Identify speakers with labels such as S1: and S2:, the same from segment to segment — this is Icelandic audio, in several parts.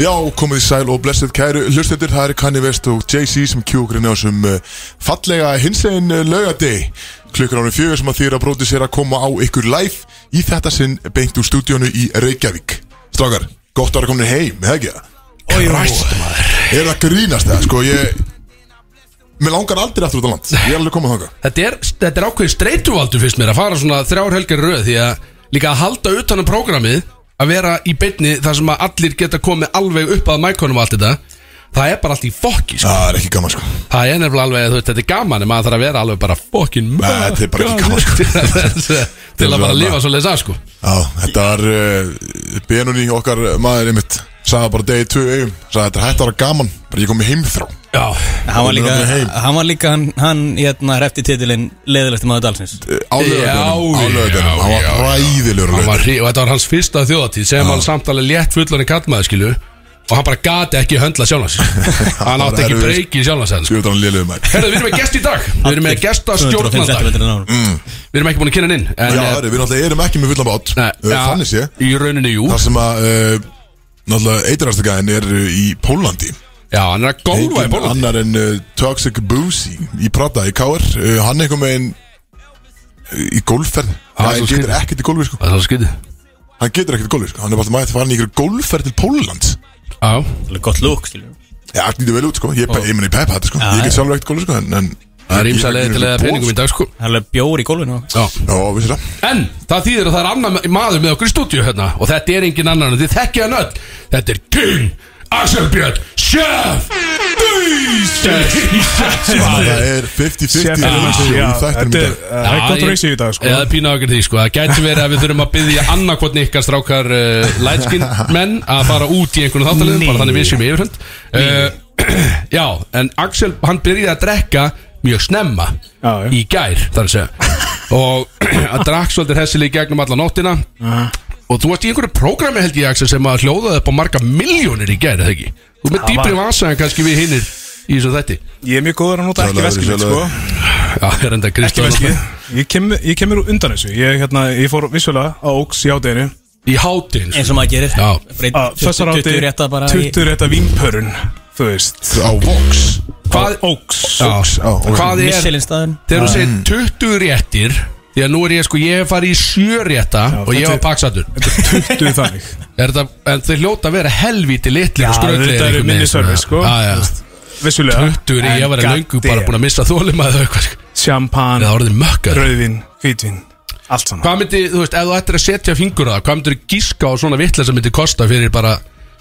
S1: Já, komið í sæl og blessið kæru hlustendur, það er Kanye West og Jay-Z sem kjúkurinn á sem uh, fallega hinsegin uh, laugardegi klukkur ánum fjögur sem að þýra bróti sér að koma á ykkur live í þetta sinn beint úr stúdíónu í Reykjavík Strákar, gott að vera komin heim, eða ekki það?
S2: Oj,
S1: Er það grínast það, sko, ég Mér langar aldrei aftur út á land, ég er alveg komið þangað
S2: Þetta er, þetta er ákveðin streytuvaldur fyrst mér að fara svona þrjár helgar í röð því að líka að halda utan um prógramið að vera í beinni þar sem að allir geta komið alveg upp að mækonum og allt þetta það er bara allt í fokki sko.
S1: Það er ekki gaman, sko
S2: það er nefnilega alveg, þú veist, þetta er gaman en maður þarf að vera alveg bara fokkin
S1: Nei, þetta er bara ekki gaman, sko.
S2: sko. til að
S1: Þetta
S2: bara
S1: er
S2: lifa svo leiðis að sko
S1: Já, þetta er uh, Benunni okkar uh, maður einmitt sagði bara degi tvö eigum sagði þetta er hægt að vera gaman bara ég kom með heimþrá
S2: Já,
S3: Hann var líka,
S1: Kominn aldrei heim.
S3: hann var líka, hann, hann hérna hrefti titilinn Leðilegti maður dalsins
S1: álöðunum
S2: Já,
S1: álöðunum
S2: já,
S1: hann var
S2: já, já.
S1: ræðilegur
S2: hann var
S1: laugardagurinn.
S2: hrí- og þetta var hans fyrsta þjóðatíð sem hann samt alveg létt fullan í kallmaði skilu og hann bara gati ekki höndla sjálfans hann átti ekki
S1: Erfiður.
S2: breyki í sjálfans
S1: Djöfull er hann lélegur maður
S2: Herðu, við erum með gest í dag Við erum með gesta stjórnanda Við
S3: stjórnandag
S2: erum ekki búin að kynna hann inn en,
S1: já,
S2: eh,
S1: herri, við náttúrulega erum ekki með fullan bát
S2: nei,
S1: uh,
S2: ja,
S1: þannig sé
S2: Í rauninni, jú
S1: það sem að uh, náttúrulega eitirastagæðin er uh, í Pólandi
S2: Já, hann er að gólfa í
S1: Enginn
S2: bólan
S1: annar en uh, Toxic Boozy í Prata í Káar uh, hann einhvern veginn uh, í golfferð
S2: Ah,
S1: hann
S2: svo
S1: getur
S2: skrítið.
S1: ekkert í golfi sko
S2: Það er svo skytið
S1: hann getur ekkert í golfi sko hann er bara mætt farin í ykkur golfferð til Pólland
S2: Já,
S3: Gott lúk, skilur
S1: Já, allt lítið vel út sko, ég, ég meni pep þetta sko
S3: Já,
S1: Ég get
S3: já.
S1: sjálfur ekkert gólu sko En, en
S2: það er ímsa leiði til að peningum í dag sko
S3: Hann er alveg bjór í gólfinu og-
S2: Já.
S1: Já, vissi það
S2: En það þýðir að það er annar maður með okkur í stúdíu hérna Og þetta er engin annar en þið þekkið hann öll Þetta er King Axel Björn Chef
S1: Þannig að
S2: Jesus
S1: það er 50-50
S4: Sérfæðan
S1: í
S4: Já,
S1: þættinum í
S4: þetta er
S1: dag.
S4: það er gott reysi í dag sko
S2: Eða pína okkur því sko Það gæti verið að við þurfum að byggja annarkotni ykkar strákar uh, lightskin menn að fara út í einhvern þáttaliðum bara þannig við séum í yfirhund uh, Já, en Axel hann byrjaði að drekka mjög snemma
S4: Já, já.
S2: í gær þar að segja og að drakk svolítið hessili í gegnum alla nóttina og þú varst í einhverju prógrami held ég Axel sem að hljóðaði upp á marga miljónir í gær eða ekki Þú ert með dýpri vasa en kannski við hinnir í þessu þætti
S4: Ég er mjög góður að nota ekki
S1: Sjálega,
S4: veskið mitt sko
S1: sjálega.
S2: Já, ég er enda
S4: Ekki
S2: Kristján
S4: veskið Ég kem- Ég kemur undan þessu Ég, hérna, ég fór vissulega á Óks í ádeginu
S2: í sko. hátinn
S3: Eins og maður gerir
S2: Já.
S3: Breyt,
S4: Ah, Á
S3: 20
S4: Þessar átti
S3: 20 rétta bara í-
S4: 20 rétta vínpörun Þú veist
S1: Á Vox
S2: Hvað-
S4: Óks
S2: Já.
S1: Já, og-
S2: Hvað er
S3: Michelin staðurinn
S2: Þegar þú segir 20 réttir Því að nú er ég sko, ég hef farið í 7 rétta Og ég var
S4: þetta-
S2: paksatur
S4: 20 þannig
S2: er það, En þau hljóta að vera helvíti litli
S4: Já,
S2: og skröldlegir
S4: þetta eru
S2: einhvern veginn, svona.
S4: miniservice, sko.
S2: Já, já.
S4: Vissulega
S2: 20 réttir, ég var í
S4: En
S2: löngu
S4: goddamn.
S2: bara búin að missa þólum að þau eitthvað sko.
S4: Sjampan
S2: Eða orðið mökkar
S4: Rauðvin Hvítvin Allt saman
S2: Hvað myndi, þú veist, ef þú ættir að setja fingur á það Hvað myndir gíska á svona vitla sem myndi kosta fyrir bara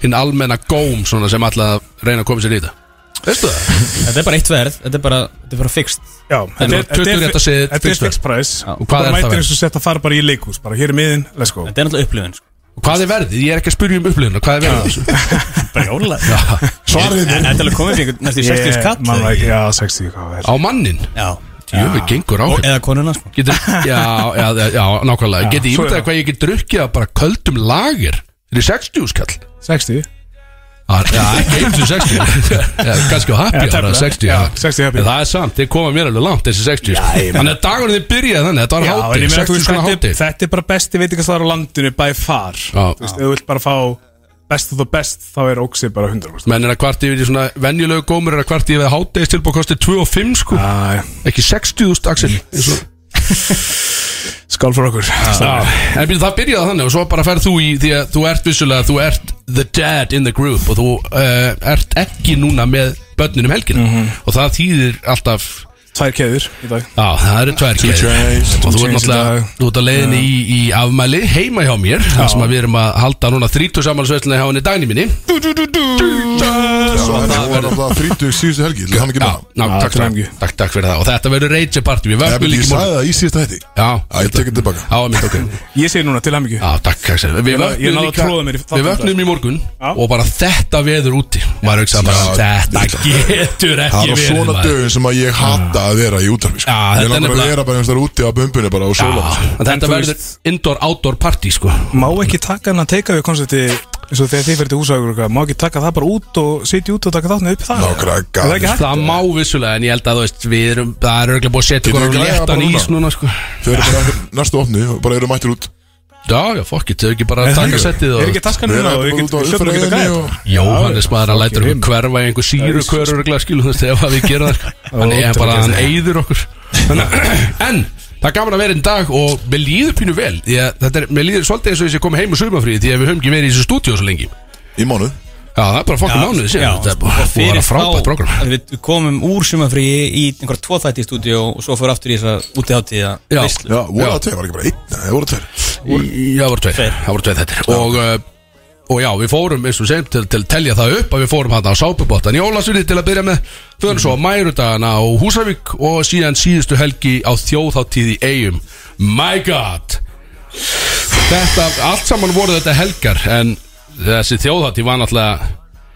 S2: Hinn almenna góm svona sem alltaf reyna að koma sér í þetta Veistu það?
S3: Þetta er bara eitt verð Þetta er bara, þetta er bara fixt
S4: Já, þetta er-
S2: 20 rétta
S4: þetta
S2: siðið,
S4: er þetta er
S2: fyrst verð.
S4: fixed price
S2: Og hvað er
S4: Og hvað
S2: það verð?
S4: Mætir eins og sett að fara bara í leikús Bara hér er miðin, let's go
S3: Þetta er náttúrulega upplifun sko.
S2: Og Hvað er verðið? Ég er ekki að spyrja um upplifuna Hvað er verðið? þessu?
S3: Brjóla
S2: Já,
S1: Svarið
S3: En
S1: er
S3: þetta er alveg komið fyrir einhvern- næstu í 60
S4: Ég-
S3: skall
S4: man það
S3: eða-
S4: ekki, Já, 60 hvað er
S2: Á mannin?
S3: Já
S2: Jöfnir gengur á
S3: Og- Eða konuna sko
S2: getur, já, já, já, já, nákvæmlega Getið
S4: svo
S2: ímyndað
S4: já.
S2: hvað ég get drukkið að bara köldum lager Fyrir 60 skall
S4: 60
S2: Já, já, ekki eins og 60 Já, Kannski á happy ára 60
S4: Já, 60 happy.
S2: En Það er samt, þeir koma mér alveg langt þessi 60 sko. Þannig að dagurinn þið byrjaði þannig Þetta var
S4: Já, en
S2: hátti,
S4: ég meina,
S2: 60
S4: þú veist,
S2: skall
S4: þetta,
S2: hátti
S4: er- þetta er bara besti veitingastaðar á landinu by far
S2: Já.
S4: Þú veist, ef þú vilt bara fá best of the best þá er óksið bara 100%
S2: Menn er að kvart yfir í svona venjulegu gómur er að kvart yfir að háttegis tilbúið kosti 2 og 5 sko
S4: Æ,
S2: Ekki 60.000 axel eins og-
S4: Skál fyrir okkur
S2: Já, En býr, það byrjaði þannig og svo bara ferð þú í því að þú ert vissulega, þú ert the dad in the group og þú uh, ert ekki núna með börninum helgina og það þýðir alltaf
S4: Tvær keður í dag
S2: Já, það eru tvær keðjur.
S4: chains,
S2: og
S4: two
S2: þú ert
S4: chains í
S2: náttúrulega,
S4: dag.
S2: þú ert að leiðinni í, í afmæli heima hjá mér, þar sem að við erum að halda núna 30 samanlsveitlega hjá henni dæni minni
S4: Du, du, du, du
S1: Svo það
S2: það
S1: var
S2: verður-
S1: alltaf 30 síðustu helgi Til hann ekki
S2: Já,
S1: með
S2: ná,
S4: Já,
S2: takk,
S4: til
S2: takk,
S4: hamingju.
S2: takk, takk fyrir það og þetta verður rage party, við
S1: Ég,
S2: vöknum
S1: ég
S2: líka í
S1: sagði
S2: morgun
S1: það í síðustu hætti
S2: Já,
S1: Æ, ég tek þetta tilbaka.
S2: Já, mitt okkur
S4: Ég segi núna til hamingju
S2: Já, takk, Axel Við
S4: Ég náði-
S2: vöknum
S4: ég náði að
S2: líka
S4: tróða mér í þáttinn
S2: Við vöknum í morgun
S4: Já.
S2: og bara þetta veður úti og maður hugsa bara, þetta getur
S1: Það er
S2: ekki
S1: á
S2: verið
S1: svona
S2: maður.
S1: dögum sem að ég hata að vera í útarfi sko.
S2: Já, þetta
S1: Ég
S2: er
S1: langar að
S2: nefnilega-
S1: vera bara einhvers þar úti á bumbunni bara og sóla
S2: Já,
S1: sko.
S2: en
S4: En
S2: Þetta
S4: þú
S2: verður indoor-outdoor party, sko
S4: Má ekki taka hann að teika við koncepti eins og þegar þið fyrir til húsagur og eitthvað, Má ekki taka það bara út og sitja út og taka þáttunni upp það
S1: Nákvæmlega
S4: Er það ekki hægt?
S2: Það má vissulega, en ég held að þú veist við erum, það er örgulega búið að setja
S1: Getum
S2: ykkur á
S1: við græjað
S2: léttan
S1: bara hérna
S2: ís
S1: núna?
S2: núna, sko
S1: Þau eru bara eftir næstu opni og bara eru mættir út
S2: Já, já, fokk, ég ekki bara
S4: Er
S2: að
S4: það
S2: taka
S4: ekki?
S2: settið
S4: Er
S2: og
S4: ekki taskan
S1: Við
S4: hérna
S1: erum bara
S4: og við
S1: út á
S4: getum
S1: umferðinni
S4: hljóttum ekki að græða
S1: og
S2: Jóhannes maður að lætur okkur
S4: him.
S2: hverfa í einhver síru hverur og skilum þess ef að við gerum það sko. hann er
S4: ótrúlega
S2: bara, hann
S4: gert.
S2: eyður okkur Þannig að- en það er gaman að vera í dag og mér líður pínu vel Því að þetta er, mér líður svolítið eins og þess að ég kom heim úr sumafríði því að við höfum ekki verið í þessu stúdíu svo lengi já,
S1: Í mánuð
S2: það er bara fokkum mánuðið
S3: já,
S2: síðan þetta er bara
S3: og
S2: búið að
S3: fyrir
S2: vera frábært
S3: þá
S2: program
S3: að Við komum úr sumafríi í einhverja tvo þætti í stúdíu og svo fór aftur í þess að úti hátíða
S2: Já.
S3: veislu.
S1: Já, voru
S2: Já.
S1: það tveir, var ekki bara einn Nei, voru tveir
S2: Í- Já, það voru tveir,
S3: Tveir.
S2: það voru tveir þetta og, uh, og já, við fórum, eins og segjum, til, til að telja það upp að við fórum hann á sápubottan í Ólasunni til að byrja með förum svo á Mærudagana á Húsavík og síðan síðustu helgi á þjóðháttíð í Eyjum My God Þetta, allt saman voru þetta helgar en þessi þjóðháttíð var náttúrulega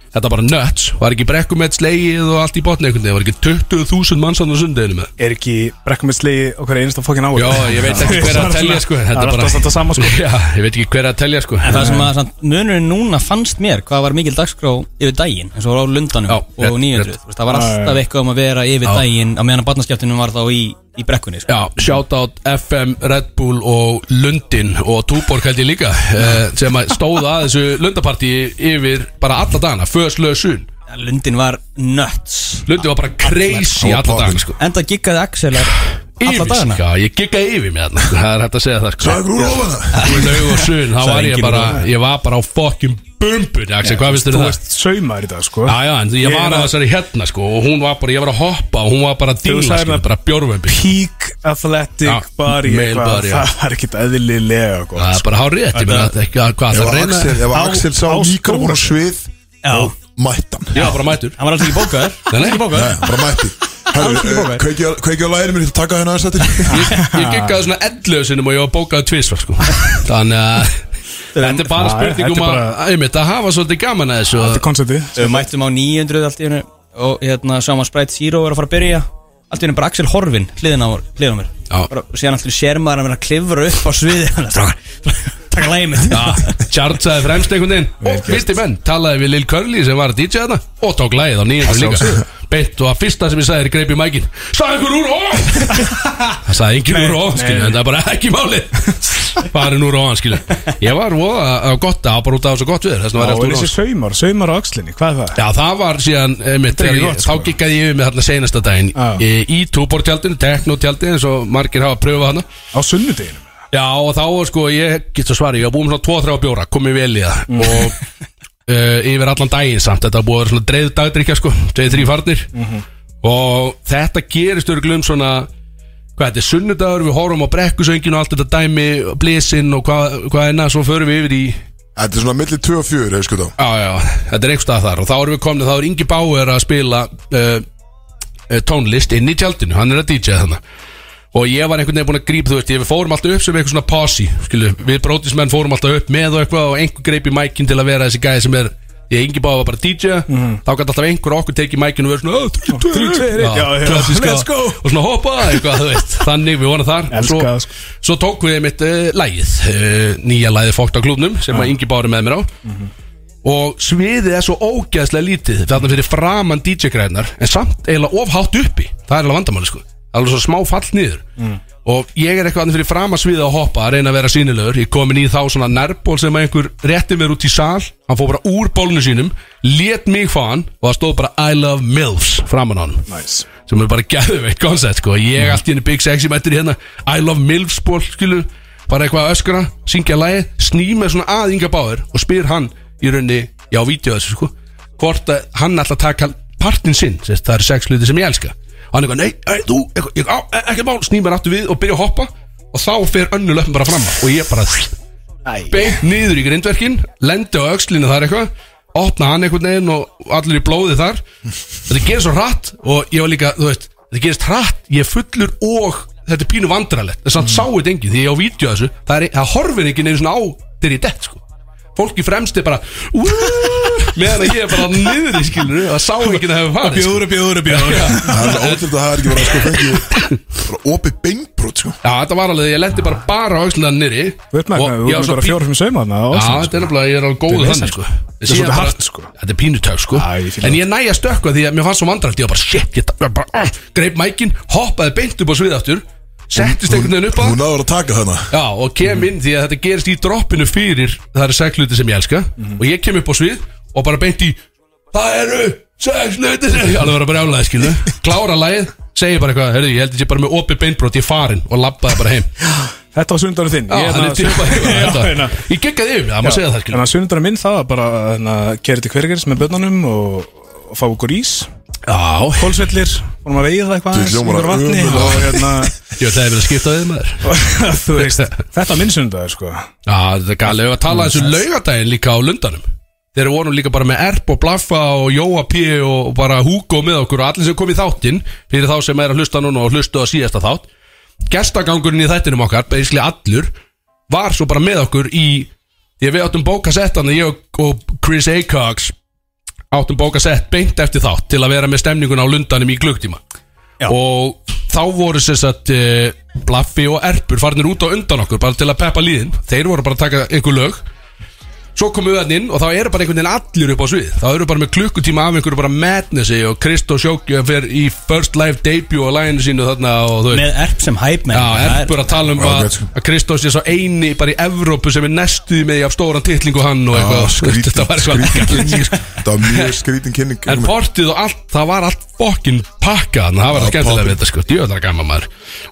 S2: Þetta var bara nuts, var ekki brekkumett slegið og allt í botni einhvern veginn, var ekki 20.000 mannsann á sundeginu með
S4: Er ekki brekkumesslegi okkar einasta fokkin ári
S2: Já, ég veit ekki hver að telja sko
S4: Það
S2: þetta
S4: er
S2: bara-
S4: alltaf þetta sama sko
S2: Já, ég veit ekki hver að telja sko
S3: En það sem að samt, munurinn núna fannst mér hvað var mikil dagskrá yfir daginn eins og var á lundanum
S2: Já,
S3: og
S2: rétt,
S3: 900
S2: rétt.
S3: þú veist, það var alltaf eitthvað um að vera yfir daginn á meðan að barnaskjæftinum var þá í, í brekkunni sko.
S2: Já, shoutout FM, Red Bull og Lundin og Túborg held ég líka eh, sem að stóða að þessu lundapartí yfir bara alla dagana, föðslöðsun
S3: Lundin var nuts
S2: Lundin var bara crazy
S1: Á
S2: alla
S1: pallinn.
S2: dagana sko
S3: Enda giggaði Axelar alla
S2: Yfir, sko.
S3: dagana
S2: já, ég giggaði yfir með þarna, sko, það er hægt að segja það sko
S1: Það er úr ofan það
S2: Laug og sun, þá
S3: Sagði
S2: var ég
S3: enginn
S2: bara,
S3: úr
S2: ég var bara á fokkin bumbun, Axel, hvað finnst þér um
S4: Þú
S2: það?
S4: ert saumaður í dag sko
S2: Já, já, en ég
S4: Ég
S2: var
S4: er
S2: að
S4: að-
S2: þessari hérna sko og hún var bara, ég var að hoppa og hún var bara að
S4: Þú
S2: dingla
S4: sagðir
S2: sko,
S4: að-
S2: bara bjórvömbi
S4: Peak athletic
S2: Já,
S4: body
S2: male
S4: eitthvað,
S2: body, já.
S4: Það var ekkit eðlilega gott sko.
S2: Það er bara hár rétt, ég meina, þetta er ekki að hvað
S1: Ef
S2: það
S1: að
S2: reyna
S1: Axel, ef að
S4: Á-
S1: Axel sá
S4: á
S1: mikrofón á
S4: skónum.
S1: svið
S3: Já,
S1: Mættan
S2: Ég var bara mætur
S3: hann var alls ekki bókaður
S2: Nei, nei.
S3: Ekki bókaður.
S1: Nei, bara mætti
S3: Alls ekki
S1: Herru,
S3: bókaður.
S1: kveiki á- kveiki á læri mér Ég ætla að taka hérna aðeins þetta
S2: Ég, ég giggaði svona 11 sinum og ég var bókaði tvísvar sko. Þannig að Þetta er bara
S4: Já,
S2: spurning
S4: þetta
S2: um
S4: er
S2: að,
S4: bara-
S2: einmitt, að hafa svolítið gaman að þessu
S4: Þetta er koncepti
S3: Við mættum á 900 allt í hennu og hérna sáum að Sprite Zero er að fara að byrja allt í hennu bara Axel Horfin hliðin á, hliðin á mér
S2: Já.
S3: bara, og síðan alltaf sér maður að vera að klifra upp á sviði takk að lægum mitt
S2: Tjartsaði fremst einhvern veginn Og fyrsti menn talaði við Lil Curly sem var að DJ þarna Og tók lagið á nýjum líka Beint og að fyrsta sem ég sagði er greip í mækin Sagði einhver úr óan Það sagði einhver úr óan skilju En það er bara ekki máli Farin úr óan skilju Ég var voða á gott Það var bara út af þessu gott við Þess vegna var
S4: Það
S2: ég
S4: er
S2: alltaf úr
S4: þessi
S2: óan
S4: saumar, saumar á axlinni, hvað er það?
S2: Já það var síðan einmitt, þegar
S4: Þetta er
S2: ég,
S4: ekki gott,
S2: Þá
S4: sko.
S2: giggaði ég yfir með þarna seinasta daginn
S4: Já.
S2: Í, í túbortjaldinu, teknotjaldinu eins og margir hafa pröfað hana
S4: Á sunnudeginum
S2: Já og þá var, sko ég get svo svari Ég var búin með svona 2-3 bjóra, komið vel í það
S4: Mm.
S2: Og uh, yfir allan daginn samt Þetta var búið að vera svona dreið dagdrykja sko 2-3 farnir
S4: Mhm.
S2: Og þetta gerist örglum svona Hvað þetta er sunnudagur, við horfum á brekkusöngin Og allt þetta dæmi, blísinn og hvað, hvað enna Svo förum við yfir í
S1: Þetta er svona milli 2 og 4 hefur sko þá
S2: Já, já, þetta er einhver stað þar og þá erum við komin þá er Ingi Bauer að spila uh, uh, tónlist inn í tjaldinu hann er að DJ þannig og ég var einhvern veginn búin að grípa þú veist ég- við fórum alltaf upp sem eitthvað svona posi skilu, við brótismenn fórum alltaf upp með og eitthvað og einhver greip í mækin til að vera þessi gæði sem er ég Ingi Bauer var bara DJ
S4: Mhm.
S2: þá gæti alltaf einhver okkur tekið mækin og verið svona "Ó, þrír, tveir,
S4: Þrír, tveir,
S2: einn."
S4: einn. Já,
S2: Já,
S4: já,
S2: klassíska-
S4: let's go.
S2: og svona hoppa eitthvað, þú veist, þannig við vonum þar Og
S4: Elska
S2: svo,
S4: það, sko.
S2: svo tók við mitt uh, lægið uh, nýja lægið fókt á klúbnum sem að Ingi Bári með mér á
S4: Mhm.
S2: og sviðið er svo ógeðslega lítið þarna fyrir framan DJ-græðnar en samt eiginlega ofhátt uppi það er alveg vandamáli sko alveg svo smá fall niður
S4: Mm.
S2: og ég er eitthvað þarna fyrir framan sviðið að hoppa að reyna að vera sínilegur ég komin í þá svona nærból sem að einhver rétti mér út í sal hann fór bara úr bólnu sínum let mig fá hann og það stóð bara I love MILFs framan á hann
S4: Næs
S2: sem er bara gæðveitt koncept sko. ég allt í henni Big Sexy mættur í hérna I Love Milfs ból skilu bara eitthvað að öskra, syngja lagi sný með svona aðinga báður og spyr hann í raunni, já, vídeo þessu sko hvort að hann alltaf taka partinn sinn, sérst, það eru sex hluti sem ég elska og hann eitthvað, nei, ei, þú, eitthvað, ég, á, e- ekkert mál sný mér aftur við og byrja að hoppa og þá fer önnu löpum bara fram og ég bara beint niður í grindverkin lendi á öxlinu þar eitthvað opna hann einhvern veginn og allir í blóði þar þetta gerist svo hratt og ég var líka, þú veist, þetta gerist hratt ég er fullur og þetta er pínu vandralett þess að mm. sá þetta enginn, því ég á vídeo af þessu það, er, það horfir enginn einu svona á þegar ég dett sko. fólki fremst er bara "Ú", meðan að ég er bara niður í skilur og það sá enginn að hefur farið sko.
S4: bjóður, bjóður
S1: Það er ótrúlega að það er ekki bara sko fengið Bara opið beinbrot sko
S2: já, þetta var alveg, ég lendi bara bara á öxlinu niðri
S4: Þú ert með
S2: Og ég var
S4: bara
S2: svo pínu-
S4: fjórum saumarna
S2: Já, sko. þetta
S4: sko.
S2: er nefnilega, ég er alveg góð
S4: Þetta er
S2: þannig sko
S4: vesen, sko. Þetta er
S2: Síðan
S4: svolítið
S2: bara-
S4: hart, sko.
S2: Þetta er pínutök sko
S4: Já, ég fíla
S2: En
S4: það.
S2: ég næja stökka því að mér fannst svo vandralt Ég var bara shit, ég var bara, ah, greip mækin Hoppaði beint upp á svið aftur settist einhvern veginn upp að
S1: Hún náður að taka þarna
S2: Já, og kem inn því að þetta gerist í droppinu fyrir Það eru sex hluti sem ég elska Og ég kem upp á svið og bara beint í Það eru sex hluti sem Alveg vera bara álæði, skilu Klára lagið, segi bara eitthvað Herðu, ég held að ég bara með opið beinbrot, ég er farin Og labbaði bara heim Já,
S4: Þetta var sundarinn þinn Ég
S2: hann
S4: hérna-
S2: er djúpað heim
S4: Já,
S2: þetta.
S4: hérna.
S2: Ég gekkaði yfir, það má segja það, skilu
S4: Þannig að sundarinn minn það var bara að gera til hvergeris með börnunum og, og fá okkur ís,
S2: Já,
S4: kólsvellir, vorum að veiða það eitthvað
S1: Þú
S4: aðeins,
S1: hljómar
S4: einhver vatni
S1: ömurlega.
S4: og hérna,
S2: ég ætlaði að vera að skipta við maður
S4: þú veist, þetta var minn sundaður sko.
S2: Já, þetta er galið, við að tala þessu laugadaginn líka á lundanum Þeir eru vonum líka bara með Erp og Blaffa og Jóa P og bara Hugo með okkur og allir sem kom í þáttinn fyrir þá sem er að hlusta núna og hlustu á síðasta þátt Gestagangurinn í þættinum okkar, basically allur var svo bara með okkur í því að við áttum bókasettan ég og- og Chris Acox áttum bókasett beint eftir þátt til að vera með stemningun á lundanum í glugtíma
S4: Já.
S2: og þá voru sér satt uh, Blaffi og Erpur farnir út á undan okkur bara til að peppa líðin þeir voru bara að taka einhver lög svo komum við hann inn og þá eru bara einhvern veginn allir upp á svið þá eru bara með klukkutíma af einhverju bara madnessi og Kristó Sjókja fer í first live debut á læginu sínu þarna og þú veist
S3: Með erp sem hæpmenn
S2: Já, Erpur að tala um að,
S1: Ágætt, sko.
S2: að Kristós er svo eini bara í Evrópu sem er næstuð með af stóran titlingu hann og eitthvað
S1: skrýtin-
S2: Þetta var eitthvað
S1: skrýtin
S2: ekki-
S1: kynning sko. Það var mjög skrítin kynning sko.
S2: En portið og allt, það var allt fokkin pakkað Þannig að það
S1: Já,
S2: var það skemmtilega
S1: poppið.
S2: við þetta sko Djöðlar gaman maður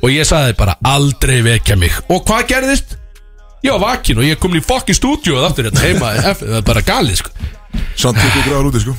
S2: Og ég sagði bara aldrei vekja mig Og hvað gerðist? Ég var vakin og ég kom í fokkin stúdíu Og aftur þetta heima F- Það er bara galið sko
S1: Samt ykkur gráður úti sko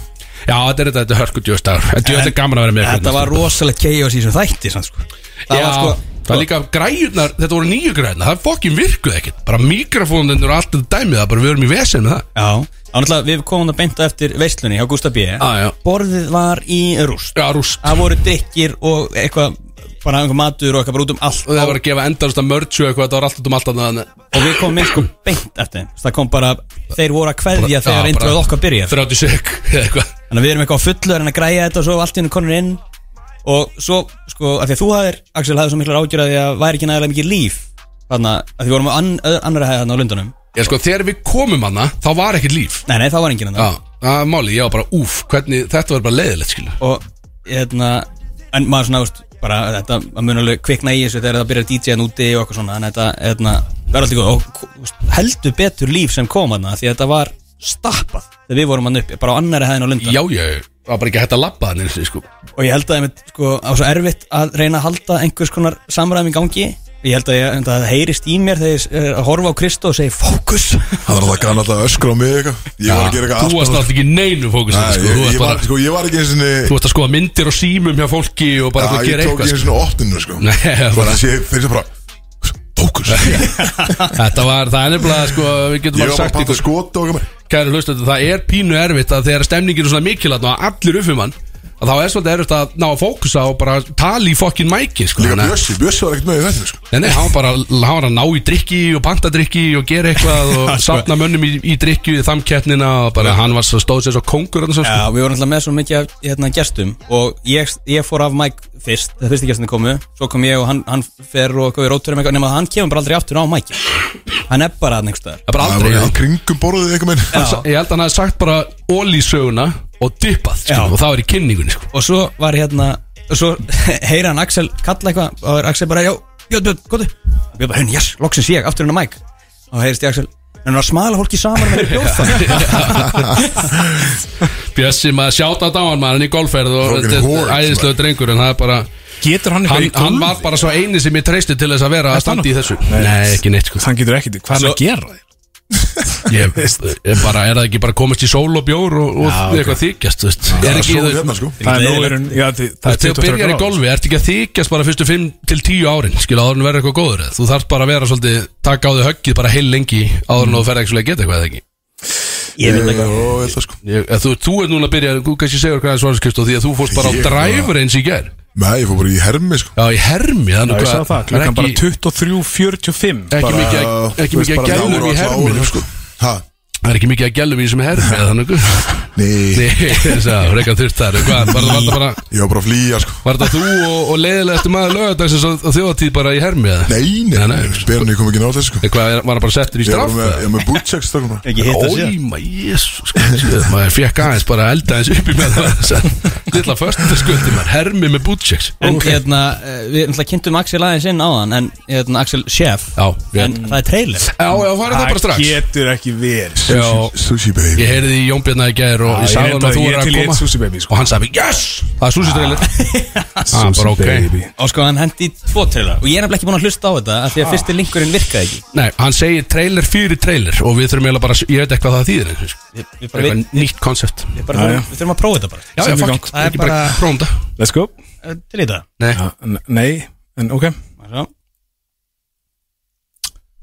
S2: Já, þetta er þetta, þetta er hörku djöðstar Djöðlar gaman að vera með
S3: Þetta
S2: hérna,
S3: var rosalega chaos í þessum þætti samt, sko. Það
S2: Já,
S3: var sko
S2: það er líka græjurnar, þetta voru nýju græjurnar, það fokkin virkuð ekkert Bara mikrofónundur og allt þetta dæmið, það bara við erum í vesen með það
S3: Já, ánætla við komum það beint á eftir veislunni hjá Gustaf B
S2: Ah, Já, já.
S3: Borðið var í rúst
S2: Já, rúst
S3: Það voru drikkir og eitthvað bara einhver matur og eitthvað bara út um allt
S2: Og það var að gefa endanast að mörgju eitthvað, þetta var allt út um allt annað
S3: og við komum með sko beint eftir þeim. Það kom bara, þeir voru að kveðja þegar introð okkar byrjaði
S2: 30 sek, eitthvað
S3: Þannig að við erum eitthvað á fullu að reyna að græja þetta og svo allt innu konur inn og svo, sko, af því að þú hafðir Axel hafði svo miklar ágjur að því að væri ekki nægilega mikið líf þannig að því við vorum á ann, öð- annarri hæði þarna á Lundunum
S2: Já, sko, þegar við komum hana, þá var ekkert líf
S3: Nei, nei, það var enginn
S2: Já,
S3: þarna
S2: það er máli, ég var bara, úf, hvernig, þetta var bara leiðilegt, skilu
S3: og, hérna, en maður svona, veist, bara þetta, maður mun alveg kvikna í þessu þegar það byrjar DJ-an úti og eitthvað svona en þetta, hérna, verður alltaf góð og k- veist, heldur betur líf sem kom þarna því að þetta var stappað þegar við vorum hann uppi, bara á annarri hæðin á Lundunum
S2: Já, ég var bara ekki hægt að labba hann, eins og, sko
S3: og ég held að einmitt, sko, það var svo erfitt að reyna að halda einhvers konar samræðum í gangi ég held að, ég, að það heyrist í mér þegar ég er að horfa á Kristó og segi fókus
S1: Það var alltaf gana alltaf að öskra á mig eitthvað Ég var að gera eitthvað
S2: Þú varst
S1: allt annað.
S2: alltaf ekki í neinu fókus
S1: Nei,
S2: sko,
S1: ég- ég
S2: Þú varst
S1: var-
S2: bara,
S1: sko, Ég var ekki eins og
S2: þú varst að skoða myndir og símum hjá fólki og bara
S1: Já,
S2: að
S1: ég
S2: gera
S1: tók
S2: eitthvað,
S1: ég
S2: sko
S1: eins og óttinu sko
S2: Nei, bara-
S1: Bara sé þeir sem bara Tókus Ég
S2: Þetta var, það er nefnilega, sko, við getum
S1: var
S2: bara
S1: bara
S2: sagt
S1: bara
S2: ykkur
S1: að skota og
S2: Kæri hlustandi, það er pínu erfitt að þegar stemningin er svona mikil að allir uppum hann að þá er svolítið erfitt að ná að fókusa og bara tala í fokkin mæki sko.
S1: Líka
S2: Þannig að-
S1: Bjössi, Bjössi var ekkert með í þessinu sko
S2: Nei, nei, hann var bara hann var að ná í drikki og panta drikki og gera eitthvað og safna mönnum í, í drikki í þamkeppnina og bara hann var svo stóð sér svo kongur hann, svo, sko.
S3: Já, við vorum alltaf með svo mikið af, hérna, gestum og ég, ég fór af Mike fyrst það fyrsti gestinni komu, svo kom ég og hann, hann fer og góði róturum eitthvað, nema að hann kemur bara aldrei aftur á Mike hann er bara að nefnst þar
S2: Það er bara
S1: Það
S2: aldrei
S1: var
S2: hann,
S1: í kringum borðið eitthvað minn
S2: hann, sa- Ég held að hann hafði sagt bara ólísöguna og dippað sko,
S3: Já.
S2: og það var í kynningunni sko.
S3: og svo var hérna og svo heyra hann Axel kalla eitthvað og það er Axel bara, já, björn, björn, góðu og við bara, hérna, yes, loksins ég, aftur hennar Mike og heyrist ég Axel, en hann var smala fólki saman með bjórfæð
S2: Bjössi maður sjátt á dáan maður hann í golfferð og
S1: Fucking
S2: þetta
S1: whore,
S2: er æðislega drengur en það er bara
S4: Getur hann eitthvað
S2: hann, hann var bara svo eini sem ég treysti til þess að vera að
S4: Ertu hann?
S2: standa í þessu
S4: Nei.
S2: Nei, ekki neitt sko
S4: Hann getur ekkert, hvað er hann að gera?
S2: ég, ég bara, Er það ekki bara komist í sól og bjór og, og
S4: Já, ok.
S2: eitthvað þykjast þú veist?
S1: Það
S2: Er
S1: er
S2: ekki,
S1: svo
S2: þú-
S1: hérna sko
S4: Það er nóður en, já, því- það er
S2: Þegar
S4: 24
S2: þú byrjar í
S4: gráður.
S2: golfi, ertu ekki að þykjast bara fyrstu 5 til 10 árin skil áður en verður eitthvað góður eða? Þú þarft bara að vera svolítið, taka á þig höggið bara heil lengi áður en þú ferð ekki svolítið að geta eitthvað eða ekki
S3: ég veit ekki,
S1: Jó, ég ætla sko
S2: ég, eða þú, þú er núna að byrja, þú kannski segur hvað er svarskist og því að þú fórst bara á
S1: Ég bara-
S2: dræfur eins í ger
S1: Nei, ég fór bara í hermi sko
S2: Já, í hermi,
S4: Já,
S2: þannig
S4: ég sagði það, klukkan bara
S2: ekki,
S4: 23.45
S2: ekki
S4: bara-
S2: mikið að-
S1: Þú veist,
S2: ekki mikið að
S1: bara
S2: gælum
S1: náður
S2: í
S1: á alla
S2: hermi
S1: árinu, sko. Ha?
S2: Það er ekki mikið að gælum í þessum hermi eða þannig
S1: Nei,
S2: Nei, þess að, reyka þurft þar Hvað, var það bara
S1: ég var bara að flýja sko
S2: Var þetta þú og, og leiðilegasti maður lögadagsins á, á þjóðatíð bara í hermi eða?
S1: Nei, nei,
S2: Nei,
S1: nei,
S2: nei.
S1: Berni kom ekki nátt þessu sko
S2: Nei Hvað, er- var það bara settur í
S1: Ég var
S2: straff?
S1: með, ég var með sko, bútseks stökum
S3: ekki hitta sér
S2: Óma, jésus Maður fekk aðeins bara að elda aðeins upp í með það Lilla föstudaskundi maður, hermi með bútsjeks
S3: En hérna, eh, við náttúrulega kynntum Axel aðeins inn á hann En hérna, Axel Chef
S2: Já, við-
S3: En það er trailer
S2: Já, já, farið það bara strax
S4: getur ekki verið
S2: Já,
S5: Sushi baby
S2: ég heyrði í Jón Björna í gær og ég sagði hann að þú
S4: ég
S2: er
S4: er
S2: að
S4: til í eitt
S2: koma
S4: sushi baby sko.
S2: Og hann sagði, yes, það er sushi trailer Það er
S4: Sushi
S2: bara ok
S4: baby.
S3: Og sko, hann hendi í tvo trailer Og ég er nefnilega ekki búin að hlusta á þetta af Því að fyrsti linkurinn virkaði ekki
S2: Nei, hann segir trailer fyrir trailer Og við þurfum eiginlega bara, ég veit eitthvað það þýðir
S3: Við, við, bara, við,
S2: Eitthvað nýtt koncept
S3: við, bara,
S4: Já, já.
S3: þurfum, við þurfum að prófa þetta bara
S2: Já, já,
S4: Sem í
S2: fuck
S4: gang.
S2: it,
S3: Það er
S2: ekki bara
S3: bara-
S2: prófum þetta
S4: Let's go
S3: Eh, Til í þetta
S2: Nei,
S4: Já, n- Nei, en ok
S3: Svo.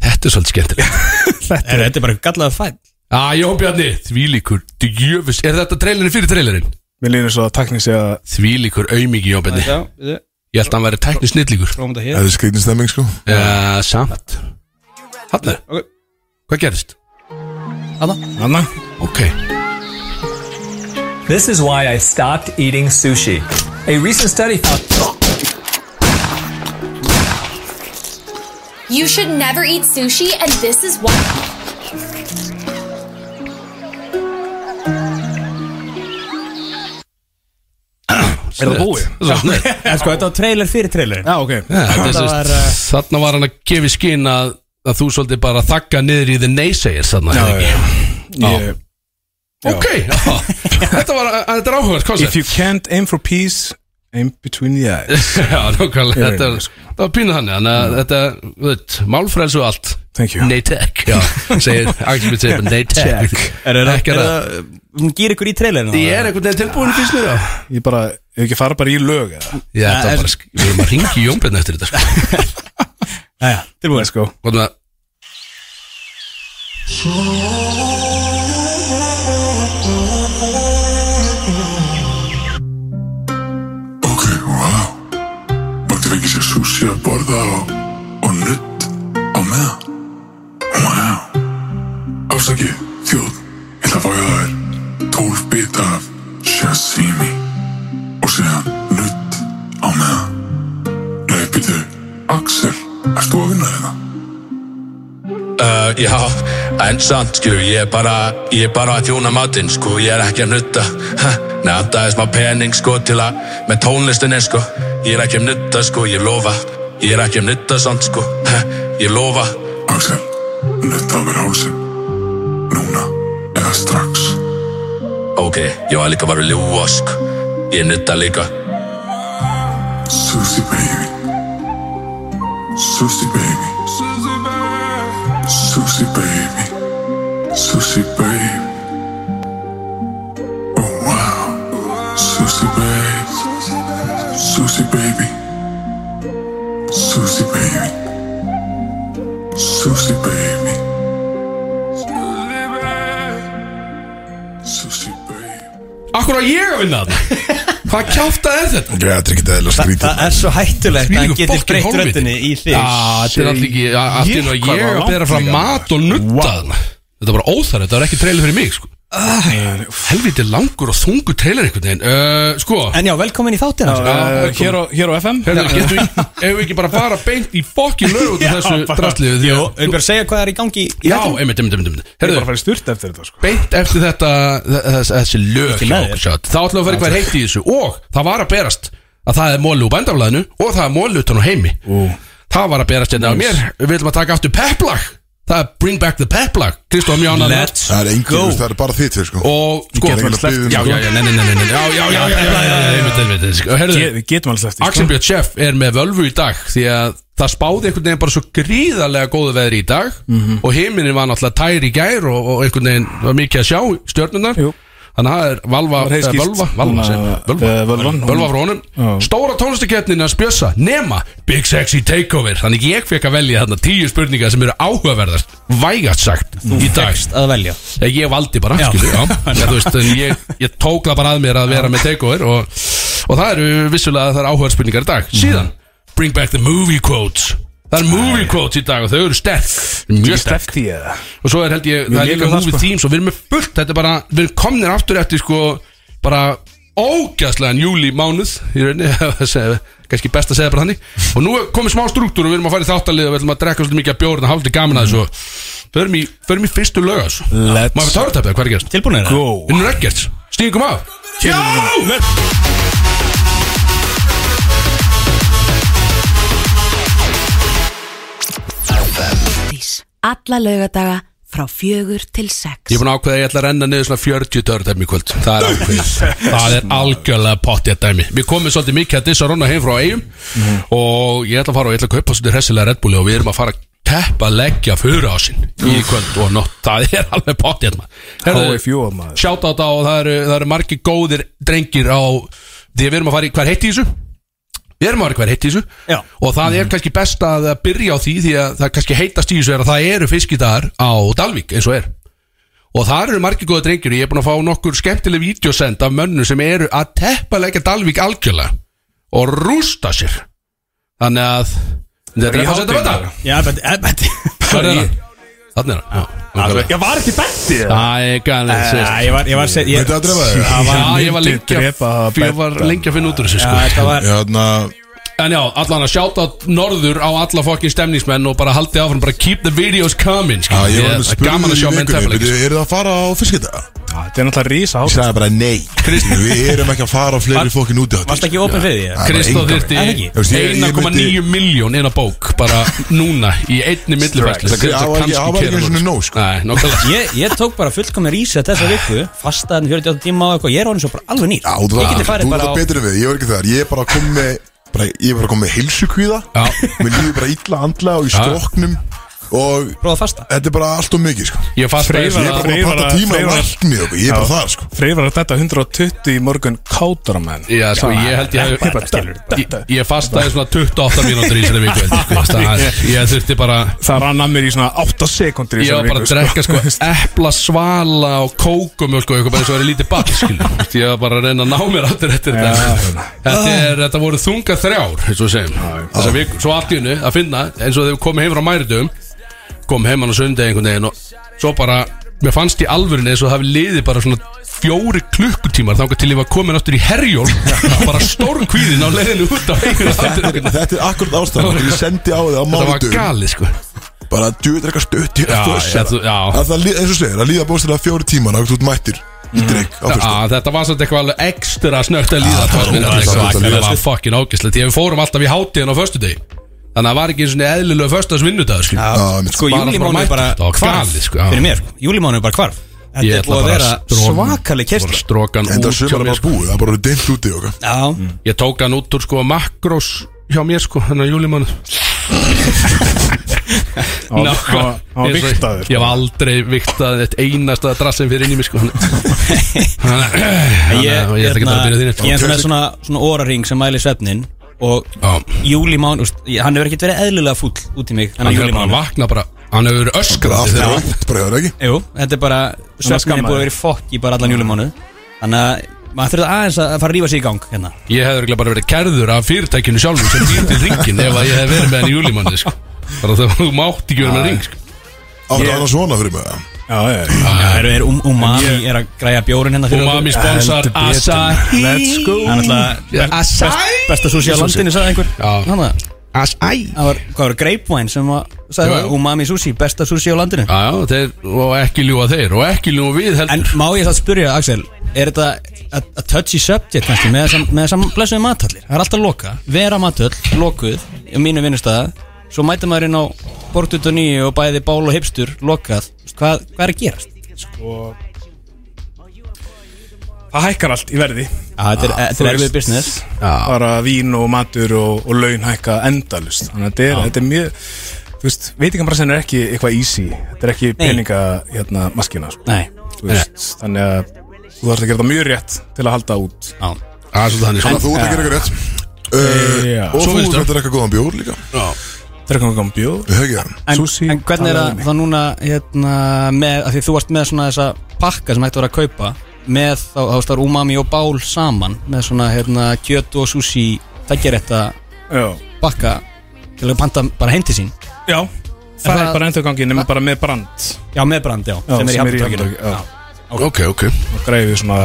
S2: þetta er svolítið skemmtilegt
S3: Herru, Þetta er bara gallaða fætt
S2: Á, Jón Bjarni, þvílíkur, djöfus Er þetta trailerin fyrir trailerin?
S4: Mér lýnir svo að takni sé að
S2: Þvílíkur aumingi Jón Bjarni
S3: Prófum
S2: Ég held að hann væri tækni snillíkur
S3: þetta
S5: Það
S3: hér
S5: er skritin stemming sko
S2: Já, samt Hanna,
S3: Ok.
S2: hvað gerðist?
S4: Anna
S2: Ok,
S6: This is why I stopped eating sushi. A recent study found
S7: You should never eat sushi, and this is why.
S4: Er það búið?
S2: það er svo snett
S3: En sko, þetta var trailer fyrir trailer
S4: Já, ok
S2: Já, þetta er
S3: Þetta
S2: sem
S3: var,
S2: sagt- Þarna var hann að gefa í skinn að, að þú svolítið bara þakka niður í the naysayers þarna
S4: Já,
S2: eða ekki?
S4: já. Ég-
S2: Ok, já. þetta var að- þetta er áhugað
S4: If
S2: koncept
S4: you can't aim for peace Aim between the eyes
S2: Já, nokkvæmlega,
S4: Ég veit
S2: þetta
S4: það,
S2: var, það var pínuð þannig Þannig að þetta, þú veit, málfrelsu og allt
S4: Thank you
S2: Nei tek, já, segir Axel Bitt segir bara nei tek
S3: Er
S2: Ekki að-
S3: það Gýr ykkur í trailerinu
S2: Ég er einhvern veginn tilbúin fyrst mér á
S4: Ég bara, ef ekki fara bara í lög eða?
S2: Já, þetta
S3: er-
S2: var bara, sk- við erum að ringi í Jónbjörn eftir þetta sko.
S3: Jæja, tilbúin
S4: Let's go
S2: Góðum að
S1: Ok, wow Mættir ekki sér sushi að borða og, og nutt á meðan Wow Afsaki, þjóð Ég ætla að fá ég að þær Tólf bita af sashimi Og síðan nutt á meðan Nei, býtu Axel, ert þú að vinna hérna?
S8: Uh, já, en samt skilju, ég er bara, ég er bara að þjóna matinn sko, ég er ekki að nutta. Ha, Nei, það er smá pening sko til að, með tónlistinni sko, ég er ekki að nutta sko, ég lofa. Ég er ekki að nutta samt sko, ha, ég lofa.
S1: Axel, nutt á mér hálsinn Núna, eða strax
S8: Ok, ég var líka bara að ljúa sko, ég nutta líka.
S1: Susie baby. Susie baby. Susie baby. Susie baby. Oh wow. Susie baby. Susie baby. Susie baby. Susie baby. Susie baby.
S2: Akkur að ég að vinna þarna Hvað kjáftað er þetta?
S5: Já, þetta er ekki eðla skrítið
S3: Það er svo hættulegt að hann
S2: Þvílíkur
S3: getur
S2: fokkin
S3: breytt
S2: hálfviti.
S3: röddinni í þig
S2: Já, þetta er alltaf ekki Allt í
S4: Ég,
S2: náttúrulega
S4: hvað
S2: ég
S4: var
S2: að bera
S4: langt
S2: fram
S4: líka.
S2: mat og nutta þarna. Þetta er bara óþarrið, þetta var ekki trailer fyrir mig sko. Helviti langur og þungur trailer einhvern veginn uh, Sko,
S3: En já, velkomin í þáttina
S4: Uh,
S3: sko.
S4: hér, á, hér á FM
S2: hérna, getum við Ef við ekki bara fara beint í fokkin lög út af þessu drastlið því
S3: Jú,
S2: að-
S3: við bara að segja hvað er í gangi í
S2: Já,
S3: þættinum.
S2: einmitt, einmitt, einmitt
S4: Ég er bara að
S2: Herðu,
S4: fara í styrt eftir þetta sko
S2: beint eftir þetta þess- þess- þessi lög
S3: Ekki
S2: hjá
S3: með
S2: okkur,
S3: þér.
S2: sjá. þá ætlum við að vera eitthvað heitt í þessu og það var að berast að það er mólu úr bændaflæðinu og það er mólu utan á heimi það var að berast hérna á mér við viljum að taka aftur peplag það er bring back the peplag Kristof Mjónan
S3: Let's
S5: Það er engin,
S3: go
S5: þú veist, það er bara þitt hér sko
S2: og
S5: Ég
S2: sko
S5: get ekki
S3: um
S5: sleppt-
S2: já, já, já, nei, nei, nei, nei, nei, já, já, já, já, já, já, já, einmitt, einmitt, einmitt.
S4: Ge-
S2: Herðu,
S4: Við getum alveg sleppt því,
S2: Axel
S4: sko.
S2: Björn Chef er með völvu í dag því að það spáði einhvern veginn bara svo gríðarlega góðu veðri í dag
S4: Mhm.
S2: og heiminin var náttúrulega tær í gær og, og einhvern veginn var mikið að sjá stjörnunar
S4: Jú.
S2: þannig að það er valva,
S4: Það var
S2: eh,
S4: heiðskýrt.
S2: völva, valva,
S4: Hún,
S2: segir maður,
S4: eh, eh, völvan,
S2: völva,
S4: hún-
S2: völva frá honum
S4: Já.
S2: stóra tónlistakeppnin að spjösa nema Big Sexy Takeover þannig ég fekk að velja þarna tíu spurningar sem eru áhugaverðast vægast sagt í dag
S3: Að velja
S2: Já, ég valdi bara,
S3: Já.
S2: skilu, já. Já, þú veist, en ég, ég tókla bara að mér að vera með takeover og, og það eru vissulega það eru áhverðspurningar í dag. Síðan,
S3: Mhm.
S2: bring back the movie quotes. Það eru movie quotes í dag og þau eru sterk, mjög sterk.
S4: Sleppt því eða
S2: Og svo er held ég, það er
S4: líka
S2: líka
S4: það,
S2: movie
S4: sko.
S2: themes og við erum með fullt, þetta er bara, við erum komnir aftur eftir sko, bara ógæðslegan júli mánuð, í rauninni, að segja- kannski best að segja bara þannig. Og nú er komið smá struktúr og við erum að fara í þáttalið og við ætlum að drekka svolítið mikið að bjóra, þannig að haldið gaman að þessu. Förum í, förum í fyrstu lög, sko. þessu.
S4: Let's
S2: Má við törutæpið, hvað er gerst?
S3: Tilbúinir
S4: Go
S2: Vinnur Eggerts, stíðum kom af Já!
S9: Alla laugadaga frá fjögur til sex
S2: Ég er búin að ákveða að ég ætla að renna niður svona 40 dörrdæmi í kvöld Það er ákveðið Það er algjörlega pottið dæmi Við komum svolítið mikið að dissa ronna heim frá eigum Og ég ætla að fara og ég ætla að kaupa svolítið hressilega Red Bulli Og við erum að fara að teppa leggja fyrir á sin Í kvöld og nótt Það er alveg pottið
S4: HFU að maður.
S2: Sjáta á þetta og það eru, það eru margir góðir drengir á Því við erum að fara í hver heitt í þessu Við erum að vera hver heitt í þessu
S3: Já. Mhm.
S2: Og það er kannski best að byrja á því Því að það kannski heitast í þessu er að það eru fiskidagar á Dalvík eins og er Og þar eru margir góða drengir og Ég er búin að fá nokkur skemmtileg vídeosend af mönnum sem eru að teppalega Dalvík algjörlega Og rústa sér Þannig að Þetta er að setja þetta
S3: Já, eh, beti, beti
S2: Hvað er það? Þannig er það Já,
S4: Ég var ekki bætti
S2: Það er gæðan
S3: Ég var, ég var seg, ég,
S1: Veitu að drefa þig?
S3: Það var-
S2: Já, ég var lengi að-
S4: drepa að
S2: ég var lengi að finna út úr þessu
S3: Já,
S2: sko
S3: þetta var
S1: Hérna,
S2: En já, allan að sjáta norður á alla fokkin stemningsmenn og bara haldið áfram, bara keep the videos coming
S1: já,
S2: skilur.
S1: ég var
S2: Ég-
S1: með
S2: það er gaman að sjá
S1: spurning í
S2: menn
S1: vikunni
S2: sko. tefnileg
S1: byrju, Eru það að fara á fiskita?
S4: Þetta er náttúrulega rísa
S1: Ég
S4: átt
S1: sagði bara nei Við erum ekki að fara á fleiri fokkin úti
S3: Varst ekki opið fyrir því? eða?
S2: Kristó þyrti
S3: En ekki?
S1: Þú veist, ég- ég myndi-
S2: 1,9 miljón inn á bók bara núna í einni millifærslu
S1: Það á ekki- á ekki einu sinni nóg, sko.
S2: Nei, nokkulega
S3: Ég, ég tók bara fullkomna rísa þessa viku Fastaðin 48 tíma og eitthvað Ég er honum svo bara alveg nýr
S1: Já, þú
S3: Ég geti
S1: er
S3: farið bara á
S1: það betur en við, ég var ekki þar Ég er bara að koma með bara, Ég er bara að koma með heilsukvíða
S2: Já.
S1: Mér líður bara illa andla og í stroknum Og
S3: Prófa að fasta
S1: þetta er bara allt og mikið sko.
S2: Ég fast að
S1: Ég er bara búin að
S4: Freyvar-
S1: panta tíma og
S4: Freyvar-
S1: lækni og Ég er bara þar sko
S4: Freyr var að detta 120 í morgun kátur að menn
S2: Já, sko, ég held ég hafi-
S4: Ég bara skilur
S2: Ég, ég fastaði svona 28 mínútur í þessari viku held ég, sko. Það er- Ég þurfti bara
S4: Það rann að mér í svona 8 sekundir
S2: Ég var bara að drekka sko epla, svala og kókumjölk og eitthvað bara eins og verið lítið ball skilur. Þú veist, Ég var bara að reyna að ná mér aftur eftir þetta þetta, er, þetta voru þunga þrjár eins og við segjum Þessa viku, Svo allt í hennu að finna eins og þegar við komum heim frá mæridum kom heim hann á sundegi einhvern veginn og svo bara Mér fannst í alvörinni eins og það hafi liðið bara svona fjóri klukkutímar þangar til ég var komin aftur í herjól bara stórkvíðin á leiðinu út af einhverju aftur einhvern veginn.
S1: Þetta er akkurat ástæðan Ég sendi á þig á
S2: Þetta var
S1: mánutum
S2: galið sko
S1: Bara djúið drekka stutt Ég er
S2: Já,
S1: að
S2: ég- þú-
S1: þossa.
S2: já.
S1: Að Það líða, eins og segir, að líða bóstilega fjóri tíman Og þú ert mættir í drikk á fyrstu
S2: Já, þetta var svolítið eitthvað alveg ekstra snögt að líða
S1: það var ógeðslegt
S2: Þetta var
S1: að líða,
S2: svakalega
S1: sko.
S2: var fokkin ágæslegt Ég við fórum alltaf í hátíðan á föstudegi Þannig að það var ekki einu svona eðlilega föstudags vinnudagur skilur.
S3: Sko,
S2: Bara frá
S3: júlimánu
S2: mættu.
S3: bara
S2: Það var
S3: hvarf
S2: galið, sko, já.
S3: Fyrir mér, júlimánu bara hvarf
S2: Ég
S3: Þetta er
S2: ætla
S3: búið að
S2: bara
S3: vera
S2: strón-
S3: svakaleg
S2: Bara
S3: kersla
S2: Strokan
S1: Þetta
S2: út hjá
S1: sumar er
S2: mér
S1: bara
S2: sko.
S1: búið, það er bara dimmt úti og eitthvað.
S3: Já,
S2: Ég tók hann út úr sko makrós hjá mér sko Þannig að júlimann
S4: Ná, hann var sko. viktaður
S2: sko. Ég hef aldrei viktað eitt einasta drassin fyrir inn í mig sko Þannig að
S3: ég,
S2: ég ætla ekki að
S3: hérna,
S2: fara að byrja sko.
S3: ég er
S2: þínu
S3: svona svona, svona óraring sem mæli svefnin Og
S2: Já.
S3: júlimán, úst, ég- hann hefur ekkert verið eðlilega fúll út í mig
S2: Hann
S3: Þannig að
S2: hefur bara
S3: júlimán
S2: vaknað bara Hann hefur verið
S1: Það er
S2: öskrað
S1: allt
S2: þegar
S1: er
S2: hann-
S1: ótt bara, er það ekki?
S3: Jú, þetta er bara Svefnin er
S4: skammaður.
S3: búið að vera í fokk í bara allan júlimánu Þannig að maður þurfti aðeins að fara að rífa sig í gang hérna
S2: Ég hefði örugglega bara verið kærður af fyrirtækinu sjálfur sem býr til ringin ef að ég hefði verið með hann í júlimanni sko. bara það þú mátt ekki verið með ring sko.
S1: Áttu annars svona fyrir mig
S4: Já, já, já
S3: Já, er, er um, umami er að græja bjórin hérna fyrir
S2: Ah. Umami
S3: okkur.
S2: sponsar
S4: Heldur betur.
S2: Asahi
S4: Let's go
S3: Það er náttúrulega
S2: Asahi
S3: besta sushi á landinu, sagði einhver
S2: Já.
S3: Hanna,
S2: Asahi
S3: það var, hvað var greipvæn sem að,
S2: Já,
S3: sagði
S2: já.
S3: það, umami sushi, besta sushi á landinu
S2: Já, já, þeir, og ekki ljúa þeir og ekki ljúa við heldur
S3: En má ég það spyrja, Axel, er þetta a, a touchy subject kannski með þessam- með þessam blessuði matallir? Það er alltaf loka, vera matöll, lokuð, á mínu vinnustæða Svo mæta maður inn á bortut og nýju og bæði bál og hipstur, lokað Hvað, hvað er að gerast?
S4: Það hækkar allt í verði
S3: Já, þetta er, þetta er
S4: þú veist.
S3: erfið business
S4: bara vín og matur og, og laun hækka endalust þannig að þetta er, þetta er mjög þú veist, veitingabrassin er ekki eitthvað easy þetta er ekki peninga hérna maskina sko,
S3: Nei,
S4: þú veist, þannig að þú þarfst að gera það mjög rétt til að halda út
S3: já,
S2: Það er svolítið þannig
S1: Þannig að
S2: sko.
S1: þú ert að gera eitthvað rétt Uh,
S4: Já.
S1: Og þú
S2: Svo finnst
S1: ert
S2: það.
S1: að drekka góðan bjór líka
S4: drekka um bjóð
S1: Við höfum það
S3: en,
S4: Sushi,
S3: en hvernig er það,
S4: talaðu við
S3: það núna hérna, með, að því þú varst með svona þessa pakka sem hægt var að kaupa með þá, þá veist, það er umami og bál saman með svona hérna, kjöt og sushi tækjarétta
S4: já,
S3: pakka til að panta bara heim til sín
S4: já það
S3: það-
S4: er bara endur gangi nema bara með brand
S3: já með brand já,
S4: Já,
S3: sem er í hafnartökinu
S4: Hafnartorgi, já.
S2: Ok, ok
S4: og græfið svona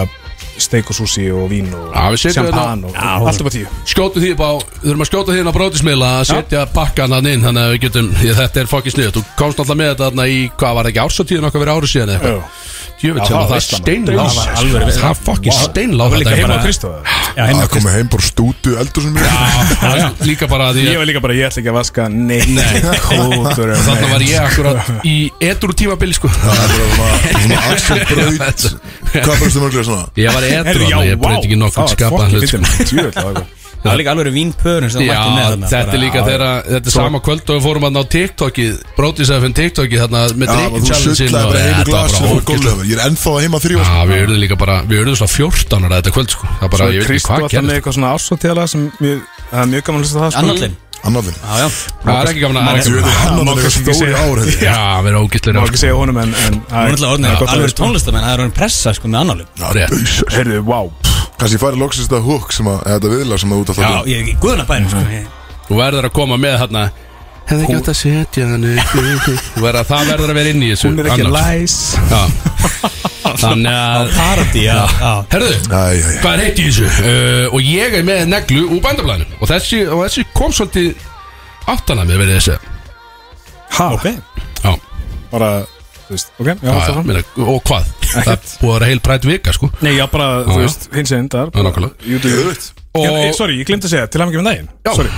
S4: steik og sushi og vín og
S2: Já, við setjum
S4: champagne og
S3: Já,
S4: allt upp á tíu
S2: Skjótu því upp á, við þurfum að skjóta því inn á brótismiðla að setja pakkan hann inn þannig að við getum, ég, þetta er fokkið sniðut þú komst alltaf með þetta þarna í, hvað var það ekki ársatíðin okkar verið árið síðan eða
S4: Já.
S2: eitthvað Jöfnveld sem
S4: það
S2: að
S4: var
S2: það
S4: veisla, maður.
S2: steinlá
S4: Það var alveg veisla.
S2: það fokkið steinlá
S4: Það var líka
S2: þetta
S4: heima á
S2: bara-
S4: Kristóða
S3: Já, heima
S1: að koma heim bara stútu eldursunum
S2: Já, já, líka bara að
S4: Ég
S2: ég
S4: var líka bara, ég ætla ekki að vaska neitt um Kótur og
S2: þannig var
S4: neitt.
S2: ég akkurat í edru tímabili sko
S1: Það er bara svona- svona Axel Braut Hvað bara stu mörglega svona?
S2: ég var í edru,
S4: Herru, já,
S2: ég breyti ekki
S4: vá,
S2: nokkuð skapaðan hlut sko.
S4: Það var fokkin fyrir mig,
S3: Það er líka alveg vínpörun sem það mætti með
S2: Já,
S3: þarna,
S2: þetta er
S3: bara-
S2: líka þeirra Þetta er sama kvöld og við fórum að ná TikTokið Brótisæfum TikTokið þarna með
S1: Já,
S2: drikkin
S1: þú
S2: challenge-in
S1: sullaði
S2: og-
S1: bara einu
S2: Þetta var
S1: glasi
S2: bara
S1: og
S2: ógeðslega-
S1: gólfið Ég er ennþá að heima þrjú
S2: Já, við urðum líka bara, við urðum svona 14 ára þetta kvöld sko Það bara,
S4: Svo
S2: ég veit ekki
S4: Kristó
S2: hvað
S4: alltaf með
S2: gerðist
S4: eitthvað svona ársótjala sem mjög, það er mjög gaman að hlusta á það sko.
S3: Annarlinn
S1: Annarðin
S3: Já, já
S2: Það er ekki gaman
S1: Þú
S2: að
S1: veit,
S2: aðeins
S4: má
S1: annarðin er
S4: kannski ekki
S1: stóri
S4: segja.
S1: ár
S2: Já, við erum ógistlega
S4: Má ekki segja honum en, en
S3: Hún er alltaf orðin
S4: gott að
S3: alveg
S4: hlusta.
S3: tónlistamenn Það er orðin pressa sko með annarlinn
S4: Heyrðu, wow
S1: Kanski ég færi loksist að hook sem að eða Þetta viðlag sem að út að
S3: Já,
S1: það
S3: ég er ekki guðna bærin sko Ég-
S2: Þú verður að koma með þarna Hefði ekki átt að setja hann upp Þú verður að það verður að vera inn í þessu
S4: Hún er ekki
S2: annars.
S4: læs
S2: Já. Þannig að
S3: Parody, já já.
S2: Herðu,
S1: Æ, æ, æ
S2: hvað er heitt í þessu? Uh, og ég er með neglu úr bandablanum og þessi, og þessi kom svolítið áttana með verið þessi
S4: Ha, ok
S2: Já,
S4: Bara, þú veist, ok, já,
S2: já, já,
S4: það var
S2: meina, og hvað? Það er búið að vera heil prætt vika sko
S4: Nei, já, bara,
S2: Já,
S4: þú
S2: já.
S4: veist, hins einn þar
S2: Já, nákvæmlega.
S1: Þú
S4: YouTube
S1: veit
S2: Og,
S4: Já, eh, Sorry, ég glemt að segja, til að mikið með daginn
S2: já,
S4: Sorry,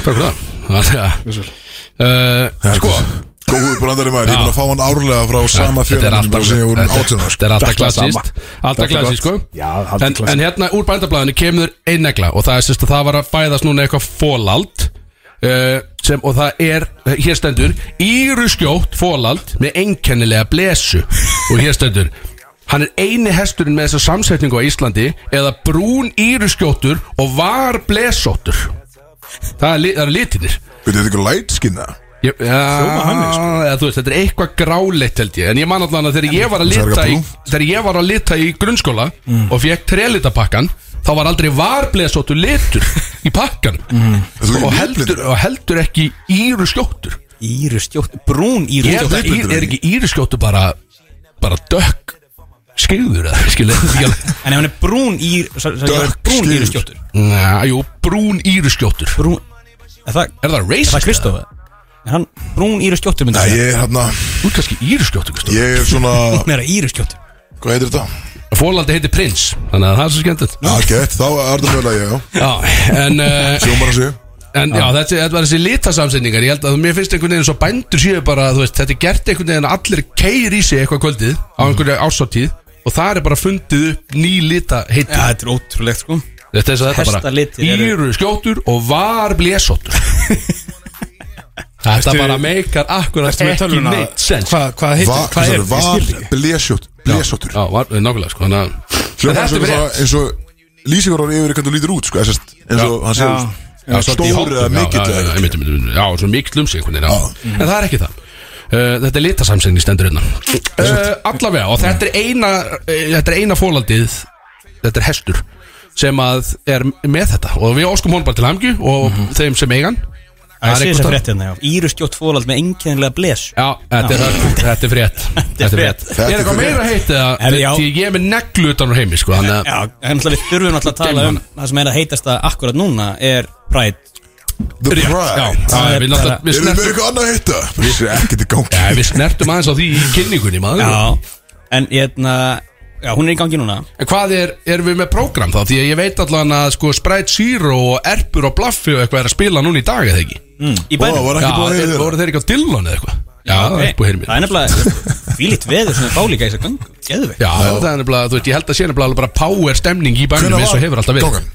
S2: takk fyrir það Þannig að uh, Sko,
S1: Góður brandari maður, ég er búin að fá hann árlega frá sama
S2: þetta er
S1: fjölanum
S2: alltaf
S1: bara sem ég voru sko.
S2: þetta-
S1: átjörn
S2: Þetta er alltaf
S4: Þetta er
S2: klassist
S4: sama.
S2: Alltaf
S4: Þetta er
S2: klassist sko
S4: gott. Já, alltaf
S2: En- En
S4: klassískt.
S2: hérna úr bændablaðinu kemur ein negla Og það er sérst að það var að fæðast núna eitthvað fólald uh, sem, Og það er, hér stendur Íruskjótt fólald Með einkennilega blesu Og hér stendur Hann er eini hesturinn með þessa samsetningu á Íslandi Eða brún íruskjóttur Og var blesóttur Það er, li- það eru litinir
S1: Veit, þetta er ykkur lætskinna
S2: Ég, ja,
S4: hann er,
S2: eða, þú veist, þetta er eitthvað gráleitt held ég sko. En ég man allan að þegar ég var að Mm.
S1: Það er
S2: lita í,
S1: eitthvað
S2: Þegar ég var að lita í grunnskóla Og fekk trelitapakkan Þá var aldrei varbleðsóttu litur Í pakkan
S1: Þú er
S2: og,
S1: í
S2: heldur,
S1: litblindur.
S2: og heldur ekki íru skjóttur
S3: Íru skjótt Brún íru
S2: Ég held
S3: skjótt
S2: að í- er ekki íru skjóttu bara Bara dökk Skeiður eða skilu
S3: En ef hann er brún ír sorry, sorry, ég var
S1: Dökk
S3: Brún
S1: skýr.
S3: íru skjóttur
S2: Næ, jú, brún íru skjóttur
S3: Brún Er það
S2: Er það
S3: Er það
S2: racist?
S3: Kristof? Er hann brún íru skjóttur myndi
S1: Nei,
S3: segja?
S1: ég er hérna
S2: Þú er kannski íru skjóttur
S1: Ég er svona
S3: Hún er að íru skjóttur
S1: Hvað heitir þetta?
S2: Fólandi heitir prins Þannig að það er svo skemmtilegt
S1: Já, gett, þá er þetta mögulega ég, já
S2: Já, en uh,
S1: Sjómar að segja
S2: En já, þetta, þetta var þessi litasamsetningar Ég held að mér finnst einhvern veginn svo bændur séu bara þú veist, Þetta er gert einhvern veginn að allir keir í sig eitthvað kvöldið Á einhverju ásáttíð Og það er bara fundið upp ný lita heiti
S3: Já, þetta er ótrúlegt sko
S2: Þetta er svo þetta bara
S3: Hestalitir eru-
S2: Íru skjóttur og var blésóttur Þetta
S4: Ertu-
S2: bara meikar akkurat
S4: Ertu með
S2: ekki
S4: tölvuna?
S2: neitt sens
S4: Hvað hvað heitir,
S1: Var,
S4: hvað er, ég
S1: var
S4: skil ekki
S1: blésjótt Blésjóttur
S2: Já, var, nákvæmlega sko Þannig að
S1: Hljómar
S2: Þetta
S1: sem
S2: er
S1: bara
S2: rétt.
S1: eins og Lýsingur ára yfir hvernig þú lítur út, sko eða sest, Eins og hann
S4: Já.
S1: segir sko.
S2: Já, svolítið í
S1: Stór eða
S2: háttum, já,
S1: mikill
S2: já, já,
S1: eða
S2: já, einmitt, einmitt, einmitt, Já, svo mikill um sig einhvern veginn já.
S1: Já.
S2: En það er ekki það Uh, þetta er litasamsegni stendur hérna uh, Allavega og þetta er eina uh, Þetta er eina fólandið Þetta er hestur sem að er með þetta og við óskum honum bara til hamgju og þeim sem eigan
S3: Það sé þess að
S2: eitthvað-
S3: frétt hérna, já Íru skjótt fólald með einkennilega blesu
S2: Já, þetta er, þetta er frétt Þetta er frétt
S1: Þetta
S2: Er
S1: er
S2: eitthvað
S1: frétt.
S2: meira heitt
S3: Er-
S2: eða
S3: já.
S2: Því ég er með neglu utan á heimi sko Þannig að
S3: Já, en náttúrulega við þurfum náttúrulega að tala um Það sem er að heitast að akkurat núna er Pride
S1: The
S2: Já,
S1: Pride
S2: já, við náttúrulega-
S1: Erum við
S2: við
S1: með
S2: snertum-
S1: eitthvað annað að hitta? Vissi ekkert í gangi
S2: Já, Við snertum aðeins á því í kynningunni maður
S3: En ég hefna Já, hún er í gangi núna
S2: En hvað er, erum við með prógram þá? Því að ég veit allan að sko Sprite Zero og Erpur og Blaffi og eitthvað er að spila núna í dag eða ekki?
S3: Í
S1: Ó,
S3: bænum
S1: var
S2: Já,
S1: ekki búið að
S2: þeir,
S1: heyra
S2: voru þeir ekki á Dillon eða eitthvað? Já, það er búið að heyra mér
S3: Það er nefnilega Fýlitt veður sem er fálíka í þess að gangu Geðvegt
S2: Já, það er nefnilega, þú veist, ég held að sé nefnilega alveg bara power stemning í bænum eins og hefur alltaf verið
S1: gangan?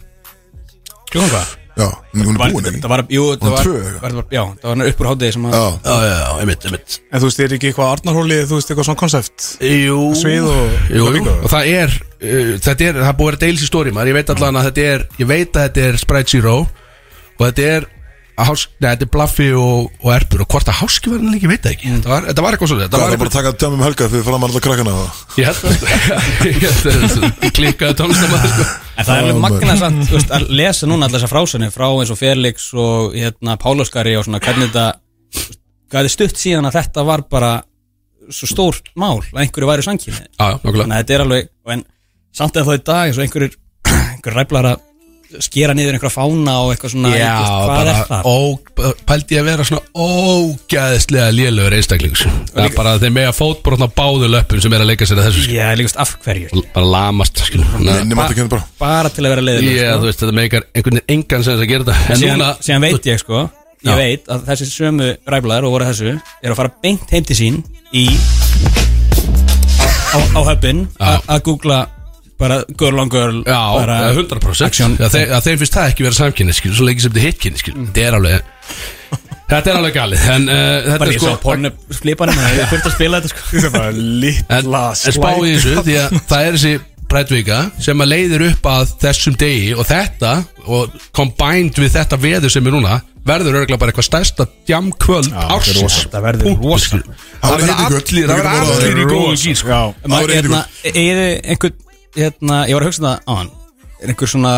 S3: Kljóðan hvað?
S1: Já, hún er
S3: Var,
S1: búin
S3: það var, jú, það
S1: Hún
S3: var,
S1: tvö, eitthvað.
S3: var, var Já, það var uppur hátegi sem að
S1: Já,
S2: Já, já, já, einmitt, einmitt
S4: En þú veist, er ekki eitthvað Arnarhóli, þú veist, eitthvað svona koncept
S2: Jú,
S4: Svið og-
S2: jú,
S4: og
S2: jú.
S4: líka.
S2: og það er, uh, þetta er, það er búið að vera deils í stóri maður Ég veit allan að þetta er, ég veit að þetta er Sprite Zero Og þetta er, hás, neða, þetta er Blaffi og, og Erpur Og hvort að háski var hann líka, ég veit það ekki Þetta var, þetta var eitthvað svolítið
S1: það var bara að taka tjámum helga fyrir fram að alla krakkana það.
S2: Ég held að klikkaði tónlistamæður sko.
S3: En það er alveg magna samt þú veist, að lesa núna allar þessar frásunni frá eins og Felix og hérna, Páluskari og svona hvernig þetta þú veist, hvað er stutt síðan að þetta var bara svo stórt mál að einhverju væri
S2: Já,
S3: sanginni
S2: já, nokkulega
S3: þannig að þetta er alveg en samt eða þá í dag eins og einhverjir einhverjir ræflar að skera niður einhverja fána og eitthvað svona
S2: Já,
S3: þú veist, hvað er
S2: bara
S3: það?
S2: ó, pældi ég að vera svona ógæðislega lélögur einstaklingur sko. Það er bara að þeir mega fótbrotna á báðu löpum sem er að leika sér að þessu skil.
S3: Já, líkast af hverju
S2: bara lamast skilur. Þannig að-
S1: Minni maður ekki hérna bara
S3: bara til að vera leiðileg
S2: Já, þú veist, þetta meikar einhvern veginn engan sem þess að gera þetta En
S3: sko. síðan,
S2: núna,
S3: síðan veit ég sko ég
S2: Já.
S3: veit að þessi sömu ræflaðar og voru þessu eru að fara beint heim til sín í á, á höppin
S2: Já.
S3: að googla bara girl on girl
S2: já,
S3: bara,
S2: 100%
S3: action.
S2: að, þeir, að þeir finnst það ekki vera samkynni skilur, svo leikir sem þetta hitkynni skilur Þetta er alveg Þetta er alveg galið En uh, þetta
S3: bara
S2: er
S3: ég svo
S2: sko
S3: pornu flipanum ég þurfti að spila þetta sko
S4: Þetta er bara
S2: En,
S4: litla
S2: en spáði þessu því að það er þessi brætvika sem að leiðir upp að þessum degi og þetta og combined við þetta veður sem er núna verður örgulega bara eitthvað stærsta djamkvöld ársins
S4: Þetta verður
S2: Punkt,
S4: rosa
S2: skilur. Það verður
S1: hittingur.
S2: allir
S1: Við getum orðað
S2: það verður allir í
S1: það.
S2: góðu gýr sko.
S4: Já,
S3: maður,
S1: Árið
S3: hérna, er einhvern hérna, ég var að hugsa það á hann er einhver svona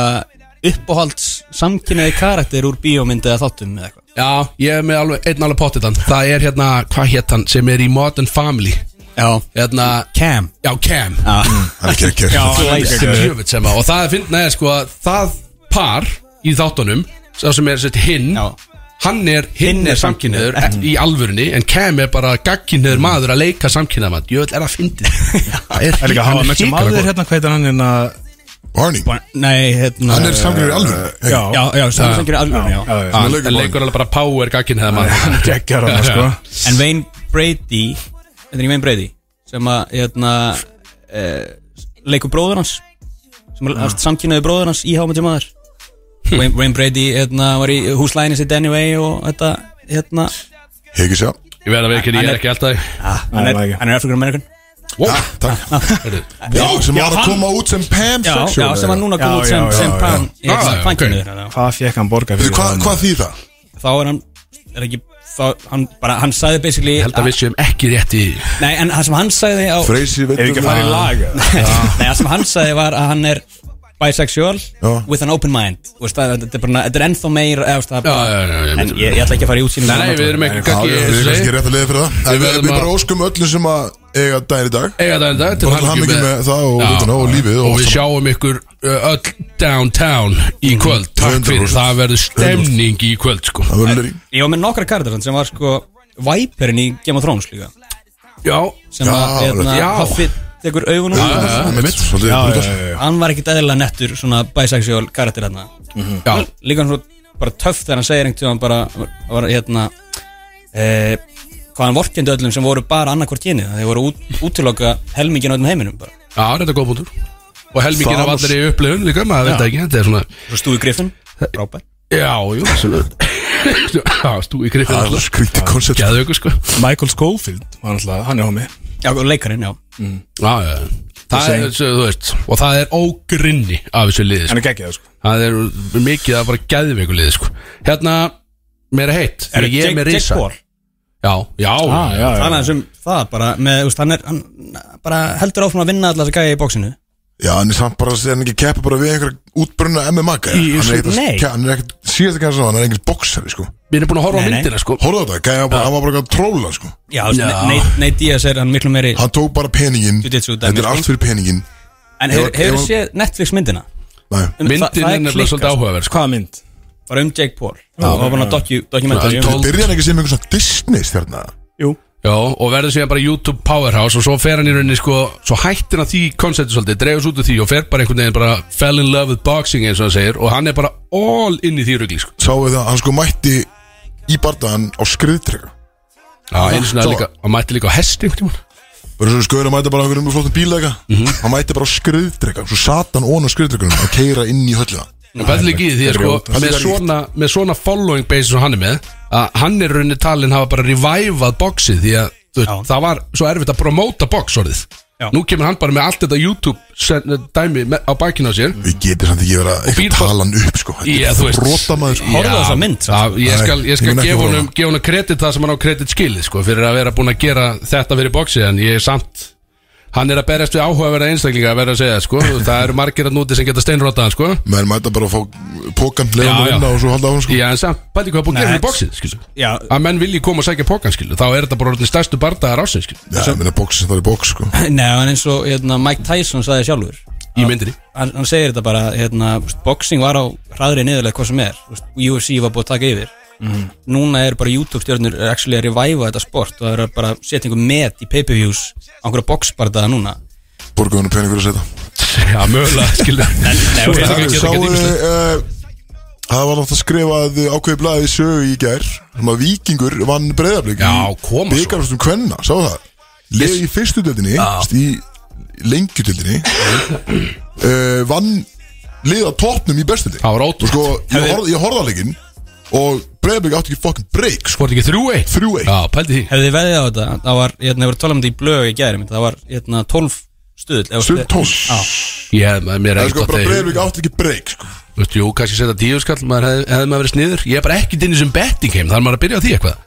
S3: uppáhalds samkynniði karakter úr bíómyndi eða þáttum eða eitthvað
S2: Já, ég er með alveg, einn alveg pottit hann Það er hérna, hvað hétt hann, sem er í Modern Family
S3: já,
S2: Hérna,
S3: Cam
S2: já, Cam
S1: Það er ekki ekki
S3: Já,
S1: ekki
S3: læs.
S2: Jöfitt sem að, og það er fyndna er sko að það par í þáttunum sá sem er sett hinn
S3: Já.
S2: hann er, hinn
S3: Hinn er
S2: er samkynniður í alvörunni en Cam er bara gagkinniður maður að leika samkynniða maður, jöfnvel er að fyndið það er,
S4: Það er líka að hafa með sem
S2: hrikalega
S4: aður
S2: gott.
S4: hérna hvað heitir hann hérna
S1: Barney Eh,
S3: nei, hérna
S1: Hann er samkynhneigður í alvöru.
S4: Já,
S3: já, já, samkynniði alveg já,
S4: já, já, já.
S2: hann
S1: leikur
S2: hann
S1: bara.
S2: leikur alveg bara power gagkinniða maður
S4: Gekkjar hann sko
S3: En Wayne Brady Þetta er ekki Wayne Brady Sem að hérna eh, Leikur bróður hans Sem að samkynnaði bróður hans í hámöndum maður Wayne, Wayne Brady hérna var í húslæðinni sitt anyway Og þetta hérna
S1: Hegir sjá
S2: ég verða veikin, ég er ekki alltaf
S4: Nei,
S3: Hann er,
S4: það er ekki.
S3: hann er African American
S2: wow,
S1: Takk
S2: heyrðu.
S1: Já, sem var að
S3: hann-
S1: koma út sem Pam
S3: Já,
S1: sexual,
S3: já sem
S1: eða?
S3: að núna kom
S4: Já,
S3: út sem,
S4: já, já,
S3: sem hérna,
S4: já.
S3: Pam
S2: Já, já,
S3: Samkynnaður
S4: Hvað fekk hann borga
S1: Veitu,
S4: fyrir
S1: Hvað
S4: það?
S1: hvað þýð það?
S3: Þá er hann Er ekki Þá hann bara Hann sagði basically
S2: ég held að við séum ekki rétt í
S3: Nei en það sem hann sagði á
S1: Freysi
S4: Er ekki
S1: veitum
S4: að fara í lag eða?
S3: Ah. Nei, það sem hann sagði var að hann er bisexual
S1: Já.
S3: with an open mind Þú veist, það- Þetta er, bara, þetta er ennþá meir eða, þú veist, það er
S2: Já,
S3: bara,
S2: já, já, já, ég
S3: En
S2: myndi-
S3: ég, ég ætla ekki að fara í um útsýnum
S2: nei, nei, við erum ekki
S1: Já, já, við erum kannski
S2: ekki
S1: rétt að leiða fyrir það En
S2: Við
S1: Við
S2: verðum
S1: við bara
S2: að-
S1: óskum öllum sem að eiga dagir í dag
S2: eiga það en dag til
S1: Bara til hamingju með það og
S2: Já.
S1: vituna og lífið og
S2: og
S1: allt
S2: við
S1: saman.
S2: sjáum ykkur uh, öll downtown í kvöld takk fyrir,
S1: 100%.
S2: það verður stemning í kvöld sko.
S1: Það verður leirinn
S3: Ég var með nokkra kardar sem var sko Viperin í Game of Thrones líka
S2: já,
S3: sem
S1: Já,
S3: að hérna,
S2: já.
S3: Hoffit tekur augun úr
S2: já, já.
S3: honum.
S1: Það er mitt, svolítið brútar
S3: Hann var ekkit eðlilega nettur svona bisexual karakter hérna
S2: já,
S3: Líka hann svo bara töff þegar hann segir einhvern tíðan bara hann var hérna eh, hvað hann vorkendi öllum sem voru bara annarkvort kyni þeir voru út, útiloka helmingin á öllum heiminum bara
S2: já, þetta er góð bútur og helmingin af
S1: Thanos.
S2: allir í upplifun líka, maður veit það ekki þetta er svona,
S3: Svo Stúi Griffin, frábær
S2: já, jú svona- já, stú í griffin
S1: Það er
S2: allar
S1: skrítið koncept
S2: geðu ykkur sko já,
S4: Michael Schofield var náttúrulega, hann er homi
S3: Já, og leikarinn, já
S2: já, já. það er,
S4: Hussein.
S2: svo, þú veist og það er ógrinni af þessu liði sko.
S4: Hann er geggjað sko
S2: það er mikið að bara geðu ykkur liði sko. hérna, mér er heitt
S3: Er
S2: ég er með
S3: Jake
S2: risa
S3: Paul
S2: já, já,
S4: Ah, já, já.
S3: Það er aðeins um það bara með, úst, hann, er, hann bara heldur áfram að vinna allar þess að gæja í bóksinu
S1: Já, hann er samt bara, hann ekki keppa bara við einhverja útbrunna MMA gæja. Hann er ekkert
S3: Nei.
S1: að- hann er ekkert, síðast ekki að segja, hann er ekkert boksari, sko
S2: mér er búin að horfa á
S3: Nei, nei.
S2: myndina sko
S1: Hóruðu þetta, gæja var bara, hann var bara eitthvað að tróla, sko
S3: Já, þú veist, Nate- Nate Diaz er hann miklu meiri
S1: Hann tók bara peningin,
S3: Jiu-jitsu dæmi,
S1: þetta er
S3: sko.
S1: allt fyrir peningin
S3: En hefur
S1: ef-
S3: hef,
S1: ef-
S3: séð Netflix myndina?
S1: Nei,
S3: Um, það-
S2: myndin
S3: það
S2: er nefnilega
S3: klikkað,
S2: svolítið
S3: sko.
S2: áhugaverð sko.
S4: Hvaða mynd?
S3: Bara um Jake Paul og var hann að docu- dokumentari
S2: Já,
S3: um-
S2: tól-
S1: byrja hann ekki sem einhvern svona Disney stjarna
S4: Jú
S2: Já, og verður síðan bara YouTube powerhouse og svo fer hann í rauninni sko, svo hættir hann því konceptu svolítið, dreifus út af því og fer bara einhvern veginn bara fell in love with boxing eins og hann segir og hann er bara all inn í því rugli sko.
S1: Sáu það, hann sko mætti í bardaðan á skriðtrega
S2: Já, einu svona
S1: Svo-
S2: líka, hann mætti líka á hesti einhvern tímann
S1: Verður svo skoður að mæta bara á einhverjum flottum bílega mm
S2: Mhm.
S1: -hmm. Hann mætti bara á skriðtrega, svo satan óna skriðtregunum að keira inn í höllina
S2: En bæði líka í því að sko,
S1: Hann
S2: með
S1: er
S2: svona, með svona following base sem hann er með, að hann er í rauninni talin hafa bara reviveað boxið því að þú veist,
S3: Já.
S2: það var svo erfitt að promóta box orðið
S3: Já.
S2: Nú kemur hann bara með allt þetta YouTube sen- dæmi með- á bakinu á sér
S1: Við getum samt ekki verið að
S2: býr
S1: eitthvað
S2: bara-
S1: tala hann upp, sko Þetta er
S2: Já, þú veist
S1: Brotamaður, sko
S3: Horfðu á þessa mynd, samt.
S2: að, Ég skal, ég
S1: Nei, ég mun
S2: skal
S1: ekki
S2: gefa
S1: horfa.
S2: honum, gefa honum kredit það sem hann á kredit skilið sko, fyrir að vera búin að gera þetta fyrir boxi en ég er samt hann er að berjast við áhugaverða einstaklinga að vera að segja sko. Þú veist, það eru margir að núti sem geta steinrotaðan sko.
S1: Menn mæta bara að fá pókan,
S2: Já,
S1: leiða hann
S2: já.
S1: vinna og svo halda á hann, sko
S2: Já, en samt, bæti hvað er búin að gera
S3: Nei.
S2: fyrir boxið skilu.
S3: Já,
S2: að menn vilji koma að sækja pókan skilu. þá er þetta bara orðin stærstu bardaðar ásins skilu.
S1: Já, ég meina bóks sem það er bóks sko
S3: neða, en eins og hérna, Mike Tyson sagði sjálfur
S2: í myndinni
S3: hann, hann segir þetta bara hérna, þú veist, boxing var á hraðri niðurlega hvað sem er þú veist, UFC var búið að taka yfir
S2: Mhm.
S3: núna er bara YouTube stjórnur actually að reviva þetta sport og það er bara að setja einhver met í pay-per-views á einhverja boxbardaða núna
S1: Borguðu hann peningur að setja
S2: Já, mögulega, skilja
S1: Það
S2: Svo er það
S1: er
S2: geta
S1: sáu
S2: geta ymmislegt
S1: eh, Það var náttúrulega skrifað ákveði blaði sögu í gær sem að vikingur vann breyðablík
S2: Já, koma svo.
S1: Byggarfastum kvenna, sá það Leif í fyrstu dildinni Í lengjudildinni uh, Vann liða toppnum í bestildinni
S2: Það var
S1: Og
S2: ótrúlegt.
S1: sko, ég, horf, ég horfði að leikin Og breyðablík átti ekki fucking break sko.
S2: Hvort ekki þrjú eitt?
S1: 3-1.
S2: Já, pældi því
S3: hefði þið veðið á þetta það var, hérna, ég var að tala um þetta í blögu í gæri það var hérna, 12 stuðl eða-
S1: Stund tól
S2: Ég, maður- mér
S1: Það
S2: er
S1: er sko
S2: ekkert
S1: bara
S2: að þeir
S1: breyðablík átti ekki break sko.
S2: Þú veist, jú, kannski setja tíu skall maður hefði hef maður verið sniður Ég er bara ekkert inn í þessum betting heim Það er maður að byrja á því eitthvað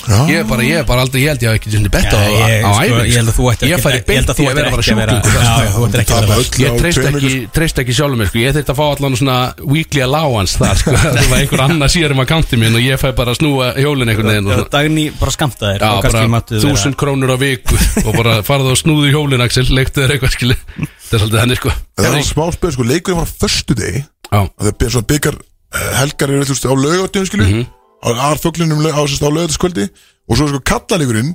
S2: Ég
S1: Já,
S2: er bara, ég er bara aldrei, ég held ég að ekki sinni betta á,
S3: Já, ég,
S2: á
S3: sko,
S2: æfing
S3: ég held að þú ættir
S2: Ég
S3: ekki-
S2: færi
S3: ég held
S2: beint
S3: að þú
S2: í að
S3: ættir
S2: vera bara
S3: ekki að vera-
S2: sjúklingur
S3: Já, já, þú ættir ekki að
S1: Tapa öllu
S3: vera-
S1: á
S2: Ég treyst
S1: tveimur
S2: ekki, treyst ekki sjálfum mér sko. Ég þurfti að fá allan svona weekly allowance þar sko. Það var einhver annar síðar um akkanti minn og ég fæ bara að snúa hjólinn einhvern veginn og
S3: Já,
S2: svona.
S3: Dagný bara skamta þér
S2: Já,
S3: og kannski
S2: bara
S3: máttu þér
S2: þúsund krónur á viku og bara farðu og snúðu hjólinn Axel, leiktu þér eitthvað skilu Það er svolítið henni sko
S1: það var smá spil sko, leikurinn var á förstu degi
S2: Já,
S1: að það er svona byggar eh, helgar eru þú veist á laugatum skilu
S2: Mhm.
S1: mm -hmm. á aðarfuglinum á, sem sagt, á laugatinskvöldi og svo er sko kallarleikurinn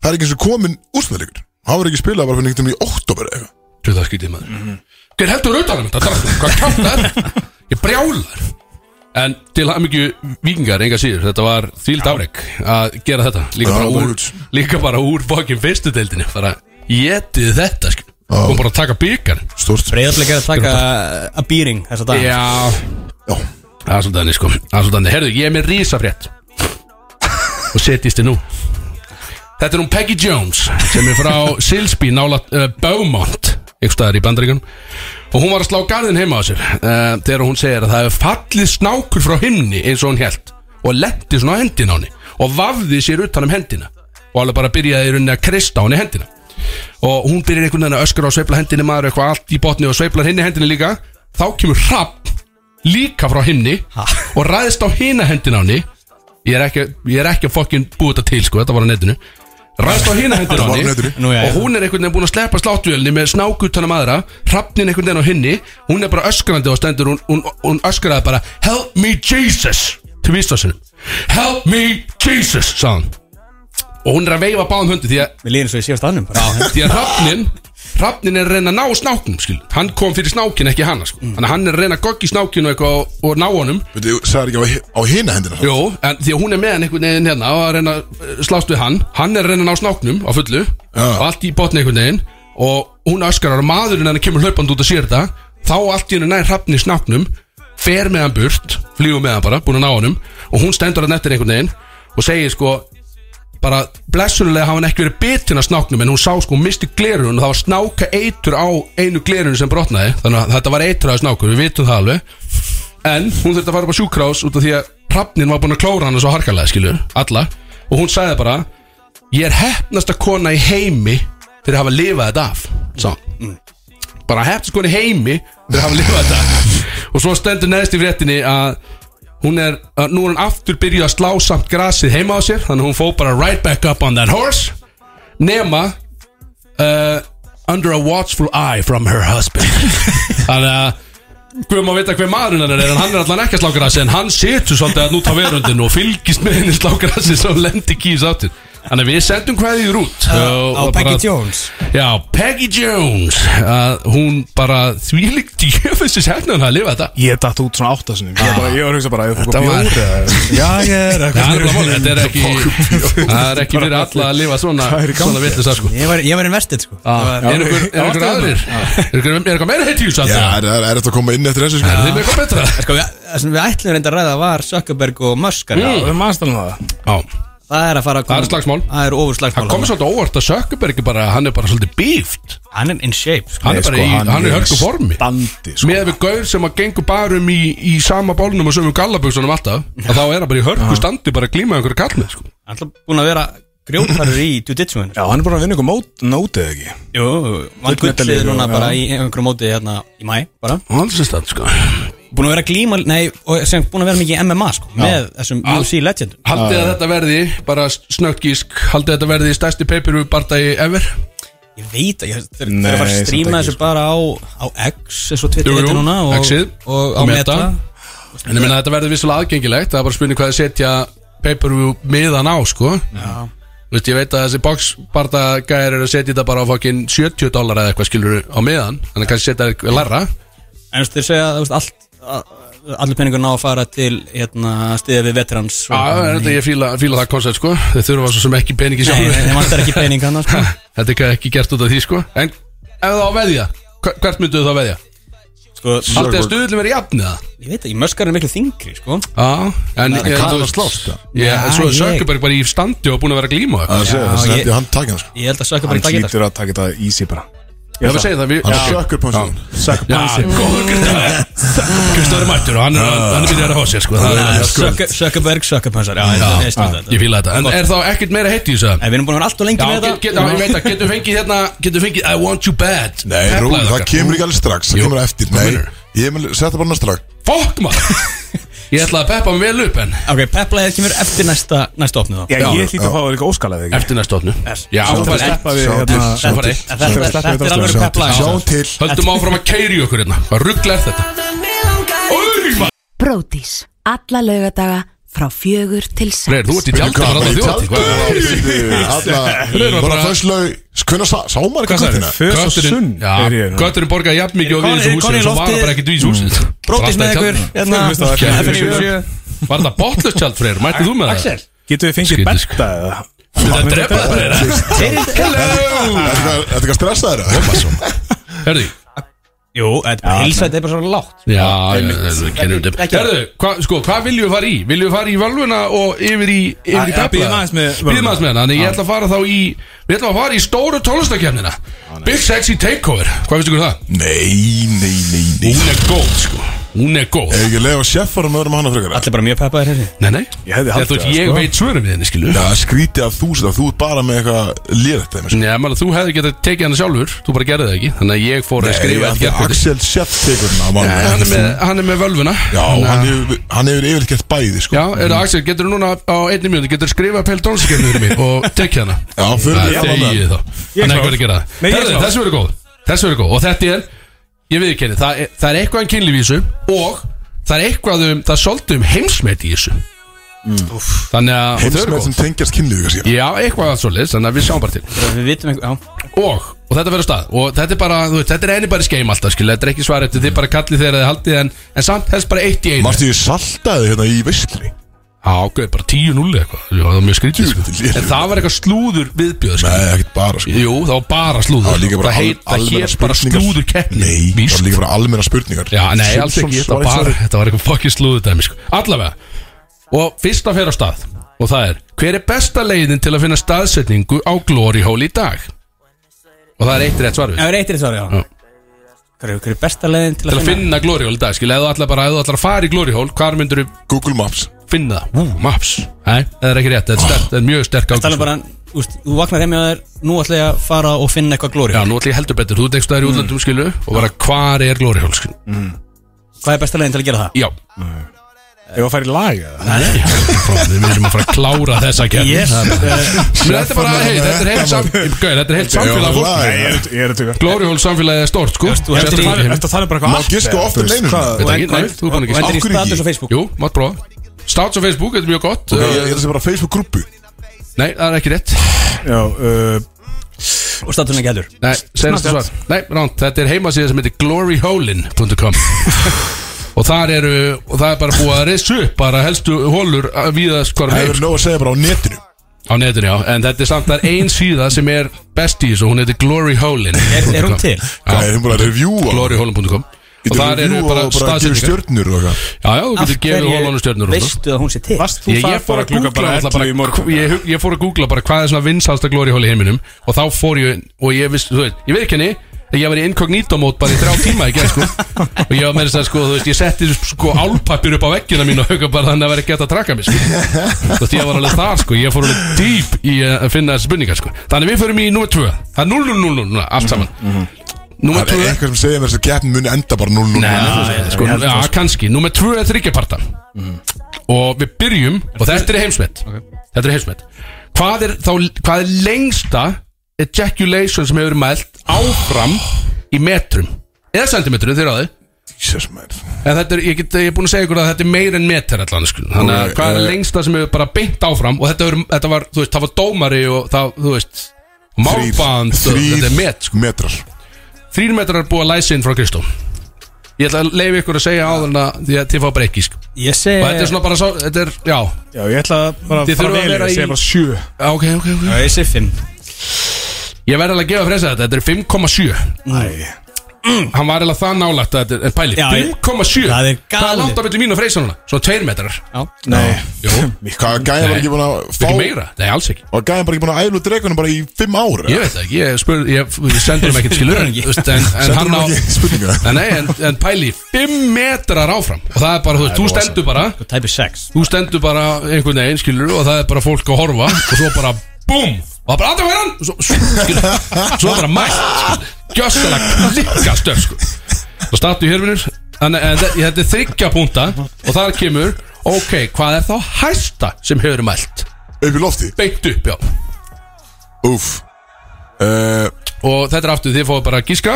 S1: það er ekki eins og komin úrstæðleikur hann var ekki spilað bara fyrir einhvern veginn í oktober eða eitthvað
S2: þú það skýtið maður Hver heldur auðvitað þetta, drasl? hvað kjátt er? Ég brjálar En til hafði mikið vikingar, enga síður Þetta var þvíld afrek að gera þetta Líka
S1: Já,
S2: bara úr,
S1: Margaret.
S2: líka bara úr fokkin fyrstu deildinni Bara getið þetta sko
S1: Já.
S2: Kom bara að taka byggar
S1: stórst
S3: Breiðablik er að taka að býring þessa dag
S2: Já
S1: Já.
S2: Það er svolítið þannig sko Það er svolítið þannig Herðu, ég er með risafrétt Og setjist þið nú Þetta er hún Peggy Jones Sem er frá Silsby nála uh, Beaumont Ykkur staðar í bandaríkanum Og hún var að slá garðin heima á sér uh, Þegar hún segir að það hefur fallið snákur frá himni Eins og hún held Og lendi svona á hendina á henni Og vafði sér utan um hendina Og alveg bara byrjaði í rauninni að kreista á henni hendina og hún byrjar einhvern veginn að öskra og sveifla hendinni maður eitthvað allt í botni og sveiflar henni hendinni líka þá kemur hrapp líka frá himni og ræðist á hina hendina á henni ég er ekki, ég er ekki að fokkin búið þetta til sko, þetta var á netinu ræðist á hina hendina á
S1: Þetta var á
S2: henni
S1: netinu.
S3: Nú, já, já.
S2: og hún er einhvern veginn búin að sleppa sláttuvélni með snákutanum aðra hrappnin einhvern veginn á henni hún er bara öskrandi og stendur hún, hún, hún öskraði bara help me Jesus til vísdósinum help me Jesus sagðan og hún er að veifa báðum höndum því að
S3: Mér líður eins og ég sé á staðnum bara.
S2: Því að hrafnin Hrafnin er að reyna að ná snáknum skil. Hann kom fyrir snákin ekki hana sko. Þannig að hann er að reyna að goggi snákinu eitthvað og, og ná honum
S1: þú sagði ekki á, hi- á hina hendina sko?
S2: Jó, en því að hún er með hann einhvern veginn hérna og að reyna að eh, slást við hann Hann er að reyna að ná snáknum á fullu
S1: Já.
S2: og allt í botni einhvern veginn og hún öskar og maðurinn hennar kemur hlaupand út að sér þetta þá allt í henni nær hrafni snáknum fer með hann burt, flýgur með hann bara búin að ná honum og hún stendur hann eftir einhvern veginn og segir sko bara blessunulega hafa hann ekki verið bitin af snáknum en hún sá sko, hún misti glerun og það var snáka eitur á einu glerun sem brotnaði þannig að þetta var eitraði snákur, við vitum það alveg En hún þurfti að fara upp á sjúkrás út af því að Hrafnin var búin að klóra hana svo harkalega skilur Alla Og hún sagði bara Ég er hefnasta kona í heimi Fyrir að hafa lifað þetta af Sá Bara hefnasta kona í heimi Fyrir að hafa lifað þetta af Og svo stendur neðst í fréttinni að Hún er, að nú er hún aftur byrjuð að slá samt grasið heima á sér Þannig að hún fó bara right back up on that horse Nema uh, Under a watchful eye from her husband Þannig að Guðum að vita hver maðurinn hann er en hann er allan ekki að sláka rassi en hann setur svolítið að núta verundin og fylgist með henni sláka rassi sem lendir kýs áttir Þannig að við sendum hvaðið út uh,
S3: Á Peggy Jones
S2: Já, Peggy Jones að hún bara þvílíkt djöfessis hefnum að lifa þetta
S4: Ég datt út svona áttasunum Ég, bara, ég var að hugsa bara, ég fór
S2: Þetta
S4: að
S2: var-
S4: bjóra Já, ég er
S2: Það er alveg málið, þetta er ekki Það er ekki fyrir alla að lifa svona
S4: Hvað er í gangi?
S2: svona vitlis að sko
S3: Ég var, ég var investið sko Það var-
S2: Er ykkur er ykkur aðrir? Er ykkur- er eitthvað meira heitt í þessu
S1: Já,
S2: alltaf?
S1: það er- er eftir að koma inn eftir þessu sko.
S2: Er þið með eitthvað betra?
S3: Sko, við, það sem við ætlum reynda að ræða var Zuckerberg og Musk mm.
S4: Það er maðurstæðan það
S2: Já,
S3: Það er að fara að
S2: Það er slagsmál.
S3: Það er ofur slagsmál
S2: það kom svolítið óvart að Sökkubergi bara, hann er bara svolítið bíft
S3: Hann er in shape sko.
S2: Hann er bara í, hann er hörku formi
S4: Bandi, sko
S2: Með við gaur sem að gengur barum í, í sama bólnum og sömum gallaböksunum alltaf að þá er hann bara í hörku standi bara að glíma einhverju kall með sko.
S3: Hann er búin að vera grjótarur í jiu-jitsu henni
S4: Já, hann er bara að vinna ykkur mót, nótið ekki
S3: Jú, hann
S4: Gullmedalíu,
S3: gullið núna
S4: já.
S3: bara í einhverjum móti hérna í mæ bara
S2: Allsins það sko
S3: Búin að vera glíma, nei, og sem búin að vera mikið í MMA sko Með þessum UFC legendum
S2: Haldið að þetta verði, bara snögt gísk Haldið að þetta verði stærsti pay-per-view bardagi ever
S3: Ég veit að ég þeir þeir eru að fara
S4: Nei,
S3: að
S4: samt
S3: stríma
S4: ekki,
S3: þessu bara á, á X eins og Twitter
S2: sko. Jú, jú,
S3: heitir núna og,
S2: Xið
S3: og á
S2: og Meta.
S3: Meta,
S2: En ég meina þetta verður vissulega aðgengilegt Það er bara spurning hvað þið setja pay-per-view miðan á sko Já Þú veist, ég veit að þessi boxbarta gæðir eru að setja þetta bara á fokkin 70 dólar eða eitthvað skilur á miðan Þannig að kannski setja þetta larra
S3: En þú veist þeir segja að þú veist, allt að- Allir peningur ná að fara til hérna, stiðið við veterans
S2: Já, en þetta ég fíla, fíla það koncept sko Þau þurfa svo sem ekki peningi
S3: Nei,
S2: sjálf
S3: nei, nei, vantar ekki pening hann sko.
S2: Þetta er ekki gert út af því sko En ef það á að veðja, hver- hvert mynduðu það veðja?
S3: sko,
S2: Haldið að stuðlum verið jafn eða?
S3: Ég veit ekki, möskar er miklu þingri sko.
S2: Já, en
S1: En
S2: ég-
S1: hvað
S2: þú
S1: er að
S2: veist-
S1: slást það?
S2: Já, en svo er
S3: Já, ég-
S2: Sökkuberg bara í standi og búin að vera að glíma og
S1: Það
S2: eitthvað.
S1: er að segja,
S3: Já,
S1: þess
S3: ég-
S1: að hann takja hann sko
S3: Ég held að sökja bara í
S4: Hann
S3: dagið
S4: hlýtur að taka þetta easy bara
S2: Ég hef að segja það, við-
S1: Hann sko.
S2: Já.
S1: sjökkur pánsin
S2: Já, góður Kristofur er mættur og hann er, hann er byrjar að hósa sko. Það er-
S3: Sökkaberg, sökkapansar Já, já, ég stund þetta
S2: Ég fíla þetta En er þá ekkert meira heitt í þessu?
S3: En við erum búin að vera allt og lengi
S2: Já,
S3: með
S2: get,
S3: þetta
S2: get, já, ég veit að getum fengið hérna Getum fengið I want you bad
S1: Nei,
S2: Peplæð
S1: rú, það
S2: okkar.
S1: kemur ekki alveg strax Það
S2: Jú.
S1: kemur eftir,
S2: Hvað
S1: nei
S2: meinarðu?
S1: Ég mun setja bara hann strax
S2: Fuck maður Ég ætlaði að peppa mig vel upp en
S3: Ok, peplæðið kemur eftir næsta, næsta opnu þá
S4: Já,
S1: Já,
S4: ég hlýtur að fá það líka óskalað ekki
S2: Eftir næstu opnu
S3: Yes.
S2: Já, það
S4: Svo þarf að
S2: er
S4: sleppa við
S1: Sjá
S4: hérna
S1: til, sjá
S4: Þetta
S2: bara eitt
S3: En Þetta
S4: Þetta-
S3: þetta er
S4: þetta-
S3: alveg
S1: Sjá til,
S3: peplæðið
S1: sjá til
S2: Höldum áfram að keiri okkur hérna Hvað ruggla er þetta? Úr, maður
S9: Bródís. Alla laugardaga frá fjögur til
S2: Freyr, þú ert
S9: sex.
S2: í tjaldi bara alltaf þjótt
S1: Alla, Hérna, bara föslau Hvernig sá sá maður
S2: Hvað
S1: eitthvað
S2: sagði
S1: kvöldina?
S2: hérna?
S4: Fös og sunn er ég hérna.
S2: Já,
S4: núna.
S2: kötturinn borgaði jafn mikið og við
S3: Eru
S2: þessu
S3: konur-
S2: húsi
S3: konur í
S2: En svo var
S3: loftið?
S2: hann bara ekkert í þessu
S4: mm,
S2: húsi
S3: Brótis með ykkur
S4: Hlusta á
S3: Hérna,
S4: FM
S3: FN97
S2: Var það botlust tjald freyr? Mættið þú með það?
S3: Axel
S4: Getur við fengið
S2: Skrítið, sko.
S4: betta eða?
S2: Þetta er drefað freyr
S1: Hello Þetta er ekki að stressa þér
S2: Herði
S3: Jú, þetta er hilsætt, þetta er bara svo lágt
S2: Já, já, kennum þetta Herðu, hva, sko, hvað viljum við fara í? Viljum við fara í völvuna og yfir í yfir í
S4: Já, já,
S2: pepla?
S4: bíðum aðeins með völvuna.
S2: Býðum aðeins með hana, en ég ætla að fara þá í Við ætlum að fara í stóru tónlistakefnina Big Sexy Takeover, hvað finnst ykkur um það?
S1: Nei, nei, nei, nei
S2: Hún er góð, sko, hún er góð
S1: Ef ekki leið á sjeffar með öðrum hana frekar
S3: Allir bara mjög peppaðir hér
S2: Nei, nei,
S4: Ég hefði haldið
S2: þú veist,
S4: það,
S2: ég
S4: sko.
S2: veit svörum við henni, skilu
S1: Já, skrítið af þú sem það, þú ert bara með eitthvað sko. liðrætt þeim
S2: Nei, maður, þú hefði getað tekið hana sjálfur Þú bara gerði það ekki, þannig að ég fór að skrifa
S1: Nei,
S2: eitt gerðkvöldi
S1: Axel Sjeff tekur hann
S2: Hann er með- hann er með völvuna
S1: Já,
S2: Þannig að-
S1: hann hefur, hann hefur yfirleitt gert bæði sko.
S2: Já, er það Axel, getur þú núna á einni mjöndu Getur skrifa peil tónlistakefni fyrir mig og tekið hana
S1: Já, fyrir
S2: Það
S1: því
S2: er þegið þá Þannig að ekki verið að gera
S4: Nei,
S2: það
S4: ég
S2: Herðu,
S4: klár.
S2: Þessu verið góð Þessu verið góð Og þetta er Ég viðurkenni það, er- það er eitthvað um kynlífísu Og það er eitthvað um Það er svolítið um heimsmet í þessu Þannig að og þau eru
S1: Heimsmið sem
S2: góð.
S1: tengjast kynlíðu kannski
S2: Já, eitthvað svolítið Þannig að við sjáum bara til
S3: Við vitum eitthvað, já
S2: og, og þetta verður stað og þetta er bara, þú veist, þetta er einu bara skeim alltaf skilja, þetta er ekki svar eftir þið bara kallið þegar þið haldið en, en samt þess bara eitt í einu
S1: Marstu ég saltaði hérna í veistli
S2: Já, gauð, bara 10-0 eitthvað Já, það var mjög skrítið
S1: Djú, þetta er lélegt.
S2: sko. En það var eitthvað slúður viðbjöð
S1: Nei,
S2: skilja.
S1: ekkert bara sko
S2: Jú, það var bara slúður
S1: Það var líka bara
S2: Það,
S1: al-
S2: heit, það
S1: almennar
S2: hér bara
S1: spurningar.
S2: slúður keppni
S1: Nei, það
S2: Víst.
S1: var líka bara almenna spurningar
S2: Já, nei, alls
S1: Simpsons
S2: ekki, þetta var
S1: svari-
S2: bara Þetta var eitthvað fucking slúðudæmi sko. Allavega Og fyrsta fer á stað Og það er Hver er besta leiðin til að finna staðsetningu á Glory Hole í dag? Og það er eitt rétt svar við
S3: Ef við reytir þetta,
S2: Já.
S3: já Hver er- hver er besta leiðin til
S2: Til
S3: að
S2: að finna Glory Hole í dag, skilja Ef þú ætlar bara, ef þú ætlar að fara í Glory Hole Hvar myndur þú
S1: Google Maps
S2: finna það? Maps Nei, það er ekki rétt Það er, sterk, það er mjög sterk
S3: Tala bara, úst, þú vaknar heim hjá þér Nú ætla ég að fara og finna eitthvað glóri
S2: Já, nú ætla ég heldur betur, þú tekst það í útlandum skilu og bara hvar er Glory Hole skilu
S3: Hvað er besta leiðin til að gera það?
S2: Já,
S4: Ef að fara í lag eða?
S2: við viljum að fara að klára þessa kemni
S3: Yes, Eh,
S2: Þetta er bara, hei, þetta er heilt sam- Gauð, þetta er heilt samfélag fólk
S4: Nei, ég er- ég er að tuga
S2: Glory Hole samfélagið er stort, sko
S3: Veist þú,
S2: Sérstu
S3: eftir-
S2: í heimi.
S4: Þetta tala bara
S1: Má
S4: eitthvað allt
S1: giska um
S4: eða,
S1: oftar
S4: þú
S1: en
S4: veist,
S1: einu.
S4: hvað-
S2: Veit
S3: og
S2: ekki, nei, þú er búin að
S3: og
S2: giska.
S3: endur
S1: Af
S3: í
S1: hverju
S3: status
S1: ekki?
S3: á Facebook
S2: Jú, mátt prófa Státs á Facebook, þetta er mjög gott
S1: Ég
S2: Uh,
S1: held þessi bara Facebook-grúpu
S2: Nei, það er ekki rétt
S4: Já, uh,
S3: og statusin ekki heldur
S2: Nei, senast svar Nei, ránt, þetta er heimasíða sem heitir gloryholin.com Og þar eru, og það er bara búið að reysa upp bara helstu holur viðast hvar um
S1: Það
S2: heim
S1: hefur nóg að segja bara á netinu
S2: Á netinu, já, en þetta er samt þar ein síða sem er best í þessu, hún heitir gloryholin
S3: Er, er hún til?
S1: Það hefur bara að revjúa
S2: gloryholin.com Og þar eru bara
S1: staðsetningar
S2: staðsetningar
S1: stjörnur og eitthvað
S2: Já, já, þú getur gefið holunum stjörnur og svona.
S3: Veistu að hún sé til?
S4: Varst þú
S2: Ég, ég
S4: þar
S2: fór
S4: bara
S2: að
S4: klukka
S2: googla
S4: bara
S2: alltaf bara,
S4: 11 í morgun?
S2: ég, hug- ég fór að googla bara hvað er svona vinsalsta glóriháli í heiminum og þá fór ég, og ég vissi, þú veist, ég veit ekki henni að ég var í incognito mót bara í þrjá tíma í gerð, sko, og ég var með þess að, segja, sko, þú veist, ég setti sko álpappir upp á veggina mín og huga bara þannig að vera gett að traka mig, sko, þú veist, ég var alveg þar, sko, ég fór alveg dýp í að finna þessi spurningar, sko, þannig við förum í nummer 2, það er 0-0-0 núna, allt saman, nummer
S1: Það er
S2: 2
S1: eitthvað sem segja mér þess að keppnin muni enda bara 0-0
S2: Nei, sko, ja, kannski Númer 2 er þryggjaparta
S1: Mhm.
S2: Og við byrjum Og þetta er heimsmet Þetta er heimsmet Hvað er, þá, hvað er lengsta ejaculation sem hefur verið mælt áfram í metrum eða sentimetrum þegar á því
S1: Jesus man
S2: En þetta er, ég, get, ég er búin að segja ykkur að þetta er meir en meter allan sko. Þannig að
S1: Ok,
S2: hvað er
S1: eh.
S2: lengsta sem hefur bara beint áfram Og þetta, er, þetta var, þú veist, það var dómari og það, þú veist
S1: Þrír-
S2: Málband, og þetta er met sko.
S1: Þrír metrar
S2: Þrír metrar er búið að læsa inn frá Kristó Ég ætla að leifa ykkur að segja áður en að því að þið fá breyki sko.
S3: Ég segi
S2: Og þetta er svona bara svo, þetta er, já
S4: Já, ég ætla bara að
S2: Þið
S4: fara
S2: þurfa að
S4: vel
S2: vera
S4: Ég
S2: í-
S4: segi bara sjö
S2: Já, Ok, ok, ok
S3: Já, Ég segi 5
S2: Ég verði alveg að gefa fresa þetta, þetta er 5,7
S4: Æ,
S2: Mm. Hann var eiginlega það nálægt að þetta er pæli
S3: Já, ég-
S2: 5,7
S3: Það
S2: Hvað
S3: er
S2: er
S3: galið.
S2: langt á milli mín og freysa núna? Svo 2 metrar
S4: Nei,
S2: Jú,
S1: Hvað gæði bara
S2: Nei.
S1: ekki búin að fá
S2: það er ekki meira, nei alls ekki
S1: Og gæði bara ekki búin að ælu dregunum bara í fimm ár
S2: Ég veit það ekki, ég, spur, ég, ég sendur hann ekkert skilur en, þú veist, en, en hann á
S1: ekki spurninguna
S2: en, nei, en, en pæli, 5 metrar áfram og það er bara, þú veist, þú stendur bara
S3: og tæpi 6
S2: þú stendur bara einhvern veginn, skilur og það er bara fólk að horfa og svo bara BOOM, og það bara andra fyrir hann og svo, svo, skilur, svo er bara mætt gjössan að klikka stöf sko. og startu hér minnur en, en þe- þetta er þryggja púnta og þar kemur, ok, hvað er þá hæsta sem hefur verið mælt,
S1: Upp í lofti
S2: beint upp, já
S1: Úf Uh,
S2: og þetta er aftur, þið fóðu bara að gíska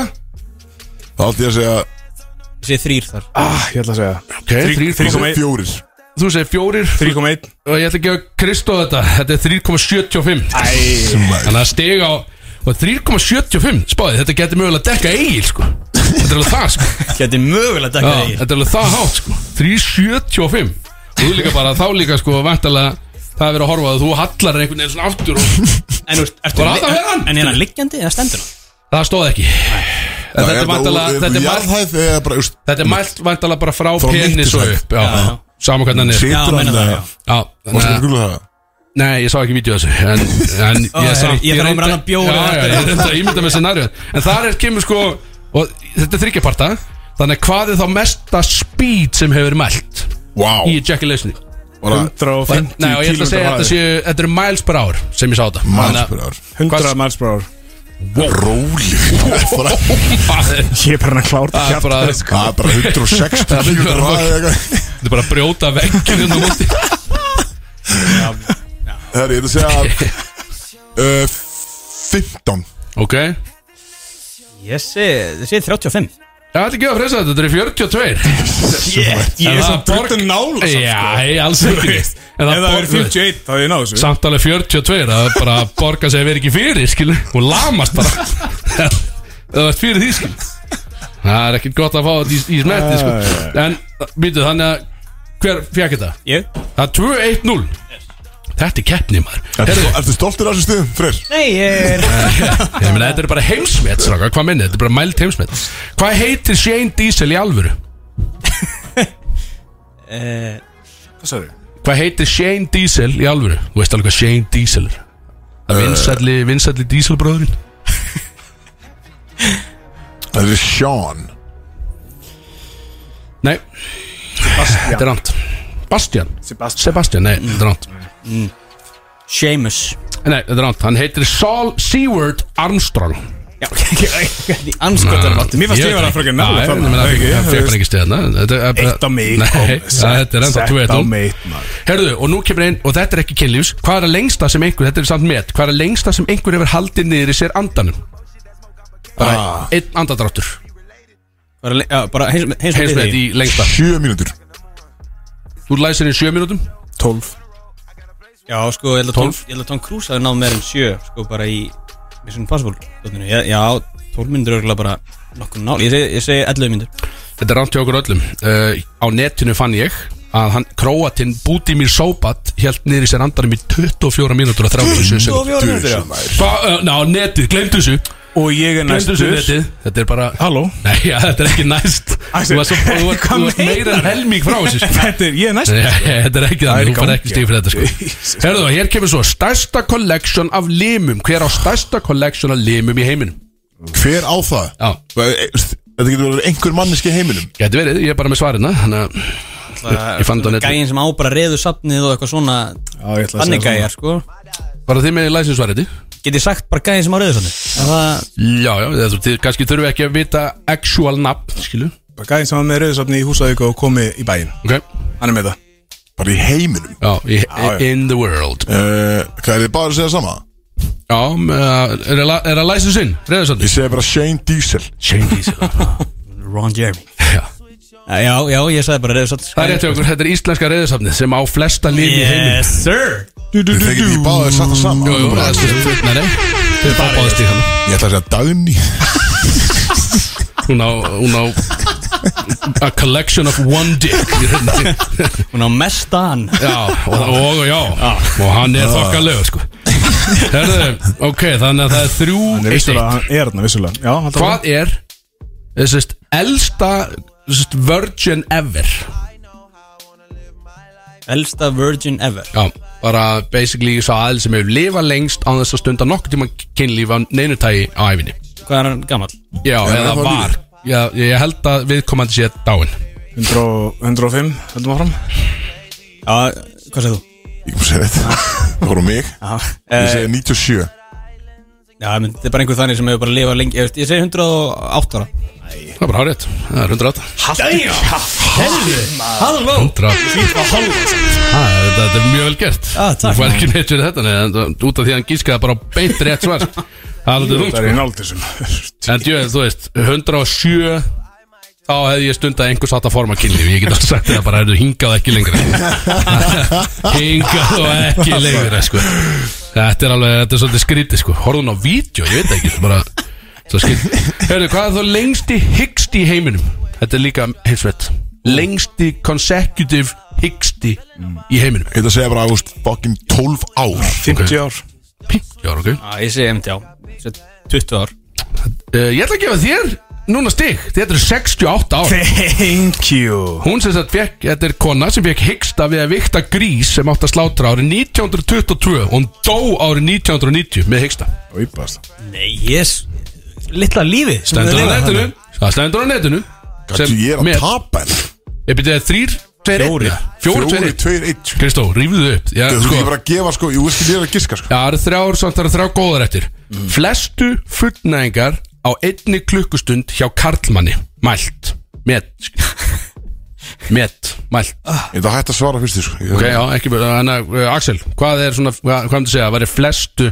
S1: Það átti ég að segja
S3: Ég segi 3 þar
S4: ah, ég ætla að segja
S2: Ok, þrír-
S4: þrír- Kom
S1: Kom
S4: ein-
S1: Fjórir
S2: Þú segir fjórir
S4: 3,1
S2: og ég ætla að gefa Kristó þetta Þetta er 3,75 Þannig að stiga á og 3,75 spáði Þetta getur mögulega að dekka eigil sko Þetta er alveg það sko
S3: Geti mögulega
S2: Já,
S3: dekka þig
S2: Þetta er alveg það hátt sko 3,75 Og þú líka bara þá líka sko vantalega Það er verið að horfa að þú hallar einhvern veginn svona aftur og
S3: En þú veist, ertu
S2: Var það að vera hann?
S3: En er hann liggjandi eða stendur hann?
S2: það stóð ekki En þetta er vantalega Þetta er mælt-
S1: Jarðhæð eða bara úst,
S2: þetta er mælt vantalega bara frá
S1: Frá
S2: penis og
S1: mittisæð.
S2: upp Já, sama hvernig hann er
S1: Situr
S3: Já, meina
S1: hann
S3: það,
S1: eða-
S3: já.
S2: Já,
S1: Varstu
S2: þannig
S1: ekki
S2: að-
S1: að googla það?
S2: Nei, ég sá ekki vídeo þessu En, en
S3: Ó,
S2: ég samt
S3: ég þarf að
S2: reyndi-
S3: brenna
S2: Já,
S3: bjór eða
S2: já,
S3: eitthvað.
S2: ég reynda að ímynda með scenarió En þar er kemur sko Og þetta er þryggjaparta Þannig að hvað er þá mesta speed sem hefur verið mælt
S1: Vá
S2: Í ejaculationi
S1: bara
S4: 150
S2: Nei, og ég ætla að segja að þetta
S4: kílómetra
S2: séu Þetta eru miles per hour sem ég sá þetta
S1: Miles per hour
S4: 100 miles per hour
S1: Róli Það
S2: hour
S4: Ég er bara hann að klára
S2: Það er
S4: þetta
S2: bara
S4: hjarta, sko.
S1: er bara 160
S2: Það er
S1: kílómetra
S2: bara-
S1: hraði eða eitthvað.
S2: Þetta er bara að brjóta veggin um úti
S1: Herri, ég ætla að segja að uh, 15
S2: Ok
S3: Ég segi, ég segi 35
S2: Já, þetta er ekki að fresa þetta, þetta er 42
S4: Shit, Ég
S2: En
S4: er
S2: það
S4: svona
S2: borg-
S4: drullin nála samt,
S2: Já,
S4: sko.
S2: hei, alls ekki
S4: Ef
S2: En
S4: það
S2: borg-
S4: verið 51 þá er ég náðu þessu
S2: samt alveg 42 það er bara að borga sig að vera ekki fyrir skilu og lamast bara það er fyrir því skilu það er ekkert gott að fá þetta í, í smetti sko. en býtu þannig að hver fekk þetta?
S3: Ég?
S2: það er 2-1-0 þetta er keppni maður
S1: Ertu
S2: Heyrðu,
S1: ertu stoltur af þessu stuðum, Freyr?
S3: Nei, ég er
S2: ég meina þetta er bara heimsmet strákar, hvað minni, þetta er bara mælt heimsmet hvað heitir Shane Diesel í alvöru?
S4: Hvað sagði?
S2: hvað heitir Shane Diesel í alvöru? þú veist alveg hvað Shane Diesel er það vinsælli, vinsælli Dieselbróðurinn
S1: Það er Sean
S2: Nei Þetta er rámt Bastian
S4: Sebastian.
S2: Sebastian, nei, þetta er rámt
S3: Seamus
S2: Nei, þetta er rámt Hann heitir Saul Seward Armstrong Ah,
S3: Já, því anskotar
S4: Mér fannst ég vera að frekar nálægt þarna.
S2: þarna
S4: Ekki,
S2: Það
S4: þú
S2: fekk
S4: veist.
S2: bara ekki stegna
S4: Eitt á mig
S2: Nei,
S4: kom.
S2: það- þetta er ennþá
S4: Sett
S2: 2-1.
S4: á mig, maður.
S2: Herðu, og nú kemur einn Og þetta er ekki kynlífs Hvað er að lengsta sem einhver Þetta er samt met Hvað er að lengsta sem einhver hefur haldið niður í sér andanum Bara
S4: Ah.
S2: einn andadráttur
S3: Bara, le- já, bara heins með
S2: Heimsmet í lengsta
S1: 7 mínútur
S2: Þú læsir í sjö mínútum
S4: 12
S3: Já, sko, ég held að Tom, ég held að Tom Cruise hafi náð meir en 7 Sko, bara í Mission Impossible dótinu. Já, já, 12 myndir örgulega bara nokkuð nál Ég segi, ég segi 11 myndir
S2: Þetta er rámt hjá okkur öllum uh, Á netinu fann ég að hann, Kroatin Budimir Sobat held niður í sér andanum í 24 mínútur og 37 sekund
S1: Djöfull, maður.
S2: Hvað, uh, ná, netið, glemdu þessu
S4: Og ég er
S2: Glemdu þessu
S4: næstur
S2: netið, þetta er bara
S4: Halló
S2: Nei, já, þetta er ekki næst Þú varst svo- þú varst-
S4: Hvað
S2: þú varst meira en helming frá þessu sko.
S4: Þetta er, ég er næstur
S2: Nei, Þetta er ekki
S4: Það er
S2: þannig, þú
S4: í
S2: fær ekki
S4: gangi.
S2: stíð fyrir þetta sko Herðu, hér kemur svo Stærsta collection af limum Hver á stærsta collection af limum í heiminum?
S1: Hver á það?
S2: Já.
S1: Bara, e, st- Þetta getur verið einhver manneski heiminum
S2: Gæti verið, ég er bara með svarina Þannig að Ég- ég fann það á netinu.
S3: Gæin sem á bara reðu safnið og eitthvað svona
S4: Já, ég ætla að
S3: Þannig
S4: segja
S3: gæjar, sko
S2: bara þið með læsinsvariti
S3: Get ég sagt bara gæin sem á reðu safnið Það,
S2: Já, já, það, þið kannski þurfum ekki að vita actual nafn, skilu
S4: svona Gæðin sem var með rauðsafni í Húsavík og komi í bæinn
S2: Ok,
S4: Hann er með það
S1: Bara í heiminum
S2: já, í,
S4: já.
S2: in the world
S1: uh, Hvað er þið bara að segja sama?
S2: Já, með- er að- er að læsa sinn, þriðarsandi
S1: Ég segi bara Shane Diesel
S3: Shane Diesel Ron Jeremy já Já, já, ég sagði bara sko. reyðsat
S2: Það er rétt hjá okkur, þetta er íslenska reyðarsafnið sem á flesta lífi í heiminum
S3: Yes sir
S1: Þið þekki því báðið satt að sama
S2: Jú, jú, það er stjórn, nei, nei Þau fá báðist í hann
S1: Ég ætla að segja Dagný
S2: Hún á, hún á A collection of one dick í rauninni.
S3: Hún á mestan
S2: Já, og, og já Og hann er þokkalegu, sko Herðu, ok, þannig að það er þrjú
S4: Hann er
S2: eitt
S4: vissulega,
S2: eitt.
S4: hann er þarna vissulega Já, hann
S2: Hvað er Þessist elsta Þessist virgin ever
S3: Elsta virgin ever
S2: Já, bara basically Sá aðeil sem hefur lifað lengst Á þess að stunda nokkuð tíma kynlíf Á neinutægi á æfinni
S3: Hvað er hann gammal?
S2: Já,
S1: Já,
S2: eða
S1: það var
S2: var Já, ég held að viðkomandi sé dáin
S4: 100 105, höldum áfram
S3: Já, hvað segir þú?
S1: Ég kom að segja þetta Það voru mig Ég
S3: Eh,
S1: segi 97
S3: Já, menn, þetta er bara einhver þannig sem hefur bara lifað lengi Ég, veist, ég segi 108 ára
S2: Það er bara hárétt, það er 108
S3: Halló
S2: 100 Ha, Þetta þetta er mjög vel gert
S3: Ah, takk.
S2: Þú fær ekki neitt fyrir þetta nei, en það- Út af því að hann gískaði bara á beint rétt svar Það er alveg
S4: Það
S2: þungt
S4: er í náldisum
S2: En djöð, þú veist, 107 Þá hefði ég stundað einhvers átt að forma kynlíf Ég get alveg sagt þetta bara, hefur hingað ekki lengra Hingað og ekki lengra sko. Þetta er alveg, þetta er svolítið skrítið sko. Horðun á vídeo, ég veit ekki bara, Svo skrítið Hörðu, hvað er þú lengsti hyggsti í heiminum? Þetta er líka heimsveit Lengsti consecutive hyggsti í heiminum
S1: Ég ætla að segja bara ást Fucking 12 ár
S4: 50 ár
S2: Já, ok
S3: Já, ég segi einmitt já Ég segi 20 ár
S2: uh, Ég ætla að gefa þér núna stig Þetta eru 68 ára
S4: Thank you
S2: Hún sem sagt fekk, þetta er kona sem fekk hyggsta við að vikta grís sem átt að slátra árið 1922 og hún dó árið 1990 með hyggsta.
S4: Og íbast
S3: Nei, yes Littla lífi sem
S2: Stendur
S3: þau
S2: á
S3: lifa
S2: netinu,
S3: þarna.
S2: það stendur á netinu.
S1: Gattu ég er að tapa henn
S2: Ég byrja það þrýr, tveir,
S3: Fjórir.
S2: einn. Fjóri, tveir, einn.
S1: 2, 1
S2: Kristó, rífðu þau upp. Já,
S1: Þú
S2: sko,
S1: sko ég bara að gefa sko Jú, veist ekki ég er að giska sko
S2: já, það eru þrjár, samt það eru þrjár góðar eftir. Flestu fullnæðingar á einni klukkustund hjá karlmanni. Mælt. Met. Met. Mælt.
S1: Ég ætla að hætta að svara fyrst því sko
S2: Ok, já, ekki bara, þannig að uh, Axel, hvað er svona, hvað, hvað myndi segja, hvað er flestu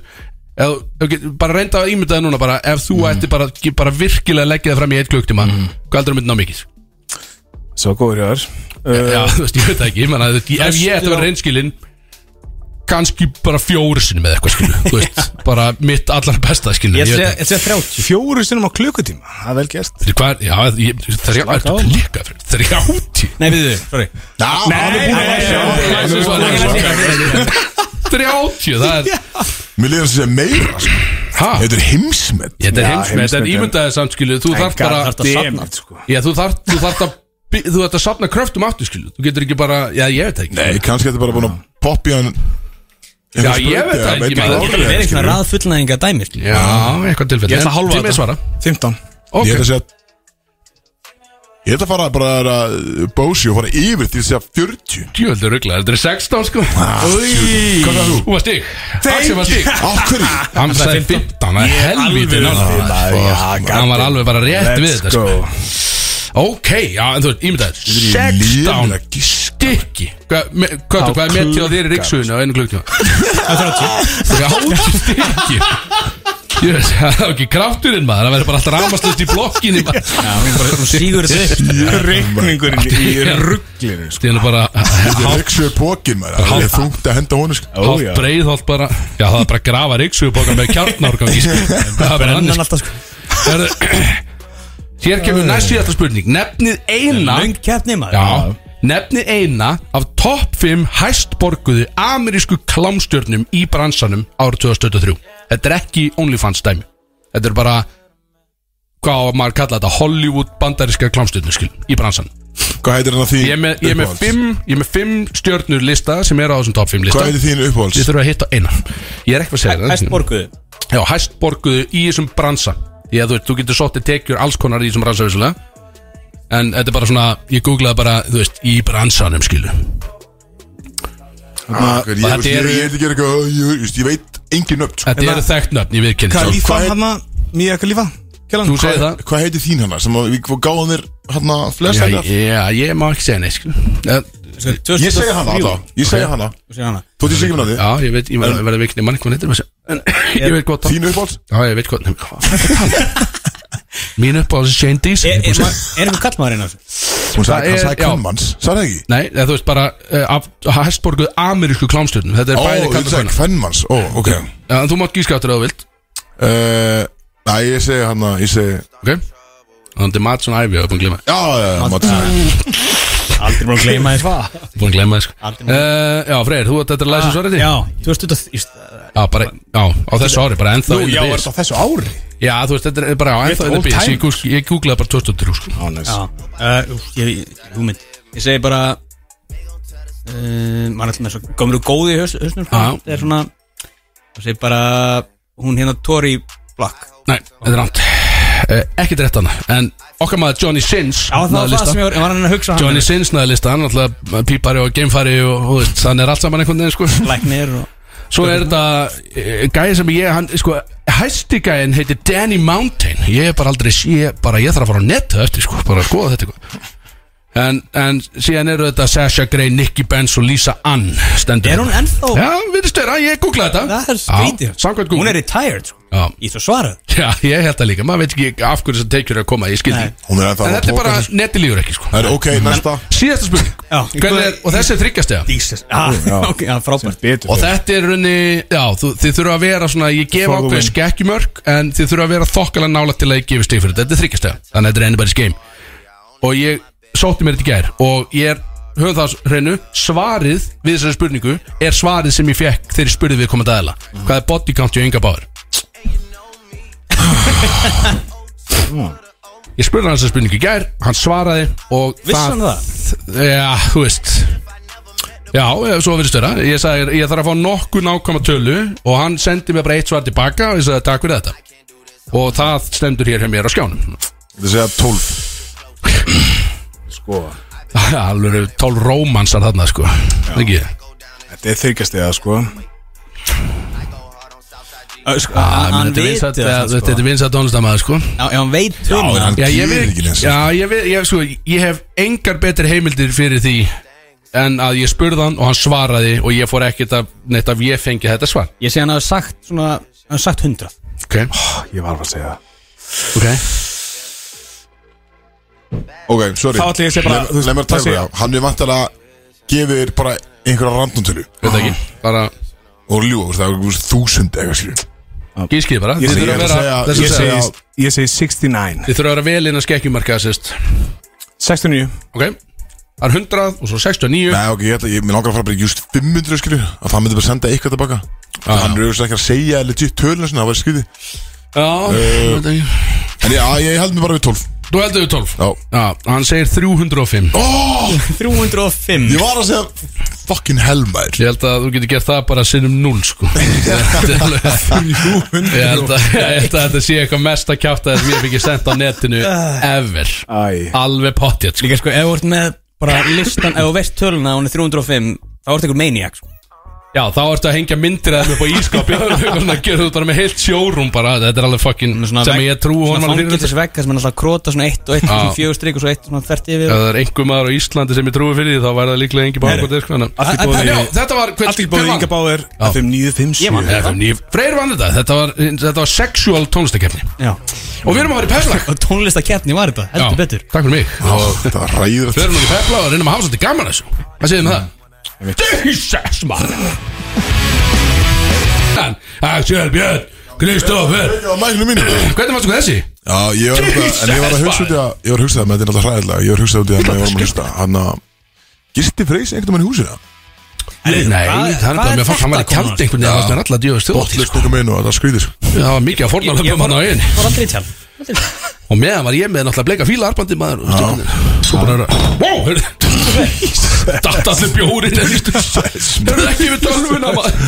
S2: eð, okay, bara reynda að ímynda það núna bara, ef þú ætti bara, ekki bara virkilega að leggja það fram í eitt klukktíma, hvað heldur þú myndi ná mikið?
S4: Svo góður hjá þér Uh,
S2: já, þú veist, ég veit það ekki, menn að þú- ef ég ætti að vera reynskilinn kannski bara fjóru sinni með eitthvað skilu, þú veist, bara mitt allar besta skilu,
S3: Ég
S2: ég veit
S3: segi
S2: það
S3: ég segi 30
S4: Fjóru sinnum á klukkutíma Það er vel gert
S2: Fyrir Hvað, já, ég, þrjá, ertu
S4: á.
S2: klikka fyrir, þrjáti
S3: Nei, við þau, sorry
S1: Ná, hann er búin að
S2: Þrjáti, það er,
S1: Mér liður að segja meira sko
S2: hæ,
S1: Þetta er heimsmet
S2: þetta er heimsmið, þetta
S4: Já,
S2: er
S4: heimsmet, já.
S2: ímyndaðið samt skilu, þú þarf bara
S3: þarft að safna.
S4: Demet, sko
S2: Já, þú þarft, þú þarft að by- Þú þarft að safna kröftum aftur, skilu Þú getur ekki bara, já, ég veit það ekki
S1: Nei, kannski þetta bara búin að poppa í hann
S2: Já, ég veit það ekki, maður.
S3: Það er eitthvað rað fullnæðinga dæmi skilur.
S2: Já, eitthvað tilfell
S4: Ég ætla að hálfa
S2: Tími
S4: þetta.
S2: svara
S4: 15
S1: Ég
S2: Ok,
S1: ætla að segja Ég ætla að fara bara að að bósi og fara yfir til að segja 40
S2: djöldur ruggla Þetta er 16, sko
S4: Ah,
S1: Hvað er þú?
S2: Þú var stig Axel var stig
S1: Af hverju?
S2: Hann sagði 15, það er helvítið náttúrulega. Hann var alveg bara rétt við þetta
S4: Let's
S2: sko.
S4: go
S2: Ok, já, en þú veist, ímyndaður
S1: Lélegur
S2: 16
S1: að giska.
S2: stykki Hvað me- Köttu, hvað er metið á þér í ríksuðinu á einu klukktíma? 30 30 stykki Jöss, það er ekki krafturinn maður Það verður bara alltaf ramastust í blokkinni
S3: Sýgur þessu upp.
S2: Oh
S4: Regningurinn í rugglinu
S2: Það er bara
S1: Þetta er ríksuður pókin maður Það er þungt að henda honum sko
S2: Hátt breiðholt bara Já, það er bara að grafa ríksuðubóka með kjarnárgang í sko. Það er bara annars
S3: alltaf sko
S2: Hér kemur næst síðasta spurning Nefnið eina
S3: Löng keppni maður
S2: Já, nefnið eina af topp 5 hæstborguðu amerísku klámstjörnum í bransanum árið 2023. Þetta er ekki OnlyFans dæmi. Þetta er bara, hvað á maður að kalla þetta, Hollywood bandaríska klámstjörnum skil, í bransanum.
S1: Hvað heitir hann að þín?
S2: Ég er með, ég er með,
S1: uppáhalds?
S2: fimm, ég er með fimm stjörnur lista sem er á þessum topp 5 lista.
S1: Hvað heitir þín uppáhalds?
S2: Ég þurfa að hitta eina. Ég er ekki að segja það.
S3: Hæst borguðu
S2: Já, hæstborguðu í þessum bransa Já, þú veist, þú getur sóttið tekjur alls konar í þessum bransa vissulega En þetta er bara svona, ég googlaði bara, þú veist, í bransanum skilu
S1: Ah, hver- Ég
S2: Þetta
S1: veist, ég-
S2: eru-
S1: ég er ekki að gera eitthvað Ég ég- veist, ég veit engin nöfn sko.
S2: Þetta eru þekkt nöfn, ég viðkynni
S1: Kalí-
S4: Lífa
S1: Hvað er-
S4: hann að Mía Kalifa Kjallan
S2: Þú segir það
S1: Hvað heitir þín hana sem að við gáðum þér hann að
S2: Já,
S1: flesta
S2: já, ég má ekki segja neitt skilu En
S3: Sko,
S1: Ég segi hana alltaf, ég segi hana
S3: hana
S1: Þú veist ekki minna
S2: Já, ég veit, ég verði verið vikni mann hvað hann heitir með þessu En ég veit gott
S1: því
S2: það
S1: Þín uppáhalds
S2: Já, ég veit gott um? Mín upp á þessu Shane
S1: Eh,
S2: Dees
S3: Er einhvern kallmaðurinn á þessu?
S1: Hún
S2: Það
S1: sagði, hann
S2: er-
S1: sagði
S2: já.
S1: kannmanns, sagði það ekki?
S2: Nei, eða, þú veist bara eh, af hestborguð amerísku klámstjörnum Þetta er
S1: Ó,
S2: bæði
S1: ég
S2: kallt og
S1: sagði
S2: kvenna
S1: kvennmanns, ó, ok
S2: Já, en Þú mátt gíska áttur að þú vilt
S1: Eh, Næ, ég segi hana, ég segi
S2: Ok Þannig er Madsson Ævi, ég hef búin að gleyma
S1: Já, já, Mats
S3: Aldrei mér að gleyma þess hvað
S2: Búin að gleyma þess
S3: Aldrei
S2: Já, Freyr, þú ert þetta að læsa svo rétti
S3: Ah, Já, 2003
S2: Já, bara, já, á þessu ári, bara ennþá in the
S4: Já, er
S2: biz.
S4: þetta á þessu ári?
S2: Já, þú veist, þetta er bara á ennþá in the
S4: old
S2: biz
S4: time.
S2: Ég gús- Ég googlaði bara 2003 sko.
S4: Á, næs
S3: Já, uh, úf, ég, húmynd Ég segi bara uh, Man er alltaf með svo gömru góði í haus- hausnum sko.
S2: Já.
S3: Það er svona Það segi bara Hún hérna Tori Black
S2: Nei, þetta er rámt uh, Ekki rétt hana En okkar maður Johnny Sins
S3: Já, það
S2: náði
S3: var það
S2: lista.
S3: sem ég var, ég var hann að hugsa
S2: Johnny
S3: hann
S2: Sins næði lista Hann alltaf pípari og geimfari Og, og þú veist, hann er allt saman einhvern veginn sko.
S3: Læknir og
S2: Svo Sko, er þetta eh, gæði sem ég hann, sko, Hæsti gæðin heitir Danny Mountain Ég er bara aldrei sé Bara ég þarf að fara á netta eftir sko, Bara að skoða þetta sko. en, en síðan eru þetta Sasha Grey, Nicky Benz og Lisa Ann Stendur
S3: Er hún ennþá
S2: Já, við störa, ég googlaði þetta
S3: Það er skrítið
S2: Já, Samkvæmt
S3: Hún er
S2: Google
S3: retired sko.
S2: Já.
S3: Í svo svarað
S2: Já, ég held það líka, maður veit ekki af hverju þessar teikjur er að koma, ég skildi
S3: Nei.
S2: en
S1: Hún er ennþá að
S2: þetta er
S1: tóka
S2: bara
S1: þessu.
S2: nettilífur ekki sko.
S1: Það er ok, næsta
S2: Síðasta spurning,
S3: Já.
S2: Hvernig er, og þessi er þryggjastega
S3: Jesus Já, ok, já, frábært
S4: Betur
S2: Og þetta er runni, já, þú, þið þurfa að vera svona, ég gef
S4: For the
S2: ákveð
S4: win.
S2: skekkjumörk En þið þurfa að vera þokkala nála til að ég gefi stig fyrir þetta, þetta er þryggjastega Þannig að þetta er anybody's game Og ég sótti mér þetta í gær og ég er, höfum það á hreinu Svarið við þessari spurningu er svarið sem ég fekk þegar ég spurði við komandi aðila Hvað er body count í ynga báður? Ég spurði hann þessa spurningu í gær, hann svaraði og
S3: Vissi hann það?
S2: Já, þú veist Já, eh, svo verið störa Ég sagði, ég þarf að fá nokkuð nákvæma tölu og hann sendi mér bara eitt svar tilbaka og ég sagði, takk fyrir þetta og það stendur hér hjá mér á skjánum
S1: Þetta segja 12
S4: Sko,
S2: Alveg eru tólf rómansar þarna, sko Ekki?
S4: þetta er þykjast eða sko
S3: Ö, sko,
S2: Ah, menn,
S3: Hann
S2: Þetta er
S3: veit
S2: vinsætt-
S3: það,
S2: þetta
S3: sko.
S2: er vinsætt tónlistamæður, sko
S3: Já, ef hann veit
S1: en
S3: töluna.
S1: hann-
S2: Já, ég
S1: Gerir
S2: veit,
S1: ekki neitt, sko.
S2: já, ég veit ég, sko, ég hef engar betri heimildir fyrir því en að ég spurði hann og hann svaraði og ég fór ekkert að neitt af ég fengi þetta svar
S3: Ég segi hann hafa sagt svona Hann hafa sagt 100
S2: Ok,
S4: Ég var að segja það
S2: ok
S1: Ok, sorry
S4: Þá ætla ég að segja bara-
S1: Leif- Leif mér að
S4: það
S1: tæma
S4: sé-
S1: það Hann er vantilega gefið þér bara einhverja randumtölu
S2: Veit ekki, bara
S1: Og ljúa, það er þú veist, þúsund eitthvað skilur
S2: gískið bara Þið
S1: segi- Ah.
S2: þurfa að
S1: ég er að
S2: vera,
S1: segja-
S2: þess
S1: ég
S2: að segja
S1: segi-
S4: Ég segi 69
S2: Þið þurfa að vera vel inn að skekkjumarka sérst
S4: 69
S2: Ok, það er 100 og svo 69
S1: Nei, ok, ég, ætla, ég mér langar að fara bara í just 500 skilur Að það myndi bara senda eitthvað tilbaka ah, Hann er auðvitað ekki að segja legit tölun Það var skriði
S2: Já,
S1: Eh.
S2: veit ekki.
S1: En ég, að, ég held mér bara við 12
S2: þú heldur við 12
S1: Já.
S2: hann segir 305
S1: oh,
S3: 305
S1: Ég var að segja Fucking helmær
S2: Ég held að þú getur gert það bara sinnum 0 sko Þetta er alveg- Ég held að ég held að þetta sé eitthvað mest að kjáta þess að ég fikk sendt á netinu
S1: Ah.
S2: ever
S4: Æ
S2: Alveg pottjætt sko
S3: Líka sko, ef þú ert með bara listan Ef þú veist töluna að hún er 305 Þá ertu einhver maniac sko.
S2: Já þá ertu að hengja myndir að þeim upp á ískapi og svona gerðu þú bara með heilt sjórum bara Þetta er alveg fucking sem ég trú honum alveg fyrir þetta
S3: Svona fangilis vegg Það sem er alltaf krota svona 1 og 1
S2: Já.
S3: Svona 4 strik og svo 1 Svona 30
S2: Ef
S3: yfir
S2: það er einhver maður á Íslandi sem ég trúi fyrir því þá væri það líklega engi
S3: Nei, nei.
S2: bákvæði sko þannig að-
S4: Allt í
S2: En-
S4: boði-
S2: já, Þetta var
S4: Allt í bóði Inga Báður
S2: Já.
S4: FM
S3: Ég man
S4: 957
S2: Þetta var ný- Freyr vann þetta, þetta var, þetta var sexual tónlistakefni
S3: Já
S2: Og við erum að fara í peplag
S3: Og tónlistakeppni var þetta
S2: Já,
S3: Heldur betur
S2: Takk fyrir mig
S1: Það var ræður
S2: Við erum að pepla og reynum að hafa svolítið gaman að þessu Hvað segir þið með það? Jesus maður Axel Björn Kristófer
S1: Já, mæknu mínu
S2: Hvernig fannst þú þessi?
S1: Já, ég var nefnilega En ég var að hugsa út í að Ég var að hugsa það með þetta er alltaf hræðilega Ég var að hugsa út í að Ég var að hlusta Hann að Gisti Freys einhvern veginn í húsina
S2: Nei, það
S3: hvað-
S2: er
S3: hvað
S2: bara
S3: er
S2: mér fannst
S3: þetta
S2: Hann var í
S3: konan?
S2: kjaldi einhvern veginn Það var alltaf djöðust
S1: Botlis kokum inn og það skrýðir
S2: Það var mikið að
S3: Ég
S2: fornalöfum
S3: var
S2: hann á eigin
S3: var aldrei í tjál
S2: Og meðan var ég með náttúrulega bleika fíla arbandi maður og stundin- Svo bara Wow, hörðu Datt allir bjórin Hörðu ekki við tölvuna maður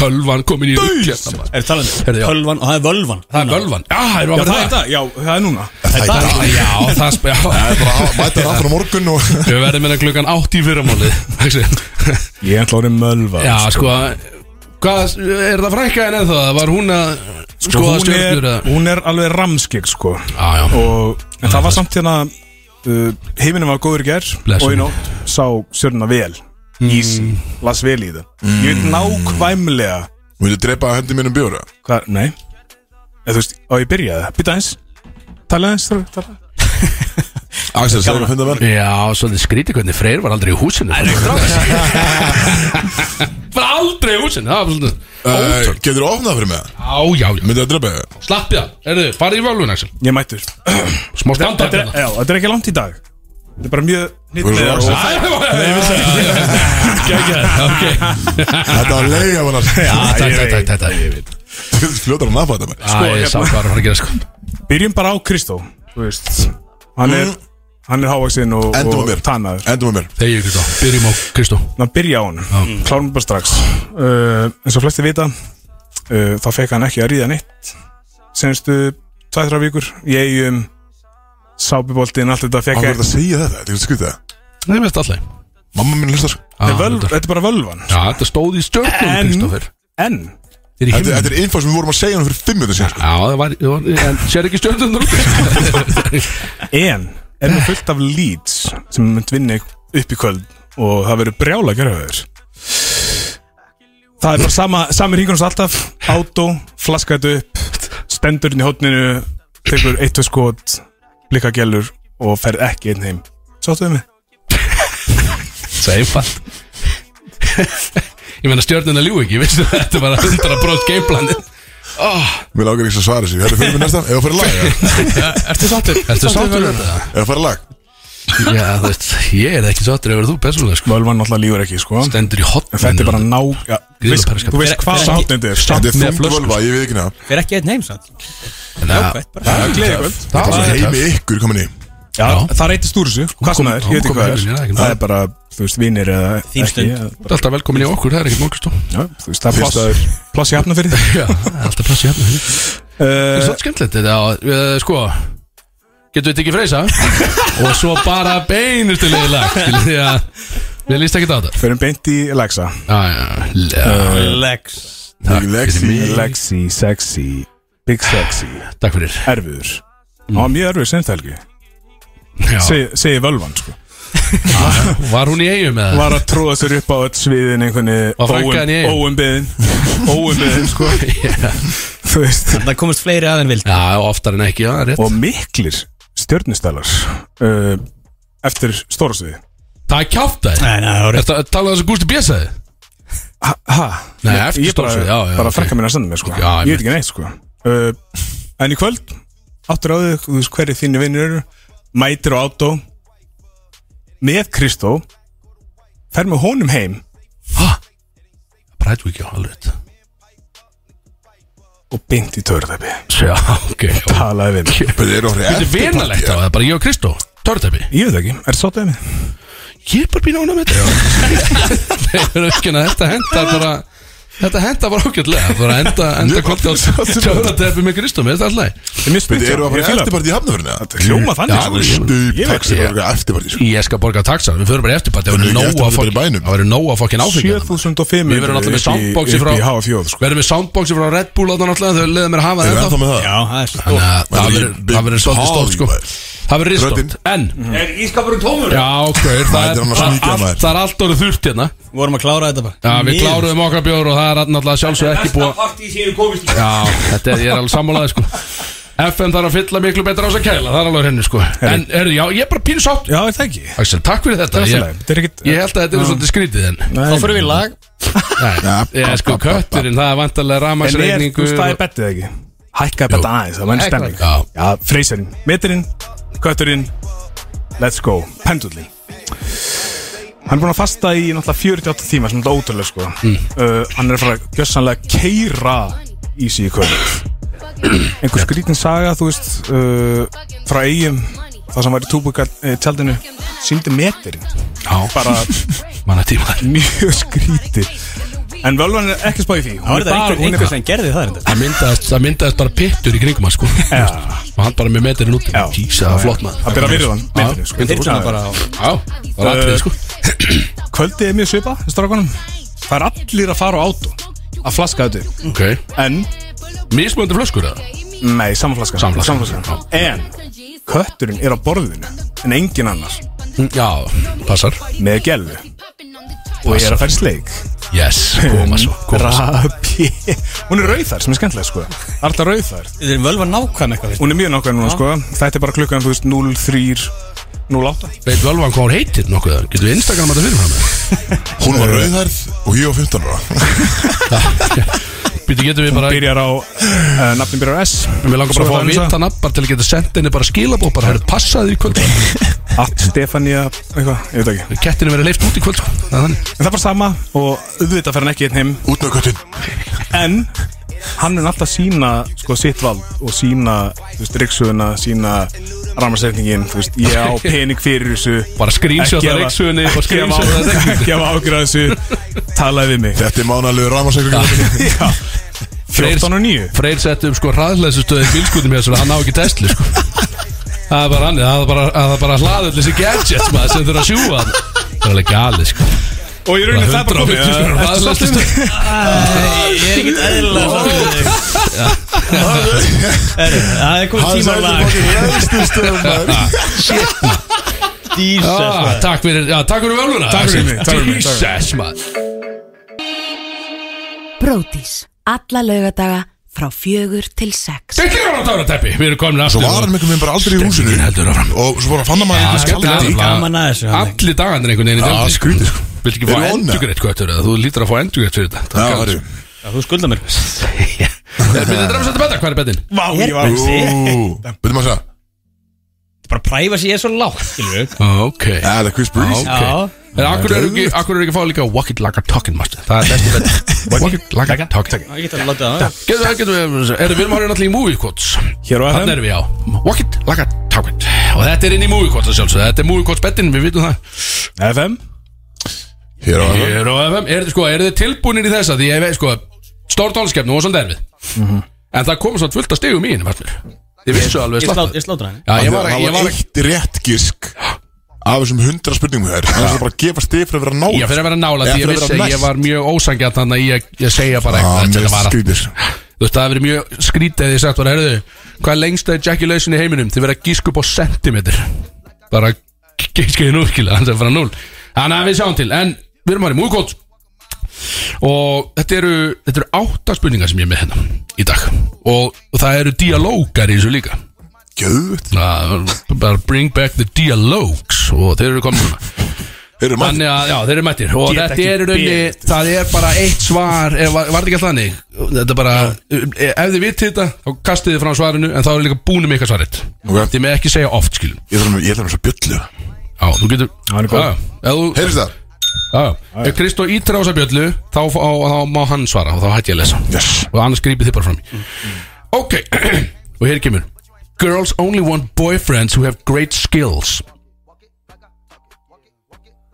S2: Tölvan komin í ruggjast maður
S3: Er talandi um
S2: Heyrðu, já.
S3: Tölvan Og það er völvan
S2: Það er völvan Já, það er
S4: Já, það
S2: bara
S4: er
S2: það
S4: þetta, já, það er núna
S1: Það er
S2: Já, Já, það sp- já.
S1: bara að mæta þér aftur á morgun og
S2: Við verðum með það klukkan átt í fyrramálið Axel.
S4: Ég er alltaf orðin mölva
S2: Já, sko Hvað, er það frækka en eða það? Var hún að skoða
S4: Sko, hún,
S2: stjórnur
S4: er,
S2: eða?
S4: hún er alveg ramskik sko
S2: Já, já
S4: og, En það var samt hérna uh, Heiminum var góður í gær
S2: Bless Mm.
S4: Og í
S2: hún.
S4: nótt sá Sörna vel Easy, las vel í það Ég
S2: Mm.
S4: veit nákvæmlega
S1: Viltu drepa hendi mínum bjóra?
S4: hvað, nei Eða þú veist, á ég byrjaði það, býta eins Talaði eins, talaði, talaði
S1: Axel, segðu að finna verð
S2: Já, svolítið skrítið hvernig Freyr var aldrei í húsinu Það er stráð Var aldrei í húsinu Það var svolítið
S1: uh, Getur þú opnað fyrir mig það?
S2: Á, já, já
S1: Myndið að drepa þig?
S2: Slappið það Erðu, farið í völvun, Axel
S4: Ég er mættur
S2: Smá standa
S4: þetta, er- já, þetta er ekki langt í dag Þetta er bara mjög
S1: Þú erum svo
S4: nýtt
S1: Axel. Þetta var leið af hann
S2: Þetta, þetta, þetta, ég veit
S1: Þú fljótar hann að fæta mér
S2: Æ, ég sá hvað var að fara að gera sko
S4: Byrjum bara á Kristó Þú veist, hann er Hann er hávaksinn og,
S1: Endum á
S4: og
S1: mér.
S4: tannaður
S1: Endum að mér
S2: Þegar ég Kristó, byrjum á Kristó
S4: Þannig að byrja á hann, mm. klárum bara strax uh, eins og flesti vita uh, þá fekk hann ekki að ríða neitt senstu 2-3 vikur ég um sápiboltinn, allt þetta
S1: Hann
S4: fekk
S1: verður
S4: ekki
S1: að segja þetta, þetta er skrítið
S2: Nei, mér finnst alltaf
S1: Mamma mín hlustar sko.
S2: Þetta
S4: völ, þetta er bara völvan
S2: Já, þetta stóð í stjórnum,
S4: En-
S2: Kristófer
S4: en
S2: Þetta er í
S1: Þetta
S2: himnum
S1: þetta er info sem við vorum að segja hann fyrir fimm minútur síðan sko.
S2: Já, það var, það var en sér ekki stjórnum út
S4: en er með fullt af leads sem mynd vinni upp í kvöld og það verður brjála að gera höfður það er bara sama, sami ringur hans alltaf átó, flaska þetta upp stendur inn í hótninu tekur eitt og skot, blikka gælur og ferð ekki einn heim sáttuðu mig
S2: Seifall Ég meina stjórnuna ljú ekki, veistu Þetta var 100% gameplanið
S1: Mér lágar ekki að svara þessu Þetta fyrir mig næstan Ef að fara í lag eða?
S2: Ertu sáttur? Ertu sáttur? við þetta?
S1: Ef að fara í lag
S2: Já, þú veist, ég er ekki sáttur ef þú persónulega sko
S4: Völvan náttúrulega lífur ekki sko en
S2: Stendur í hotn
S4: þetta er bara ná ja,
S2: Gríðarlega
S4: veist,
S2: perskap.
S4: þú veist hvað
S3: Fer- fer
S4: sáttin þetta er
S1: Þetta er
S2: með
S1: þungt
S2: flösku,
S1: völva, ég veit ekki neða
S3: Fyrir ekki einn heim, sant?
S2: Já,
S3: Jákvætt bara
S1: Þetta er svona heimi ykkur komin í
S4: Já, það reytist úr þessu, hvað sem það er, ég veit ekki hvað
S2: Hún kom- hún kom heim,
S4: það
S2: já,
S4: er
S2: ekki
S4: það er bara, þú veist, vinir eða
S3: Þín
S4: ekki,
S3: stund.
S4: eða
S2: Þú ert alltaf velkomin í okkur, það er ekkert mórkustó
S4: Já, þú veist, það er
S1: Fyrst
S4: pláss- pláss í hafna fyrir þig
S2: Já, það er alltaf plass í hérna Það er
S4: uh,
S2: svolítið skemmtilegt þetta á, uh, sko Getum við tekið freysa Og svo bara beinustu leiði lag skilur, Því að Við líst ekki á þetta
S4: Förum beint í Lexa
S2: Já, já,
S3: Eh,
S2: já,
S3: Lex
S2: Takk
S1: Lexi
S2: fyrir mig.
S4: Lexi, sexy, big Mm. sexy
S2: Takk fyrir
S4: Erfiður Það var mjög erfiður senst helgi
S2: já,
S4: Seg- Segir völvan, sko
S2: Var hún í eigum með það?
S4: Var að tróða sér upp á öll sviðin einhverni
S2: Var frænka henni í eigum?
S4: óumbiðin Óumbiðin, sko Þú veist
S3: Það komist fleiri að en vild
S2: Já, oftar en ekki, já, það er rétt
S4: Og miklir stjörnustælar uh, Eftir stóra sviði
S2: Það er kjátt það
S3: Nei, nei, það var rétt
S2: Ertu að tala um þess að Gústi Bjösaði?
S4: Ha? ha?
S2: Nei,
S4: Ég-
S2: eftir
S4: ég bara-
S2: stórsvið, já, já,
S4: Bara
S2: ok.
S4: frækka mín að senda mér sko
S2: Já,
S4: Ég veit
S2: einmitt.
S4: ekki neitt sko uh, En í kvöld Áttur á þig, þú veist hverju þínir vinnur eru Mætir á átó Með Kristó Fer með honum heim
S2: Brætvík, já, alveg rétt.
S4: Og beint í törðabbi
S2: Já, ok Þetta
S4: Talaði við mig.
S1: Þetta er orðið
S2: er venalegt á það, bara ég og Kristó Törtæpi
S4: Ég veit ekki, er sáttið með
S2: Ég er bara býna ánum með þetta Þegar aukjana, þetta henda bara Þetta henda bara ágætlega Bara henda, henda kvöldi á Törtæpi með Kristó, með þetta alltaf
S4: Þetta er
S1: Þetta
S4: mjög spyrt
S1: eru að
S4: ég
S1: fara í
S4: fíla
S1: eftirparti í hafnafyrinni
S4: Hljóma
S2: Já,
S4: þannig sko
S1: Stup,
S4: Ég veit
S1: taxi,
S2: ekki,
S1: það er eftirparti sko.
S2: Ég skal borga taxa, við förum bara í eftirparti Það
S1: Förum við ekki
S2: verður nóg
S1: eftirparti
S2: að fokkin-
S1: bara í bænum?
S2: það verður nóg að fokkin áfengja þarna.
S4: 7500
S2: hérna. Við verðum alltaf með
S4: upp í-
S2: soundboxi frá
S4: Upp í hafa fjóð sko
S2: Verðum með soundboxi frá Red Bull þarna náttúrulega Þau leiðum mér að hafa
S1: Erum við
S2: þetta
S1: ennþá með það?
S3: Já, það er
S2: Þannig
S3: stórt
S1: Ég- svolítið
S2: að það verður- það verður stórt
S1: stórt,
S2: sko
S1: maður.
S2: Það verður
S1: Röddin.
S2: ristótt En
S6: Er ískapurinn tómur?
S2: Já, ok, það
S1: Þetta er
S2: er
S1: annars
S2: það-
S1: mikið, maður.
S2: allt- það er allt orðið þurft hérna
S3: Vorum að klára þetta bara
S2: Já, við
S3: Miður.
S2: kláruðum okkar bjór og það er náttúrulega sjálfsög ekki búið að-
S6: partí sem ég komist í
S2: Já, þetta er, ég er alveg sammálaði sko FM þarf að fylla miklu betra á þess að kæla Það er alveg henni sko En, herru, já, ég er bara pínu sátt
S4: Já, er það ekki
S2: Axel, takk fyrir þetta
S4: Það er
S2: Ég,
S4: alltaf Þetta er ekkit
S2: ég held að þetta er svolítið skrítið en
S3: Þá fyrir við í lag
S2: Nei, ég, sko, kötturinn, það er vantarlega
S4: En er, þú
S2: ramagsreiningu
S4: veist, það er bettið eða ekki? Hækkaði betta aðeins, það var enn stemming
S2: Já.
S4: Já, freyserinn, metirinn, kötturinn Let's go, pendullinn Hann er búin að fasta í náttúrulega 48 tíma sem þetta er ótrúlega sko uh, Hann er að fara að gjössanlega keira í sig í kvöld Einhver skrítin saga, þú veist uh, frá eigum það sem var í túbúkartjaldinu síndi metirinn,
S2: Já,
S4: bara
S2: manna tíma
S4: mjög skrítið En völvan er ekki spáði því
S3: Það var
S4: er bara-
S3: þetta einhver- einhver sem gerði það reyndar.
S2: Það myndaðist, það myndaðist bara pittur í kringum hann sko Og hann bara með metirinn út
S4: Já.
S2: Jísa, það er flott maður
S4: Það byrja að virða Eh. hann, metirinn, sko.
S2: Já,
S3: Þyrlan bara á-
S2: Já, það er atrið sko
S4: Kvöldið er mjög svipa, strákunum Það er allir að fara á átó Að flaska þetta upp.
S2: Ok,
S4: En,
S2: mismöndi flöskur eða?
S4: nei, samanflaska
S2: Samflaska.
S4: En, kötturinn er á borðinu En engin annar
S2: Já, passar
S4: með gelfu og ég er að fara í sleik
S2: Yes, koma svo koma svo.
S4: Rapi Hún er rauðar sem er skemmtilega sko Alltaf rauðar
S3: Þetta er völva nákvæm eitthvað
S4: Hún er mjög nokkað núna sko Þetta er bara klukkan þú veist 03 08
S2: Veit völvan hvað hún heitir nokkuð Getur við Instagram að þetta fyrir fram
S1: Hún var rauðhærð og ég var 15 ára
S2: Býtu getur við bara
S4: Byrjar á uh, Nafnin byrjar á S
S2: Við langar bara að fá að
S4: Svo er það
S2: vita hann bara til að geta sendt henni bara skilabóð bara hefur passað í kvöld
S4: At Stefania Eitthvað Ég veit ekki
S2: Kettinu verið leift út í kvöld sko. Það er þannig.
S4: En það er bara sama Og auðvitað fer hann ekki einn heim
S1: Út með köttin
S4: En Hann mun alltaf sína sko sitt vald og sína, þú veist, riksuðuna, sína ramarsetningin, þú veist, ég á pening fyrir þessu
S2: Bara screenshot
S4: Ekki
S2: að
S4: hafa-
S2: reiksugunni og
S4: ekki hafa-
S2: screenshot að þetta
S4: ekki hafa ágjur að þessu talaði við mig
S1: Þetta er mánalegu rámarsæklingur
S4: Já. 14 og 9
S2: Freyr setti um sko hraðlæsustöði bílskutum hér svo hann á ekki Tesla sko. Það er bara hann Það er bara, það er bara hlaður þessi gadgets maður sem þurfa að sjúga hann Það er alveg gali sko
S4: og ég raunin það bara komið
S2: sko hraðlæsustöði
S3: Ég er ekkert eðlilega sáttur Það er komið tímalag
S2: ah,
S3: Jesus
S2: Takk fyrir, já, takk fyrir völvuna
S4: Takk fyrir mig, takk fyrir mig, takk fyrir
S2: Jesus maður
S9: Bródís. Alla laugardaga frá fjögur til sex.
S2: Byggir hann á tárateppi, við erum komin
S1: Svo
S2: aftur
S1: var hann einhvern veginn bara aldrei í húsinu
S2: Stemningin heldur áfram.
S1: Og svo bara fann hann maður
S2: Já,
S1: einhvern
S2: þetta er
S1: skemmtilega
S3: Gaman að þessu, hann.
S2: Allir dagarnir einhvern veginn í
S1: Já,
S2: deildinni,
S1: skrítið, sko.
S2: Vilt ekki fá
S1: Eru onna?
S2: endugreitt kvötur eða Þú lítur að fá endugreitt fyrir þetta
S1: Já,
S2: Takk,
S1: það
S2: Alex.
S3: Þú skulda mér
S2: Er myndið drafsættu betta? Hvað er bettin?
S4: vá ég var
S1: eru Veitum maður að segja
S3: Bara privacy er svo lágt skilur við.
S2: Ok
S1: Ja, Það er Chris Breeze
S2: Já, ok. En akkur eru ekki, akkur eru ekki að fá líka Walk it like a talking master Það er bestu betta Walk it like a talking
S3: Ég get alveg látið að
S2: Getur við, getur við Erum við erum hárið náttúrulega í movie quotes
S4: hér og
S2: Þannig
S4: aðeins
S2: erum við á Walk it like a talking Og þetta er inn í movie quotes að sjálfsögðu Þetta er movie quotes bettin, við vitum það
S4: FM
S1: Hér á hann
S2: Hér á FM, er þið sko, er þið tilbúinir í þessa Því ég veit sko, stór tónliskeppni var svolítið erfið En það kom svolítið fullt að stegum í henni fannst mér. Þið vissu alveg
S3: Ég slá-
S2: slátt
S3: Ég slátra henni
S2: Já, ég
S1: Það
S2: var, ég
S1: var
S2: var,
S1: eitt rétt gisk Af þessum hundra spurningum þér Það er bara að gefa stið fyrir að vera náð
S2: ég fyrir að vera nála Því
S1: Já,
S2: ég
S1: fyrir að
S2: vissi
S1: vera
S2: að ég
S1: næst.
S2: var mjög ósangjart Þannig að ég, ég segja bara
S1: Ah,
S2: eitthvað til
S1: mér
S2: að vara
S1: skrýtis.
S2: Þú veist, það hefur verið mjög skrítið Því ég sagt bara, herðu, hvað er lengsta ejaculation í heiminum Þið verið að gíska upp á sentimeter Bara, gískaði nú skilja Þannig að fara núl Þannig að við sjáum til, en við erum að vera múlkótt Og þetta eru, þetta eru átta spurningar sem ég er með hérna í dag Og, og það eru dialógar í þessu líka
S1: Gjöðut
S2: Na, Bara bring back the dialogues Og þeir eru komin núna
S1: Þeir eru mann
S2: Þannig að, já, þeir eru mættir Og
S4: Get
S2: þetta
S4: ekki
S2: er í rauninni,
S4: beðið.
S2: það er bara eitt svar er, Var var þetta ekki alltaf þannig? Þetta er bara, Eh, ef þið vitið þetta Þá kastið þið frá svarinu, en þá er líka búinu með eitthvað svarið
S1: Ok.
S2: Þið með ekki segja oft, skilum
S1: Ég þarf að- ég þarf að vera bjöllu
S2: Já, þú getur
S4: hann er góð.
S2: Já, ef þú-
S1: Heyrðist það?
S2: já, já. Ef Kristó ítir á þessa bjöllu þá, fá- á, þá má hann svara og þá hætti ég að lesa
S1: Yes
S2: Og annars grípið þið bara fram í Ok, og hér kemur Girls only want boyfriends who have great skills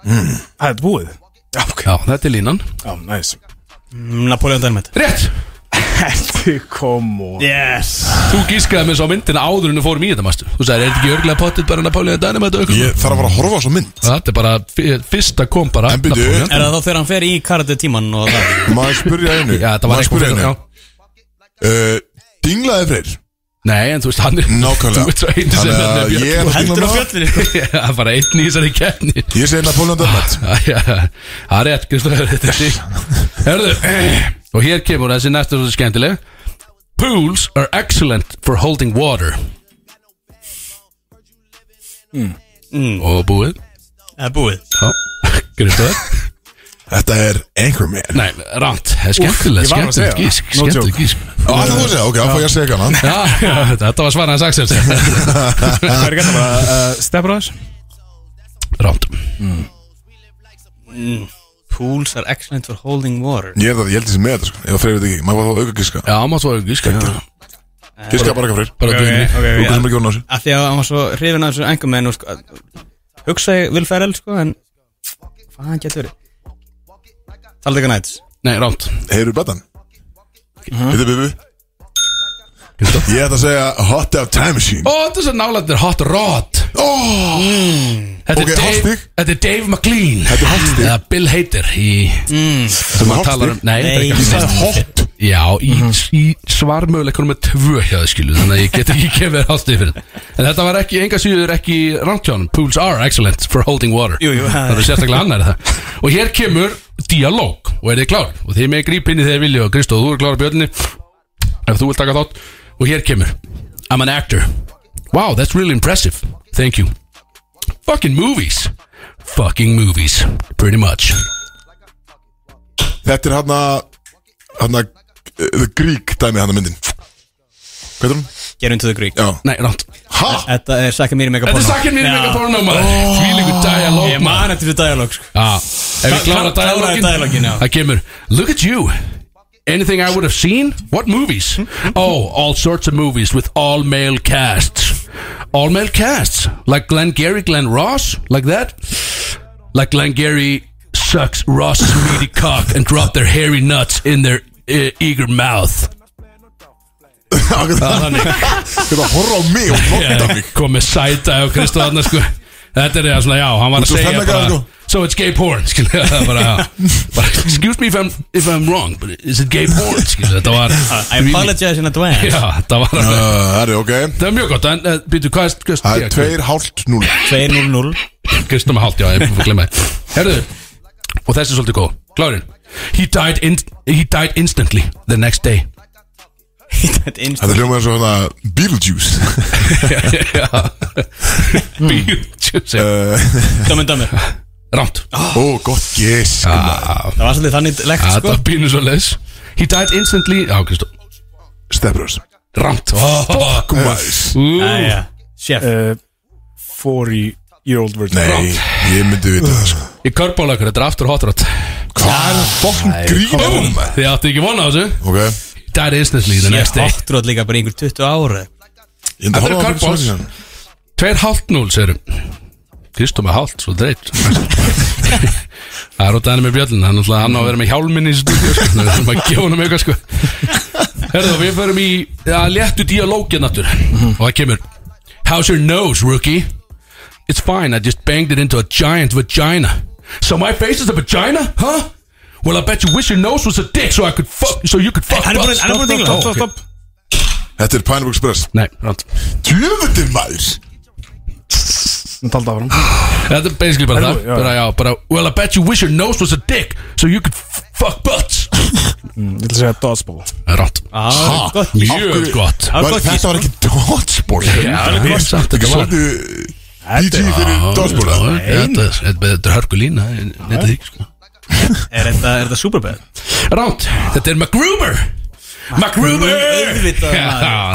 S4: Það er búið Já, ok
S2: Já, þetta er línan
S4: Já, næs
S3: Napoleon Mm, Dynamite
S2: Rétt,
S4: Þetta kom og
S3: Yes
S2: Þú gískaði með svo myndina áður en þú fórum í þetta mastu Þú sagði, er þetta ekki örglega pottit bara Napoleon Dynamite og eitthvað
S1: Ég þarf að vera að horfa á svo mynd
S2: Þetta er bara, fi- fyrsta kom bara
S1: En byrju.
S2: Napoleon.
S3: Er það þá þegar hann fer í karate tíman og það
S1: Maður spurja einu
S2: Já, þetta var
S1: Maður spurja
S2: eitthvað
S1: einu
S2: já.
S1: Eh, Dinglaði freyr
S2: Nei, en þú veist, hann er
S1: Nákvæmlega
S2: Þú veist, svo einu sem
S1: Þannig
S2: er með
S1: að ég er
S2: björn
S1: að dingla
S3: Heldur á
S1: með það.
S3: fjöllinu sko
S2: Já, Það er bara einn í þessari kenni
S1: Ég segi Napoleon Dynamite
S2: Já, það er rétt, Kristofur Þetta er þig Hörðu, og hér kemur þessi næstu svo skemmtileg Pools are excellent for holding water Og búið
S3: Það er búið
S2: Já, Kristofur Ah.
S1: Þetta er Anchorman
S2: Nei, ránt, það er skemmtileg,
S4: ég var að segja
S2: skemmtileg
S4: það.
S2: gísk,
S4: No
S2: skemmtileg
S4: joke.
S2: gísk
S1: Á, það þú að segja, ok, þá fá ég að segja hana
S2: Já, já, þetta var svaraðan saksins
S4: Það er gæta bara uh, Stefbróðis
S2: Ránt
S3: Pools are excellent for holding water
S1: Ég er það, ég held þessi með þetta sko Ég var freyr þetta ekki, maður var þá auka giska
S2: Já, maður svo gísk Bara
S1: Giska bara ekki freyr
S2: dögni
S4: ok,
S1: Þú
S4: ok
S1: kannum ekki orna á sig
S3: Af því að hann var svo hrifin af þessu engum menn og sko að- Hugsa ég Will Ferrell sko en Hvað hann getur verið Taldegar Nights
S2: Nei, ránt
S1: Heyrðu blettan Þetta er bubu
S2: Kristó.
S1: Ég ætla að segja Hot Dab Time Machine Oh!
S2: Ó, þetta er svo nálættir Hot Rod
S1: Ó,
S2: Þetta er
S1: Ok, hálft
S2: Dave,
S1: stig.
S2: þetta er Dave McLean
S1: Þetta er hálft stig.
S2: Eða Bill Hader í
S1: þetta er
S2: Talar um,
S1: hot
S2: nei, þetta er
S3: Nei,
S2: ekki
S3: ég
S2: hálft
S1: Hot
S2: Já, í, í svarmöguleikunum með tvö hjá þið skilu Þannig að ég get ekki gefið þér allt yfir En þetta var ekki, enga síður ekki rántjónum Pools are excellent for holding water
S3: Jú, jú,
S2: Það er sérstaklega annar það Og hér kemur dialóg og er þið klár Og þið með gríp inn í þegar vilja og Kristó, þú er klár á björninni Ef þú vilt taka þátt Og hér kemur I'm an actor Wow, that's really impressive Thank you Fucking movies Fucking movies Pretty much
S1: Þetta er hann að Hann að The Greek dæmi hann að myndin Hvað er hún?
S3: Get into the Greek
S1: Já
S2: Nei, rátt
S1: Ha?
S2: Eh,
S3: Þetta er Sækja mér
S2: Þetta
S3: í megaporno
S2: er sakinn mín mega porno maður Því líku
S3: Ég
S2: dialóg maður
S3: man eftir því dialog sko.
S2: Já, Ef við klára
S3: Klá- kláraði dialoginn,
S2: dialógin
S3: já.
S2: Það kemur Look at you Anything I would have seen? What movies? Oh, all sorts of movies with all male casts All male casts Like Glenn Gary, Glenn Ross Like that Like Glenn Gary sucks Ross's meaty cock And drop their hairy nuts in their uh, eager mouth
S1: Hvað
S2: Þannig
S1: er að horfa á mig og nokta mig
S2: komið sæta á Kristó þarna sko Þetta er það svona, já, hann var að
S1: Þú
S2: segja
S1: stemmer
S2: bara
S1: gæði, sko.
S2: So it's gay porn, skilja það bara, já. bara Excuse me if I'm, if I'm wrong But is it gay porn, skilja Þetta var
S3: I apologize in advance
S2: Já, þetta var
S1: Uh,
S2: alveg
S1: Það er ok
S2: Það er mjög gott, en uh, býtu, hvað eh. er hvað
S1: Það er tveir hálft núl
S3: 2-0-0
S2: Kristó með um hálft, já, ég fyrir að glemma það Herðu, og þessi er svolítið góð Klárin He died, in, he died instantly the next day
S3: Þetta er instant
S1: Þetta hljómaður svo hérna Beetlejuice
S2: Já Bíl,
S1: Eh.
S3: Dömmen, dömmen
S2: Rámt
S1: Ó, gott gisk
S2: Ah.
S3: Það var svolítið þannig legt
S2: Þetta
S3: sko
S2: var pínu svo les He died instantly Já, Kristó
S1: Stefbröðs
S2: Ramt Fuck
S1: Guðmæs
S3: Æja, Sjef
S4: uh, 40 year old virgin
S1: Nei, ég myndi vita það sko
S2: Í körbólaugur, þetta er aftur hotrótt
S1: Hvað er fólkin grínum?
S2: Þið áttu ekki vona á þessu
S1: um? Ok,
S2: Died instantly the next
S3: Sjef
S2: day
S3: hotrótt líka bara í einhver 20 ára
S1: ég myndi
S2: Þetta eru
S1: horfa á fyrir
S2: karbols.
S1: svona
S2: Tveir hálft núl, segirum Kristó með hálft, svo dreitt Það er út af henni með bjöllin Hann náttúrulega hann á að vera með hjálminn í stúdíu sko. Þannig að við þurfum að gefa honum eitthvað sko Herðu, við förum í að léttu dialógið náttúr Og það kemur How's your nose, rookie? It's fine, I just banged it into a giant vagina. So my face is a vagina, huh? Well, I bet you wish your nose was a dick so I could fuck, so you could fuck.
S3: Hann er búinn-
S2: butts.
S3: hann er búinn að dingla.
S2: Ó,
S4: Stopp,
S2: ok.
S4: stopp,
S1: Þetta er Pineapple Express
S2: Nei, rátt.
S1: Djöfundir maður
S4: stopp Taldi áfram
S2: Þetta er basically bara það.
S4: Herðu, já.
S2: Bara, já, bara, well, I bet you wish your nose was a dick so you could f- fuck butts.
S4: Ég ætla að segja dodgeball
S2: Rátt.
S3: Ah, gott
S2: Mjög gott.
S3: Það var
S1: Var-
S3: gott
S1: Þetta
S3: gisk.
S1: var ekki dodgeball
S2: Já, við
S1: Þetta
S2: samt þetta
S1: er
S2: var.
S1: svolítið PG fyrir dodgeball
S2: Já,
S1: eða?
S2: Sko, Þetta þetta- þetta er hörku lína. Þetta er ekki, sko.
S3: Er þetta, er þetta superbæð?
S2: Rátt, þetta er MacGruber MacGruber
S3: auðvitað,
S2: Já,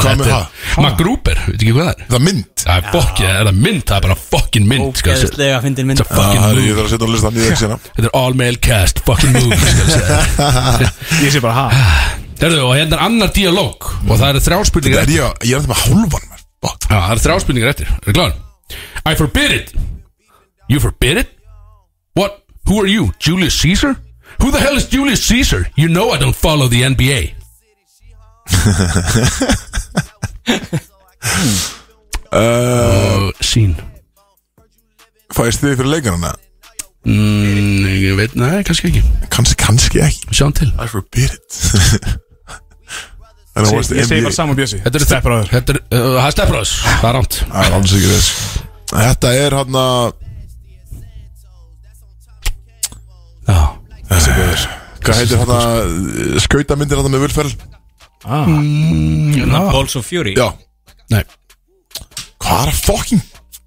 S1: Hvað
S2: þetta
S1: með
S2: er-
S1: það?
S2: MacGruber, veit ekki hvað það er
S1: Það er mynd
S2: Það er fokkið, það er það mynd, það er bara fucking mynd skal ég segja.
S3: Ógeðslega fyndin mynd
S2: sko. Þetta er fucking
S1: Það er ég
S2: movie
S1: þarf að setja á listan í ekki sena
S2: Þetta er all male cast, fucking movie skal ég segja.
S4: Ég sé bara ha
S2: Herðu, og hérna er annar dialóg Og það eru þrjáspurningar
S1: Er
S2: eftir
S1: ég að- ég er þetta með hálfan maður Fuck.
S2: Já, það eru þrjáspurningar eftir, er það kláður? I forbid it You forbid it? What? Who are you? Julius Caesar? Who the hell is Julius Caesar? You know I don't follow the NBA Og sín
S1: Fæst þið fyrir leikarana?
S2: Mm, ég veit, nei, kannski ekki
S1: Kanski, kannski ekki
S2: Sjáum til
S1: I forbid it En það varst
S4: Ég segi
S1: NBA
S4: bara saman bjössi
S2: Þetta er
S4: Stepbróður
S2: Þetta er, uh, það er stefnbróðs Það er rámt
S1: Það er alls ekki þess Þetta er hérna- hann að
S2: Já
S1: Þessi góður Hvað heitir hann að Skautamyndir hann með völferl
S3: Balls of Fury
S1: Já
S2: Nei
S1: Hvað er að fokkin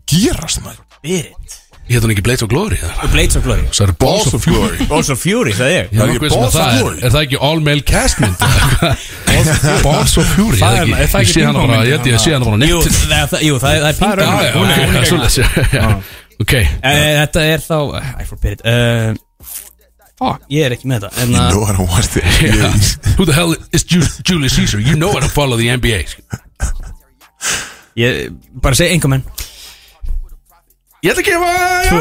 S1: gerast maður
S3: Spirit
S2: Ég heit hann ekki Blades of Glory eða?
S3: Blades of Glory
S2: Það er Balls of Glory
S3: Balls of Fury, sagði ég
S2: Ég
S1: Er
S2: er
S1: ekki
S2: nokkuð sem
S1: Balls of
S2: að það er
S1: Glory?
S2: Er það ekki all male cast mynd? Balls of Fury
S4: Það er- er
S2: Ég
S4: það ekki
S2: sé hann
S4: Bing Bong
S2: bara
S4: myndin
S2: Ég held ég að sé hann bara á
S3: Jú,
S2: netinu.
S3: það, það- jú, það, það er
S4: Það er
S3: pinga
S4: önnur.
S2: Já, já,
S4: hún er-
S2: ok,
S4: hún er-
S2: svoleiðis, já, já. Ok
S3: Þetta er þá I forbid it uh, Fuck, ég er ekki með þetta En eh, að
S1: Nú er hann varst
S2: Já. Who the hell is Ju- Julius Caesar? You know I don't follow the NBA
S3: ég bara segi einhver menn
S2: Ég ætla að gefa Tvö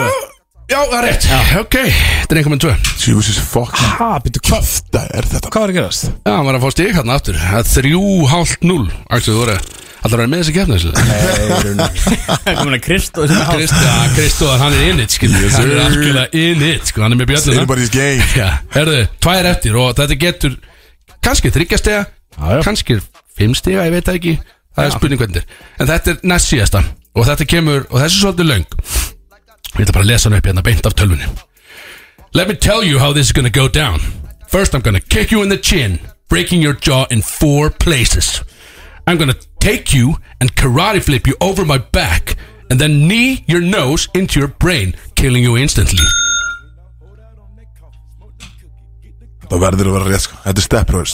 S2: Já, það er rétt Ok, þetta er einhver með tvö
S1: Jesus fucking
S4: Ha, byrju, hvað
S1: Kjöfta er þetta
S4: Hvað var að gerast?
S2: Já, hann var að fá stík hérna aftur Það er Þrjú, hálft, núl Axel, þú voru Alltaf verið með þessi keppni þessu
S3: Komin að Kristó
S2: Kristján, Kristóðan, hann er in it, skil
S1: Yes,
S2: Hann er
S1: sir.
S2: algjörlega in it, sko Hann er með björnuna
S1: Everybody's game
S2: Já, herðu, tvær eftir og þetta getur kannski þryggjastega,
S4: Já, já.
S2: kannski fimmstega, ég veit það ekki það er spurning hvernig þetta er en þetta er næst síðasta og þetta kemur, og þessi er svolítið löng ég ætla bara að lesa hann upp hérna beint af tölvunni Let me tell you how this is gonna go down First I'm gonna kick you in the chin breaking your jaw in four places I'm gonna take you and karate flip you over my back and then knee your nose into your brain killing you instantly
S1: Það verður að vera rétt sko Þetta er steppröðs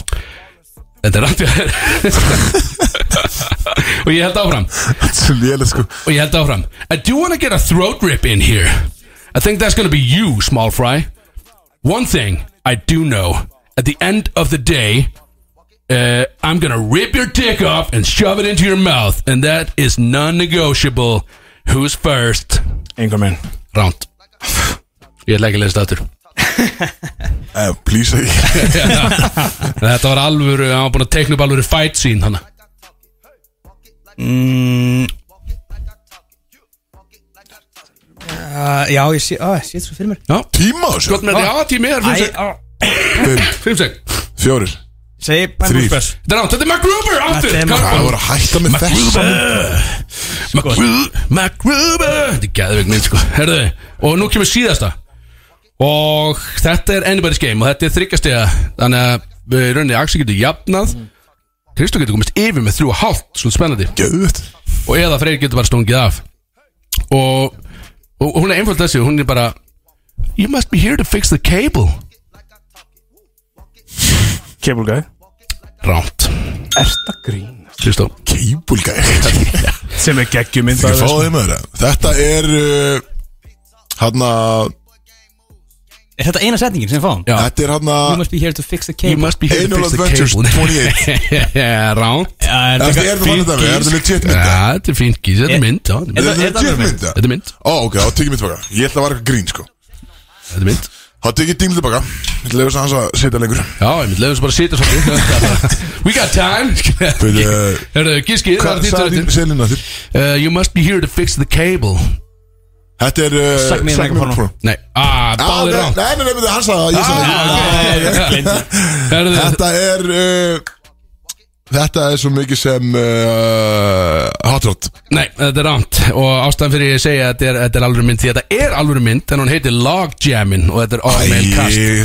S2: Þetta er rátt Og ég held áfram
S1: Þetta er svo lélega sko
S2: Og ég held áfram I do wanna get a throat rip in here I think that's gonna be you, small fry One thing I do know At the end of the day uh, I'm gonna rip your dick off And shove it into your mouth And that is non-negotiable Who's first?
S4: Engar megin
S2: Ránt Ég ætla ekki að lesa þetta aftur
S1: Eh, Please ekki
S2: Þetta var alvöru, hann var búin að teikna upp alvöru fight scene hana
S3: Mm. Uh, já, ég sé, á, ég sé þetta svo fyrir mér
S2: Já,
S1: Tíma á þessu
S2: gott með þetta, já, tími er 5
S3: Æ,
S2: sek
S3: á,
S2: 5 sek
S1: Fjórir
S3: segi
S1: Þrír.
S3: Bæmúlspers
S2: Þetta er ránt, þetta er MacGruber, aftur
S3: Þetta er
S2: Come on.
S1: Það voru að hætta með þessu
S3: Sko.
S2: MacGruber MacGruber Þetta er gæðveik mynd sko Herðu Og nú kemur síðasta Og þetta er anybody's game Og þetta er þryggjastega Þannig að við rauninni Axi getur jafnað Kristó getur komist yfir með þrjú og hálft Svolítið spennandi
S1: Gjöðut
S2: Og eða Freyr getur bara stungið af Og, og hún er einföld þessi Hún er bara You must be here to fix the cable
S4: Cable guy
S2: Rámt
S4: Ersta grín
S2: Kristó
S1: Keibulgæk
S4: Sem er geggjum mynd
S1: Ég fá þeim að þeirra Þetta er uh, Hanna
S3: Er þetta eina setningin sem við fáum?
S2: Já.
S1: Þetta er hanna
S3: You must be here to fix the
S2: You
S3: cable
S2: must be here to
S1: Anal
S2: fix the
S1: Adventures
S2: cable
S1: 28.
S2: Rámt
S3: Já, er
S1: Er
S3: þetta
S1: þetta
S3: fín
S1: fannig dæmi? Er þetta
S3: gís?
S1: legit
S2: Já,
S1: mynda?
S2: þetta er fínt gís Þetta er
S3: Ég-
S2: mynd já, Þetta er mynd.
S3: Er
S1: Þetta
S3: það-
S1: er
S3: er það
S1: legit
S3: alveg mynd?
S1: mynda?
S2: Þetta er mynd
S1: Ó, ok, þá tekið mér tilbaka Ég ætla að vera eitthvað grín, sko
S2: Þetta er mynd
S1: Þá tekið dingl tilbaka Ég ætla að hans að setja lengur
S2: Já, ég myndi leiðum svo bara að sitja svolítið We got time
S1: Byrju, eh,
S2: Hörðu, gískið, það er
S1: Hvað
S2: þitt
S1: sagði þín
S2: röttin
S1: selina þér?
S2: uh, You must be here to fix the cable
S1: Þetta er uh,
S3: Suck me in like a porno.
S1: porno.
S2: Nei, ah,
S1: Ah,
S2: báðir
S1: Nei,
S2: rátt
S1: nei, nei, nei, hann sagði það, ég sagði
S2: Ah,
S1: það
S2: Hörðu,
S1: Þetta er uh, Þetta er svo mikið sem uh, Hot Rod
S2: nei, þetta er rátt Og ástæðan fyrir ég segja að þetta er, þetta er alvöru mynd Því að þetta er alvöru mynd En hún heitir Logjammin Og þetta er all male cast
S1: Æ,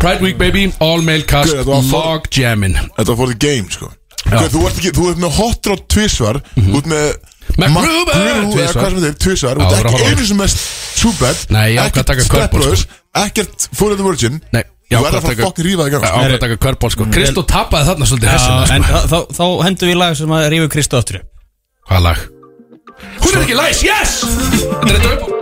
S2: Pride Week baby, all male cast
S1: Guð, þetta var for-
S2: Logjammin
S1: Þetta var for the game sko Hvað, þú, ert ekki, þú ert með Hot Rod tvisvar Þú ert með
S2: MacGruber
S1: MacGruber, eða
S2: Mhm. tvisvar.
S1: hvað sem þeir, tvisvar
S2: Já,
S1: Þú ert
S2: það var að
S1: ekki
S2: horfa á.
S1: einu sem mest Tubad
S2: Nei, ég ákvað að taka körfubolta, sko.
S1: Ekkert Full of the Virgin Þú er
S2: Nei, ég ákvað
S1: að
S2: að
S1: fara að
S2: taka
S1: fokkin rífa þig sko. gang
S2: Ákvæða taka körbál sko Kristó tappaði þarna svolítið hessina sko.
S3: Já, Ah, en þá, þá, þá hendum við lag sem að rífu Kristu aftur upp.
S2: Hvað lag? Hún er ekki læs, yes! Þetta er þetta upp á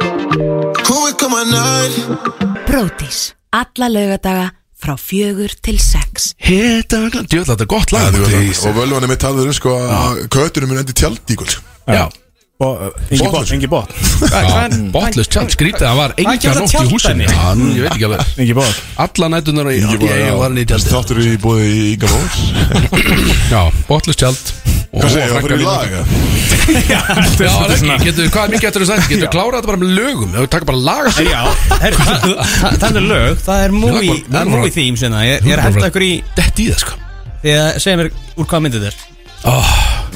S9: Brótis. Alla lögadaga frá fjögur til sex.
S2: Hitta, djöðla, þetta er gott lag sko.
S1: Þetta var það.
S2: Jesus.
S1: Og völvan er mitt talður um sko að Köttunum mun endi tjaldi í kvöld sko.
S2: Já,
S4: Engi bot Engi bot
S2: botlust tjald skrítið Það var enga
S3: gerði
S2: nótt í
S3: tjald
S2: húsinu
S3: dæmi?
S2: Já, nú, Ég veit ekki alveg
S4: Engi bot
S2: Alla nætunar í
S1: Ég
S2: Ég var hann í tjald
S1: Þáttur í bóði í Inga Mórs
S2: Já, botlust tjald
S1: Hvað segir, það fyrir í lag eða?
S2: Já, það er ekki, getur, hvað er mikið eftir þess að Getur klárað þetta bara með lögum Þau taka bara laga sig
S3: Já, herri, það, það, það er lög, það er movie,
S2: Já, bara-
S3: það er movie theme sem það, ég, ég er að henda ykkur í,
S2: Dett í það sko
S3: því að segja mér úr hvað myndið er.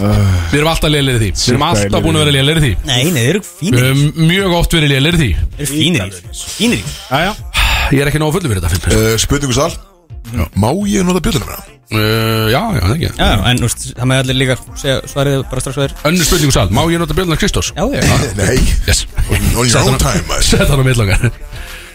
S2: Við erum alltaf lélir í því Við erum
S4: Sjötta er
S2: alltaf búin að vera lélir í því
S3: Nei, nei, þeir eru
S2: Við
S3: fínir, í-
S2: höfum mjög oft verið lélir í því
S3: þeir eru fínir, í þessu, Um, fínir. í þessu.
S4: Jæja
S2: Ég er ekki nógu fullu fyrir þetta fyrir
S1: Eh, Spurningu sal Má ég nota bjöllina mér?
S2: uh, Já, já, það ekki
S3: Já, já, en úst, það með allir líka segja svarið bara strax hvað er.
S2: Önnur spurningu sal, má ég nota björnuna Kristós?
S3: Já, já,
S1: Nei
S2: Yes
S1: On your own time maður.
S2: Sett hann á millokkar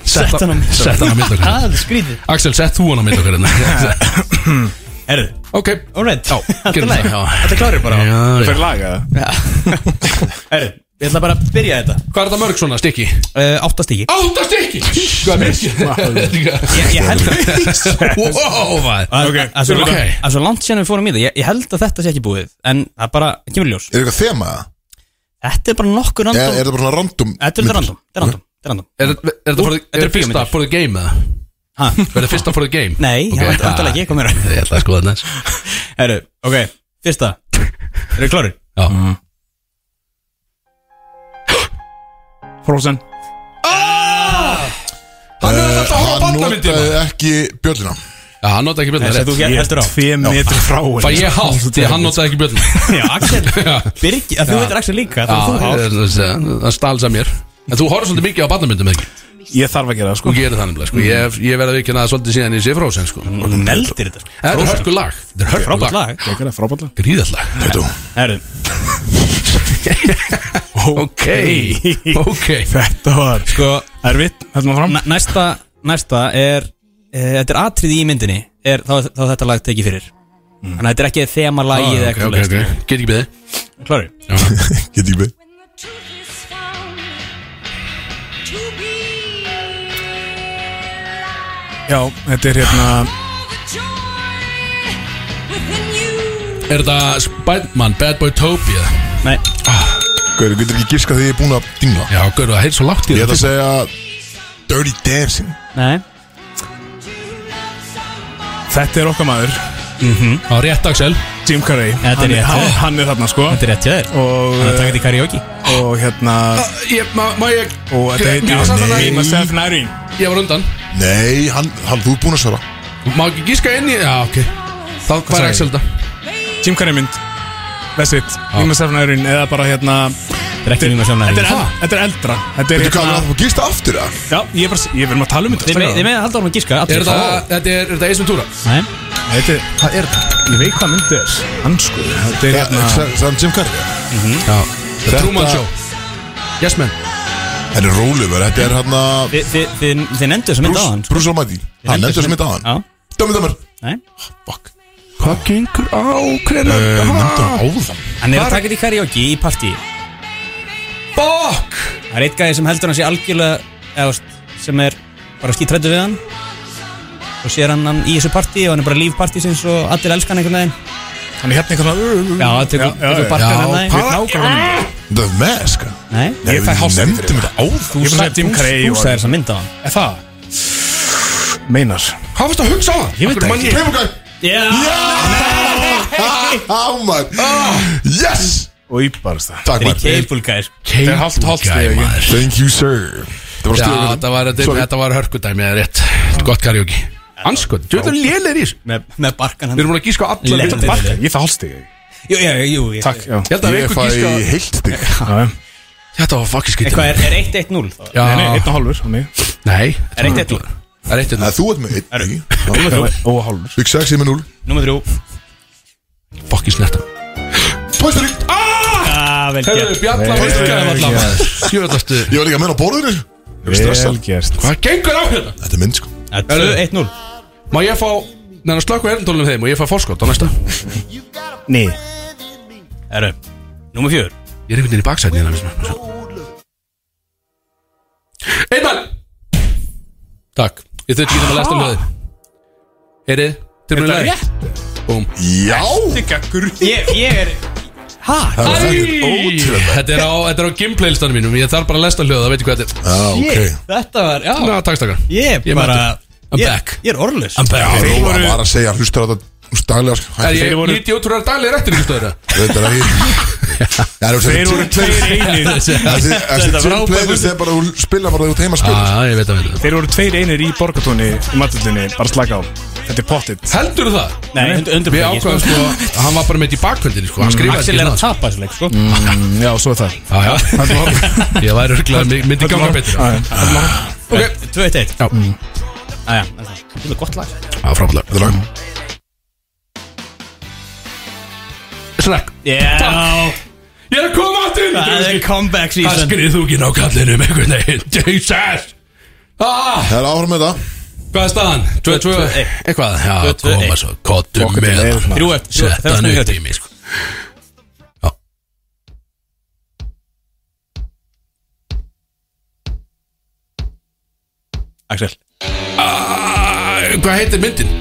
S2: Sett
S3: hann á milli okkar.
S2: Sett hann á millokkar
S3: það er skrítið.
S2: Axel, sett þú hann á millokkar hérna
S3: Herru,
S2: Ok
S3: alright,
S2: Já, gerum það, já.
S3: þetta klárir bara.
S2: Já, já.
S4: Fyrir laga það
S3: Herru, ég ætla bara að byrja þetta.
S2: Hvað er það mörg svona stykki?
S3: Uh, Áttastigi.
S2: Átta stykki! Hvað er mikið?
S3: Ég, ég held
S2: Wow, maður
S3: að
S4: Ok,
S3: að svo
S2: ok.
S3: langt- að svo langt sérna við fórum í það, ég, ég held að þetta sé ekki búið, en það bara kemur í ljós.
S1: Er eitthvað þema?
S3: Þetta er bara nokkur
S1: Eða
S3: random
S1: er það bara svona random?
S3: Þetta er þetta random, þetta er random, þetta er random.
S2: Er er þetta for the-
S3: Þetta
S2: er
S3: eru
S2: fyrsta
S3: bíómyndir.
S2: for the game eða?
S3: Ha?
S2: Verður fyrsta for the game?
S3: Nei,
S2: Ok,
S3: það
S2: ha.
S3: var andalega ekki eitthvað meira
S2: Ég ætla að skoða þetta aðeins.
S3: Herru, ok, fyrsta Eru þið klárir?
S2: Já
S4: Frozen
S2: Hann er að ert alltaf að horfa á
S1: Eh, hann
S2: barnamyndir,
S1: notaði ekki bjöllina
S2: Já, hann notaði ekki
S3: Þessi að
S2: björnum
S3: þú get-
S4: Ég
S3: heldur á
S4: er tvei metri frá henni,
S2: Fæ ég
S4: sko.
S2: hálft því að hann notaði ekki björnum
S3: Já, Axel
S2: Já.
S3: Birgi, að þú veitir Axel líka
S2: Já,
S3: Það
S2: ég
S3: er
S2: er
S3: þú
S2: að segja, það stálsa mér En þú horfður svolítið mikið á barnamyndum ekki
S4: Ég þarf að gera það
S2: Þú
S4: sko
S2: gerir það nefnilega, sko Ég, ég verði að vikina það svolítið síðan ég sé frósen, sko
S3: Og þú meldir þetta sko.
S2: En Þetta er hörku lag Þetta er hörku
S3: Frábært lag
S4: Ég gera það frábætla
S2: Gríðallag
S3: Herru,
S2: Ok, ok
S4: Þetta var
S2: Sko,
S4: erfitt Þetta var fram
S3: næ- Næsta, næsta er e, Þetta er atriði í myndinni er, þá, þá er þetta lag tekið fyrir Þannig að þetta er ekki þema lagi eða
S2: Ah, ok,
S3: eitthvað
S2: ok, ok Get ekki beðið
S3: Klari
S1: Get ekki með
S4: Já, þetta er hérna
S2: Er þetta Spiderman, Bad Boy Topia?
S3: Nei,
S1: Hver, þú getur ekki giska því ég er búin að dinga
S2: Já, gaur, það heilt svo lágt í
S1: Ég ætla
S2: þetta
S1: að segja Dirty Dancing
S3: nei
S4: Þetta er okkar maður
S2: Á rétt Axel
S4: Jim Carrey
S3: Þetta er
S4: Hann
S3: rétt,
S4: hann,
S3: já.
S4: hann er þarna sko
S3: Þetta er rétt hjá þér
S4: Og,
S3: Þannig að taka þetta í karaoke
S4: og hérna
S2: Ég, má, má ég
S4: Og þetta
S2: Já, samt
S4: heitir
S2: að-
S4: Name Myself Nærinn
S2: Ég var undan
S1: Nei, hann, hann, þú er búin að svara
S2: Má ekki gíska inn í Já, ok Þá hvað
S4: sagði
S2: er Axel þetta?
S4: Jim Carrey mynd That's it Name Myself Nærinn Eða bara hérna
S3: Þetta er ekki mjög sjálfnæri
S4: Þetta er, eld, þetta er eldra Þetta er hérna-
S1: Veitu hvað, við ætlum að gista aftur það
S4: Já, ég er bara Ég verðum að tala um þetta
S3: Þið með-
S4: strákar.
S3: þið með að halda orðum að gíska allir.
S2: Er þetta, þetta er, er þetta Ace Ventura?
S3: Nei,
S4: Þetta er Hvað er þetta? Ég veit hvað mynd er Hansku Þetta er hérna
S1: Það er Jim Carrey
S2: Já Mhm. The
S1: Þetta-
S2: Truman Show Yes man
S1: Þetta er Róliver, þetta er hann að
S3: Þið- þið- þið þið nefndu þess að mynda á hann
S1: Bruce, Bruce Almighty Hann nefndi þessu mynd á hann
S3: Já,
S1: Dömmir, dömmir
S3: nei
S1: Fuck
S2: Hvað gengur á hvernig?
S1: Eh, Nefndi
S2: Ah.
S1: hann áðan
S3: Hann er að taka þetta í karaoke í partí
S2: Fuck
S3: Það er eitt gæði sem heldur hann sé algjörlega eða, veist, sem er bara skítrættu við hann og sér hann, hann í þessu partí og hann er bara lífpartí sinns og allir elska hann einhvern veginn
S4: Hann er hérna eitthvað
S3: Já, það tekur- tekur barkan
S2: Já,
S3: hann
S2: hvað-
S3: það
S1: The Mask
S3: Nei,
S1: Nei,
S4: Ég fæ
S1: við
S4: hálfstíð fyrir
S1: Nefndum þetta áðan
S3: þú
S4: Ég bara
S3: sa-
S4: sagði Jim
S3: þú-
S4: Carrey
S3: þú
S4: og-
S3: sagði þess að mynda á hann
S4: Er það? Meinar
S2: Hvað fannst að hugsa á það? Ég veit ekki
S1: Pimmelgæk Á
S2: Ah.
S1: maður Yes
S4: Og íbarast það
S1: Takk
S3: Þetta er
S1: maður
S3: Cable Guys
S4: Þetta er hálft hálft
S2: Guy,
S4: stið
S2: maður.
S1: Thank you sir Það var
S2: Já,
S1: stuðið
S2: þetta var, þetta, þetta var hörkudæmi eða rétt Gott karaoke Anskot, þú veit að lélir í þessu
S3: með, með barkan hann
S2: Við erum búin að gíska á alla
S3: Lélegir.
S2: myndirnar.
S4: Ég fæ hálfstíð
S3: Jú, já, jú, jú
S4: Takk já.
S2: Ég held
S1: Ég
S2: að við
S1: fæ
S2: eitthvað gíska
S1: heilt stig
S2: Þetta var fucking skrítið
S3: Eitthvað er, er 1-1-0 þá?
S2: Já,
S4: Nei, nei, einn og hálfur á mig.
S2: nei
S3: Er eitt eitt núll?
S2: Það er hérna. eitt eitt
S1: Nei, þú ert með einn
S4: Og hálfur
S1: Bygg 6 í með 0
S3: Númer 3
S2: Fucking snetta
S1: Póstur í
S3: Ah, vel
S2: Hefur
S3: gert
S2: bjalla
S4: Nei,
S2: virkaði
S4: nei,
S2: allavega Sjöðastu
S1: Ég var líka með á borðinu Ég var stressað
S4: gert
S2: Hvað gengur á hérna?
S1: Þetta er mynd sko
S3: Þetta er 1-0
S2: Má ég fá Neðan slökku erindólunum þeim og ég fá fórskott á næsta
S4: Nei
S3: Herru, númer 4
S2: Ég er einhvern veginn í baksætni hérna finnst mér. Einn mann Takk Ég þurfti ekki að lesta um það Heyrið Tilbúin að læra Búm
S1: Já
S3: Ég, ég er
S1: Það var
S2: Æ,
S1: þakkir ótrúlega
S2: Þetta er á, þetta er á gameplay listanum mínum Ég þarf bara að lesta hljóða, það veit ég hvað þetta er
S1: Já, Ah, ok
S3: Þetta var, já
S2: Ná, takk stakkar
S3: Ég
S2: Ég
S3: er bara
S2: I'm
S3: ég-
S2: back.
S3: Ég er orðlös
S1: Já,
S2: Er
S1: Róa var að segja Hlustar á þetta Daglega sko Hæ,
S2: ég
S4: Þeir voru-
S2: 98 úr daglega réttir í stöður
S1: Þetta er ekki Já, þú
S4: Þeir voru tveir einir
S1: Þessi þessi
S3: Þetta var
S1: tveim playlist er bara að spila bara þegar þú teima spila
S2: Já, ég veit að veit að
S4: Þeir voru tveir einir í borgatóni í matullinni Bara slaka á Þetta er pottitt
S2: Heldur það?
S3: Nei, undir, undir
S2: Við ákvæðum sko að Hann var bara meitt í Mm. bakhöldinni sko Hann skrifaði
S3: Axel
S2: ekki
S3: er að
S2: nátt
S3: tapa þessu leik, sko
S4: Já, svo er það
S2: Já, já Ég væri örgulega myndi ganga betur
S4: Já, já.
S2: Ok
S3: 2-1-1
S2: Já.
S3: Æja, þetta Mm. er gott lag
S1: Ah,
S2: Já, frábæðlega
S1: Þetta er lag
S2: Snakk
S3: Já,
S2: Ég er að koma aftur inn
S3: það er
S2: drauski.
S3: comeback
S2: Það
S3: season
S2: skrið þú ekki ná kallinum einhvern veginn Jesus Ah,
S1: Það er áhrum með þetta
S2: hvað er staðan? 2-2
S3: 2-2-1.
S2: Eitthvað, já,
S3: 2-2-1.
S2: koma svo Kottum
S4: Kokkum
S2: með
S4: með, maður.
S2: það.
S3: Þrjú eftir, þrjú eftir,
S2: Sett
S3: það
S2: hann
S3: er
S2: upp
S3: snöggjöti.
S2: í mig sko
S3: Axel
S2: Æ, Ah, Hvað heitir myndin?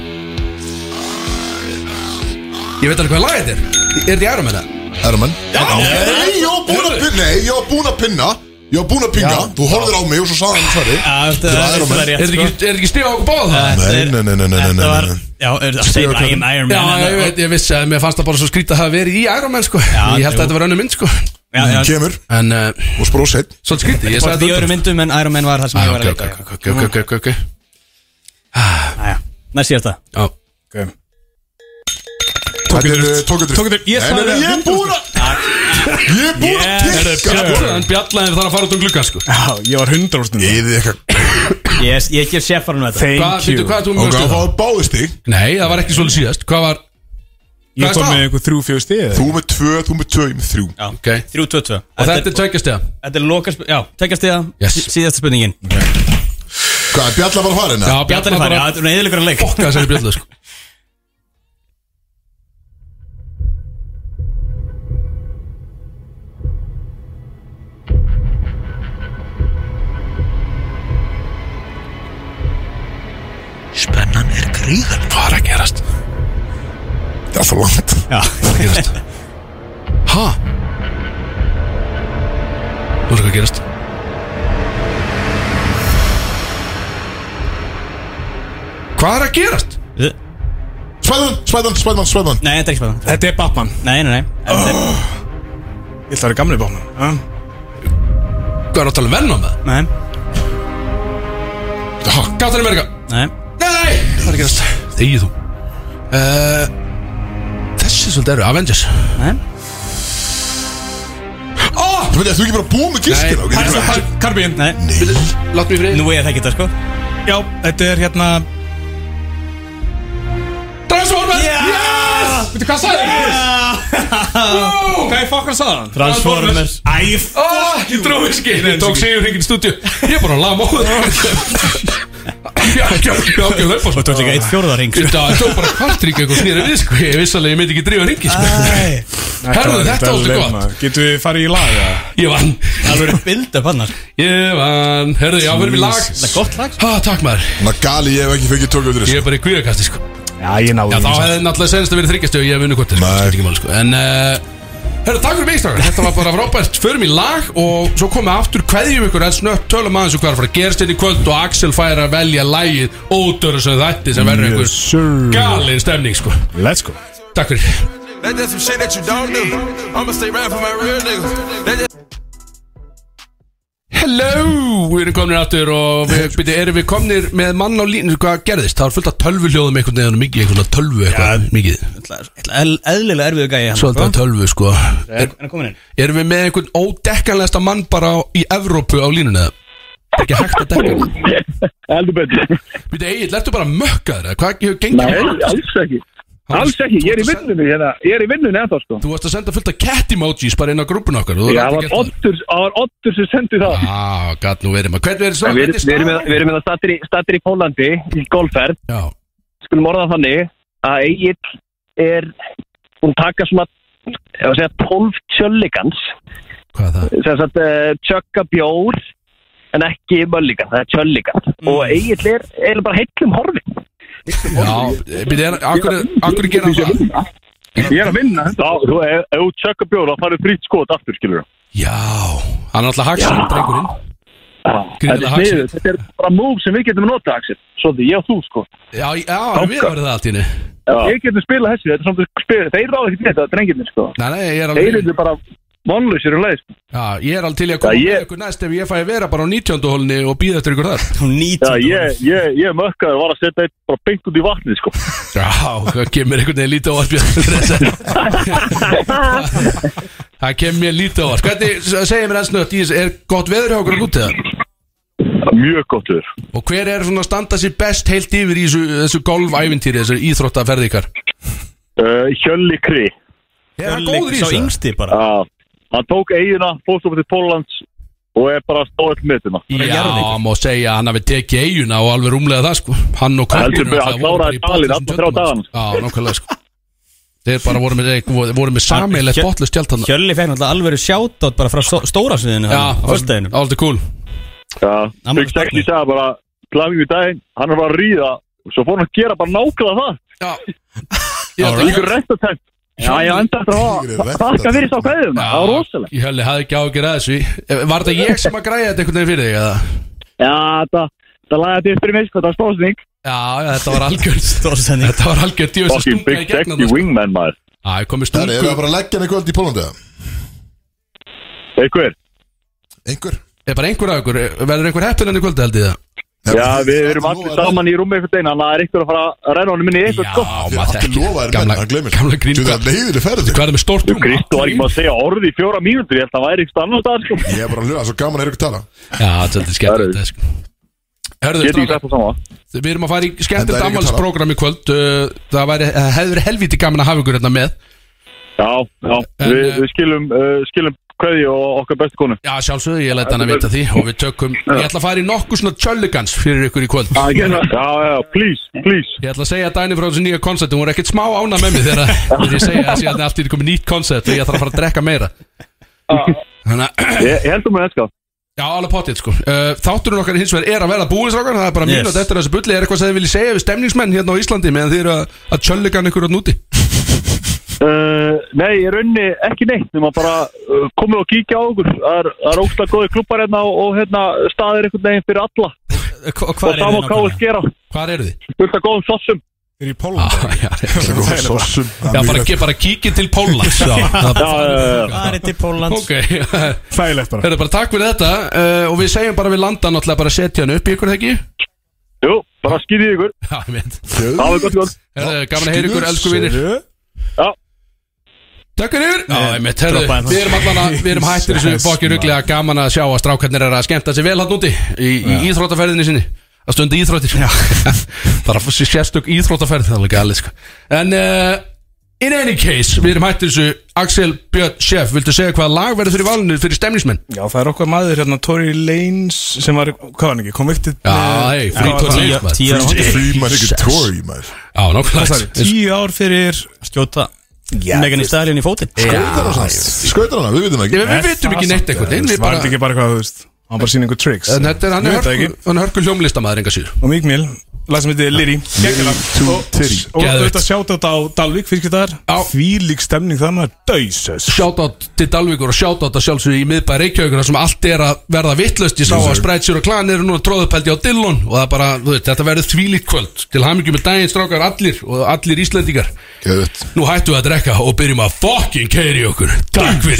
S2: Ég veit alveg hvað lag þetta er Er þetta í ærum hennar?
S1: Erman Já, nei, ég var búin að pinna Nei, ég var búin að pinna Ég var búin að pinga Þú horfðir á mig og svo sagði hann svari
S3: Já, þetta
S1: Þetta
S3: er
S1: Iron Man.
S2: Er þetta
S3: þetta er rétt, sko
S2: ekki- er þetta ekki stífa okkur báða það?
S1: Nei,
S3: er-
S1: nei, nei, nei, nei, nei,
S3: Þetta
S1: nei,
S3: var,
S1: nei.
S3: já, er það segir I am Iron Man
S2: Já,
S3: en-
S2: ég veit, ég vissi að mér fannst það bara svo skrítið að hafa verið í Iron Man sko Ég held að
S3: jú.
S2: þetta var önnu mynd sko
S3: Já, já,
S1: Kemur
S2: En, uh,
S1: og sprós heitt
S2: svolítið skrítið, ég
S3: Ég
S2: sagði
S3: sagði
S2: þetta
S3: öðru
S2: undan.
S3: myndum en Iron Man var það sem
S2: Ah,
S3: ég
S2: ok,
S3: var að
S2: ok,
S3: leika
S2: ok, ok, ok, ok, ok
S3: Næja, næst síðast það
S2: Já
S4: Ok
S1: Þetta er uh, tókendur
S4: Tókendur, ég
S1: Nei,
S4: svaraði
S1: nei, nei, Ég er búin að Ég er búin að
S2: Herra,
S1: tikka
S2: Bjallan, bjallan er þar að fara út um gluggan sko
S4: Já, ég var hundra úr stundum
S1: Eða eitthvað
S3: Yes, ég gef sérfarinn með þetta
S2: Hvað,
S4: Thank
S2: fyrir,
S4: you
S2: hvað er þú
S1: Og
S2: mjög
S1: hvað
S2: stuð?
S1: fáið báðist þig
S2: Nei, það var ekki svolítið síðast Hvað var, hvað
S4: Ég
S2: er
S4: kom
S2: staðan?
S4: með einhver þrjú, fjögur stið
S1: Þú með tvö, þú með tvö, ég með þrjú
S3: Já,
S2: ok Og
S3: 3-2-2
S2: þetta er tveikast eða
S3: Þetta er lokast, já, tekjast þið
S2: Yes.
S3: það Síðasta spurningin
S1: Hvað, Bjalla var að fara hérna?
S2: Já,
S3: Bjartan
S2: bjallan er
S3: er farið, já,
S2: bara
S3: þetta er neðilegur leik
S2: Fokka þessari bjallu sko
S8: Spennan er gríðan
S2: Hvað er að gerast?
S1: Það er svo langt
S3: Já,
S2: Hvað er að gerast? Ha? Nú er hvað að gerast Hvað er að gerast?
S1: Spæðan, spæðan, spæðan, spæðan
S3: nei, þetta er ekki spennað
S4: Þetta er Batman
S3: Nei, nei, nei Þetta er-
S4: Ég ætla að vera gamli Batman ha?
S2: Hvað er að tala um Venom með?
S3: Nei,
S2: Captain America
S3: nei
S2: Nei, hvað er að gerast? Þegið þú uh, Þessi er svolítið eru Avengers
S3: Nei.
S2: Ah,
S1: Þú veit, ert þú ekki bara búið með
S2: Nei,
S1: giskina?
S2: Pirates of
S4: Kar- Karbín
S3: Nei,
S2: Látt mér frið
S3: nú er það ekki þetta sko
S4: Já, þetta er hérna
S2: Transformers
S3: Já!
S2: Yes Veitu hvað sagði ég?
S4: Hvað ég fokkar saðan?
S3: Transformers
S4: Æ,
S2: Ah, ég dróði ekki Ég tók segjum hringin í stúdíu Ég er bara að laga móður Já, já, já, já, löpa
S3: Og þú ert líka eitt sko. fjórða ring
S2: Þetta það tók bara kvartrík eitthvað snýra við sko Ég vissi alveg, ég myndi ekki drífa hringi sko
S3: Ah.
S2: Herðu, þetta var þetta gott
S4: Getur við farið í lag? eða?
S2: Ég vann
S3: Það verður bild upp hann sko.
S2: Ég vann Herðu, já, verðum við lag
S3: Það er gott lag sko.
S2: Ha, takk maður
S1: Ná, gali, ég hef ekki fengið tókið út í
S2: Ég
S1: þessu
S2: er bara í kvíðakasti sko
S4: Já, ég
S2: Já,
S4: náði
S2: þá
S4: þessu.
S2: hefði náttúrulega senast að verið þryggjast og ég hef unni kvartir
S1: Nei.
S2: Skipt ekki máli, sko. En, uh, herra, takk fyrir mig, strákar Þetta var bara frábært Förum í lag og svo komum við aftur Kveðjum ykkur en snött Tölum aðeins og hvað er að fara að gerast hérna í kvöld Og Axel fær að velja lagið Ódöru sem þætti sem verður
S4: Yes,
S2: einhver
S4: sir.
S2: galin stemning, sko
S4: Let's go
S2: Takk fyrir
S8: That is some shit that you don't do I'ma stay around for my real niggas That is
S2: Hello, við erum komnir aftur og við, byrju, erum við komnir með mann á línu Hvað gerðist? Það var fullt af tölvuljóðum einhvern veginn mikið, einhvern veginn tölvu eitthvað mikið
S3: Ætla- ætla- eðl- Eðlilega erfiðu gæði hann
S2: Svolítið af tölvu, sko er,
S3: Hann er komin inn
S2: Erum við með einhvern ódekkanlegasta mann bara á, í Evrópu á línunni eða? Það er ekki hægt að dekka Eldur betur Við þetta eigin, lertu bara mökkaður eða? Hvað hefur gengið? Nei, alls ekki Alls ekki, ég er í vinnunni hérna Ég er í vinnunni eða sko Þú varst að senda fullt af cat emojis bara inn á grúpuna okkar Já, það var Ottur sem sendi það Já, gæt nú verið maður Hvernig verið svo?
S8: Við við erum með- við erum með það stattir í, stattir í Pólandi í golfferð,
S2: Já,
S8: skulum orða það þannig að Egil er hún taka svona ef að segja 12 tjölligans
S2: hvað er það?
S8: sem sagt uh, tjökka bjór en ekki mölligan, það er tjölligan og
S3: Mm.
S8: Egil er, er bara heillum horfi
S2: Já, við erum, akkur, akkur gera hann það
S8: Já, þú, ef ef þú tjökka bjór þá farið frýtt skot aftur, skilur
S2: Já, hann er alltaf haksinn, drengurinn Gríðarlega
S8: Þetta er sniðugt, þetta er bara move sem við getum notað, Axel Svolítið, ég og þú, sko
S2: Já, já, við verðum það allt í henni
S8: Ég getum spilað þessu, þetta er samt spil Þeir ráða ekki þetta, drengirnir, sko
S2: Nei, nei, ég er alveg
S8: Þeir eru bara vonlausir um leið, sko
S2: Já, ég er alveg til í að koma
S8: Já,
S2: með
S8: ég-
S2: ykkur næst ef ég fæ að vera bara á 19. hólni og býða eftir ykkur þar
S3: Hún nýtt
S8: Já, ég, ég, ég mökkaður var að setja eitt bara beint út í vatnið, sko
S2: Já, það kemur einhvern veginn lítið á varfið Það kemur mér lítið á varfið Hvernig, s- segir mér ennsnögt, er gott veður hjá okkur að lútið það?
S8: Mjög gott viður
S2: Og hver er svona að standa sér best heilt yfir í þessu, þessu golfævintýri, þessu íþróttaferði ykkar?
S8: uh, Hjölli Kri
S2: Er hann góður í
S3: Sá
S2: þessu?
S3: yngsti bara
S8: Já, hann tók eiguna, fórst upp til Póllands og er bara stóðið metina
S2: Já,
S3: jarðveikur.
S2: má segja að hann hafi tekið eiguna og alveg rúmlega það sko Hann og
S8: Heldur
S2: Kolbrún
S8: betur,
S2: náttúrulega
S8: hann
S2: voru bara
S8: kláraði
S2: í botlausum
S8: dalinn alla þrjá
S2: tjöldum, sko. Já, nákvæmlega sko Þeir bara voru með, voru með sameilegt
S3: Hjö-
S2: botlust tjald hann
S3: Hjölli fekk náttúrulega alveg sjátt bara frá stó- stóra sviðinu
S2: Já,
S3: þarna, á föstudeginum.
S2: alltaf cool
S8: Já,
S3: Hann var
S8: Big Sexy
S3: sparknir.
S8: sagði bara Glaming í daginn, hann er bara að ríða og svo fór hann að gera bara nákvæmlega það
S2: Já Ég held að-
S8: Líkur restatent Já, ég enda eftir að
S1: Líkur
S8: þakka fyrir sá kveðum Það var rosalega
S2: Ég held að hafði ekki ágjör að þessu Eh, Var þetta ég sem að græja þetta einhvern veginn fyrir þig? eða?
S8: Já, það, það lagði þetta upp fyrir mig, sko, það var stóðsning
S2: Já, já, þetta var algjörð
S3: Stórsending.
S2: Þetta var algjörð djöfis að
S8: Fucking
S2: stunga í
S8: Big
S2: gegna
S8: Sexy
S2: það sko.
S8: wingman, maður
S2: Já, ég komið
S1: Það er
S2: stungu
S1: það bara að leggja hann eitthvað í Pólandi eða?
S8: Einhver,
S1: Einhver?
S2: Er bara einhver af ykkur Verður einhver heppin enn í kvöldi held ég það
S8: Já, við erum allir saman í rúmi einhvern veginn, þannig að það er ykkur að fara að ræna honum minni í eitthvað sko.
S1: Við erum allir lofaðir menn, hann glemir Gamla grín Þú veit, leiðileg ferð
S2: Hvað er það með stórt
S1: rúm?
S8: Kristu var ekki maður að segja orði í fjóra mínútur, ég held að það væri eitthvað annar dag sko.
S1: Ég er bara að hljóða, svo gaman er ykkur tala
S2: Já, þetta er skemmtilegt þetta, sko. Herðu,
S8: Ég get ekki sagt það sama.
S2: Við erum að fara í
S8: Enda er
S2: skemmtilegt
S8: ekki
S2: ammálsprogram í kvöld uh, Það væri, það hefði verið helviti gaman að hafa ykkur hérna með
S8: Já, já, við,
S2: eh,
S8: við skilum, uh, skilum kveði og okkar bestu konu.
S2: Já, sjálfsögðu, ég læt hann að vita því og við tökum, ég ætla að fara í nokkuð svona tjöllugans fyrir ykkur í kvöld
S8: Já, já, please, please
S2: Ég ætla að segja að Dæni frá þessu nýja koncept hún er ekkert smá ána með mig þegar, þegar ég segja að síðan er allt í því komið nýtt koncept og ég ætla að fara að drekka meira Þannig að
S8: Ég heldur með þetta
S2: Já, alveg potið sko uh, Þátturinn okkar hins vegar er að vera búið strákar Það er bara
S8: Yes.
S2: mínútt eftir þessu bulli Er eitthvað sem þið viljið segja við stemningsmenn hérna á Íslandi meðan þið eru að, að tjöllugan ykkur hérna á núti
S8: Uh, nei, ég raunni ekki neitt nema bara uh, komið og kíkja á okkur það er, það er ógsta góði klubbar hérna og, og hérna, staðir einhvern veginn fyrir alla og
S2: hvar eru
S8: það má
S2: þið
S8: káðis gera
S2: Hvað eru þið? Ah,
S8: fullt af góðum sossum
S1: Þeir í Pólund
S2: góðum
S1: sossum.
S2: Já, bara, ekki, bara kíkja til Póllands
S1: Já,
S2: Farið
S3: til Póllands
S2: Ok Þægilegt
S4: bara.
S2: Herra, bara takk fyrir þetta uh, Og við segjum bara við landa náttúrulega bara að setja hann upp í ykkur, þekki?
S8: Jú, bara skýrið ykkur
S2: Já, ég veit
S8: Það var gott, gott.
S2: Herra, gaman að heyra ykkur, elsku vinir
S8: Skýrðu. Já
S2: Takk fyrir Já, ég mitt, herru,
S8: droppaði hann.
S2: við erum allan að, við erum hættir þessu
S8: Jesus,
S2: fokki rugglega gaman að sjá að strákarnir er að skemmta sér vel hann úti í, í íþróttaferðinni sinni að stunda íþróttir Það er að fá sér sérstök íþróttaferð það er alveg galið sko En uh, in any case, við erum hættir þessu Axel Björn Sjöf, viltu segja hvaða lag verður fyrir valinu fyrir stemnismenn?
S4: Já, það er okkar maður hérna, Tory Lanes sem var, hvað var hann ekki, convicted
S2: Eh, Já, hey, sko. free Tory Lanez, maður. Free- free maður, ekki Tory,
S1: maður
S2: Já, nákvæmlega.
S4: Tíu ár fyrir
S3: Skjóta Megan í staðlinni í fótinn
S4: Skautar hann
S1: Skautar hann, við vitum
S2: ekki. Við- við vitum ekki neitt eitthvað, við
S4: Var
S2: bara-
S4: þetta ekki bara hvað, þú veist Hann bara sýnir einhver tricks
S2: En þetta er hann
S4: Ég
S2: er
S4: veit það ekki.
S2: hörku, hann er hörku hljómlistamæður enga síður
S4: Og Míkmil, lag sem heitir Liri Gekkjulag
S1: to
S4: Og
S1: Titty.
S4: og
S2: Geðveikt.
S4: auðvitað sjátt á Dalvik fiskirtar Því lík stemning það maður Dausus
S2: Shoutout til Dalvíkur og shoutout að sjálfsögðu í miðbæ Reykjavíkur þar sem allt er að verða vittlust Ég sá að Spreadsjur og Klan eru núna tróðupældi á Dillon og það er bara, þú veit, þetta verður þvílíkt kvöld Til hamingjum með daginn strákar allir og allir Íslendingar
S1: Geðvett
S2: Nú hættum við að drekka og byrjum að fucking keiri okkur Takk fyrir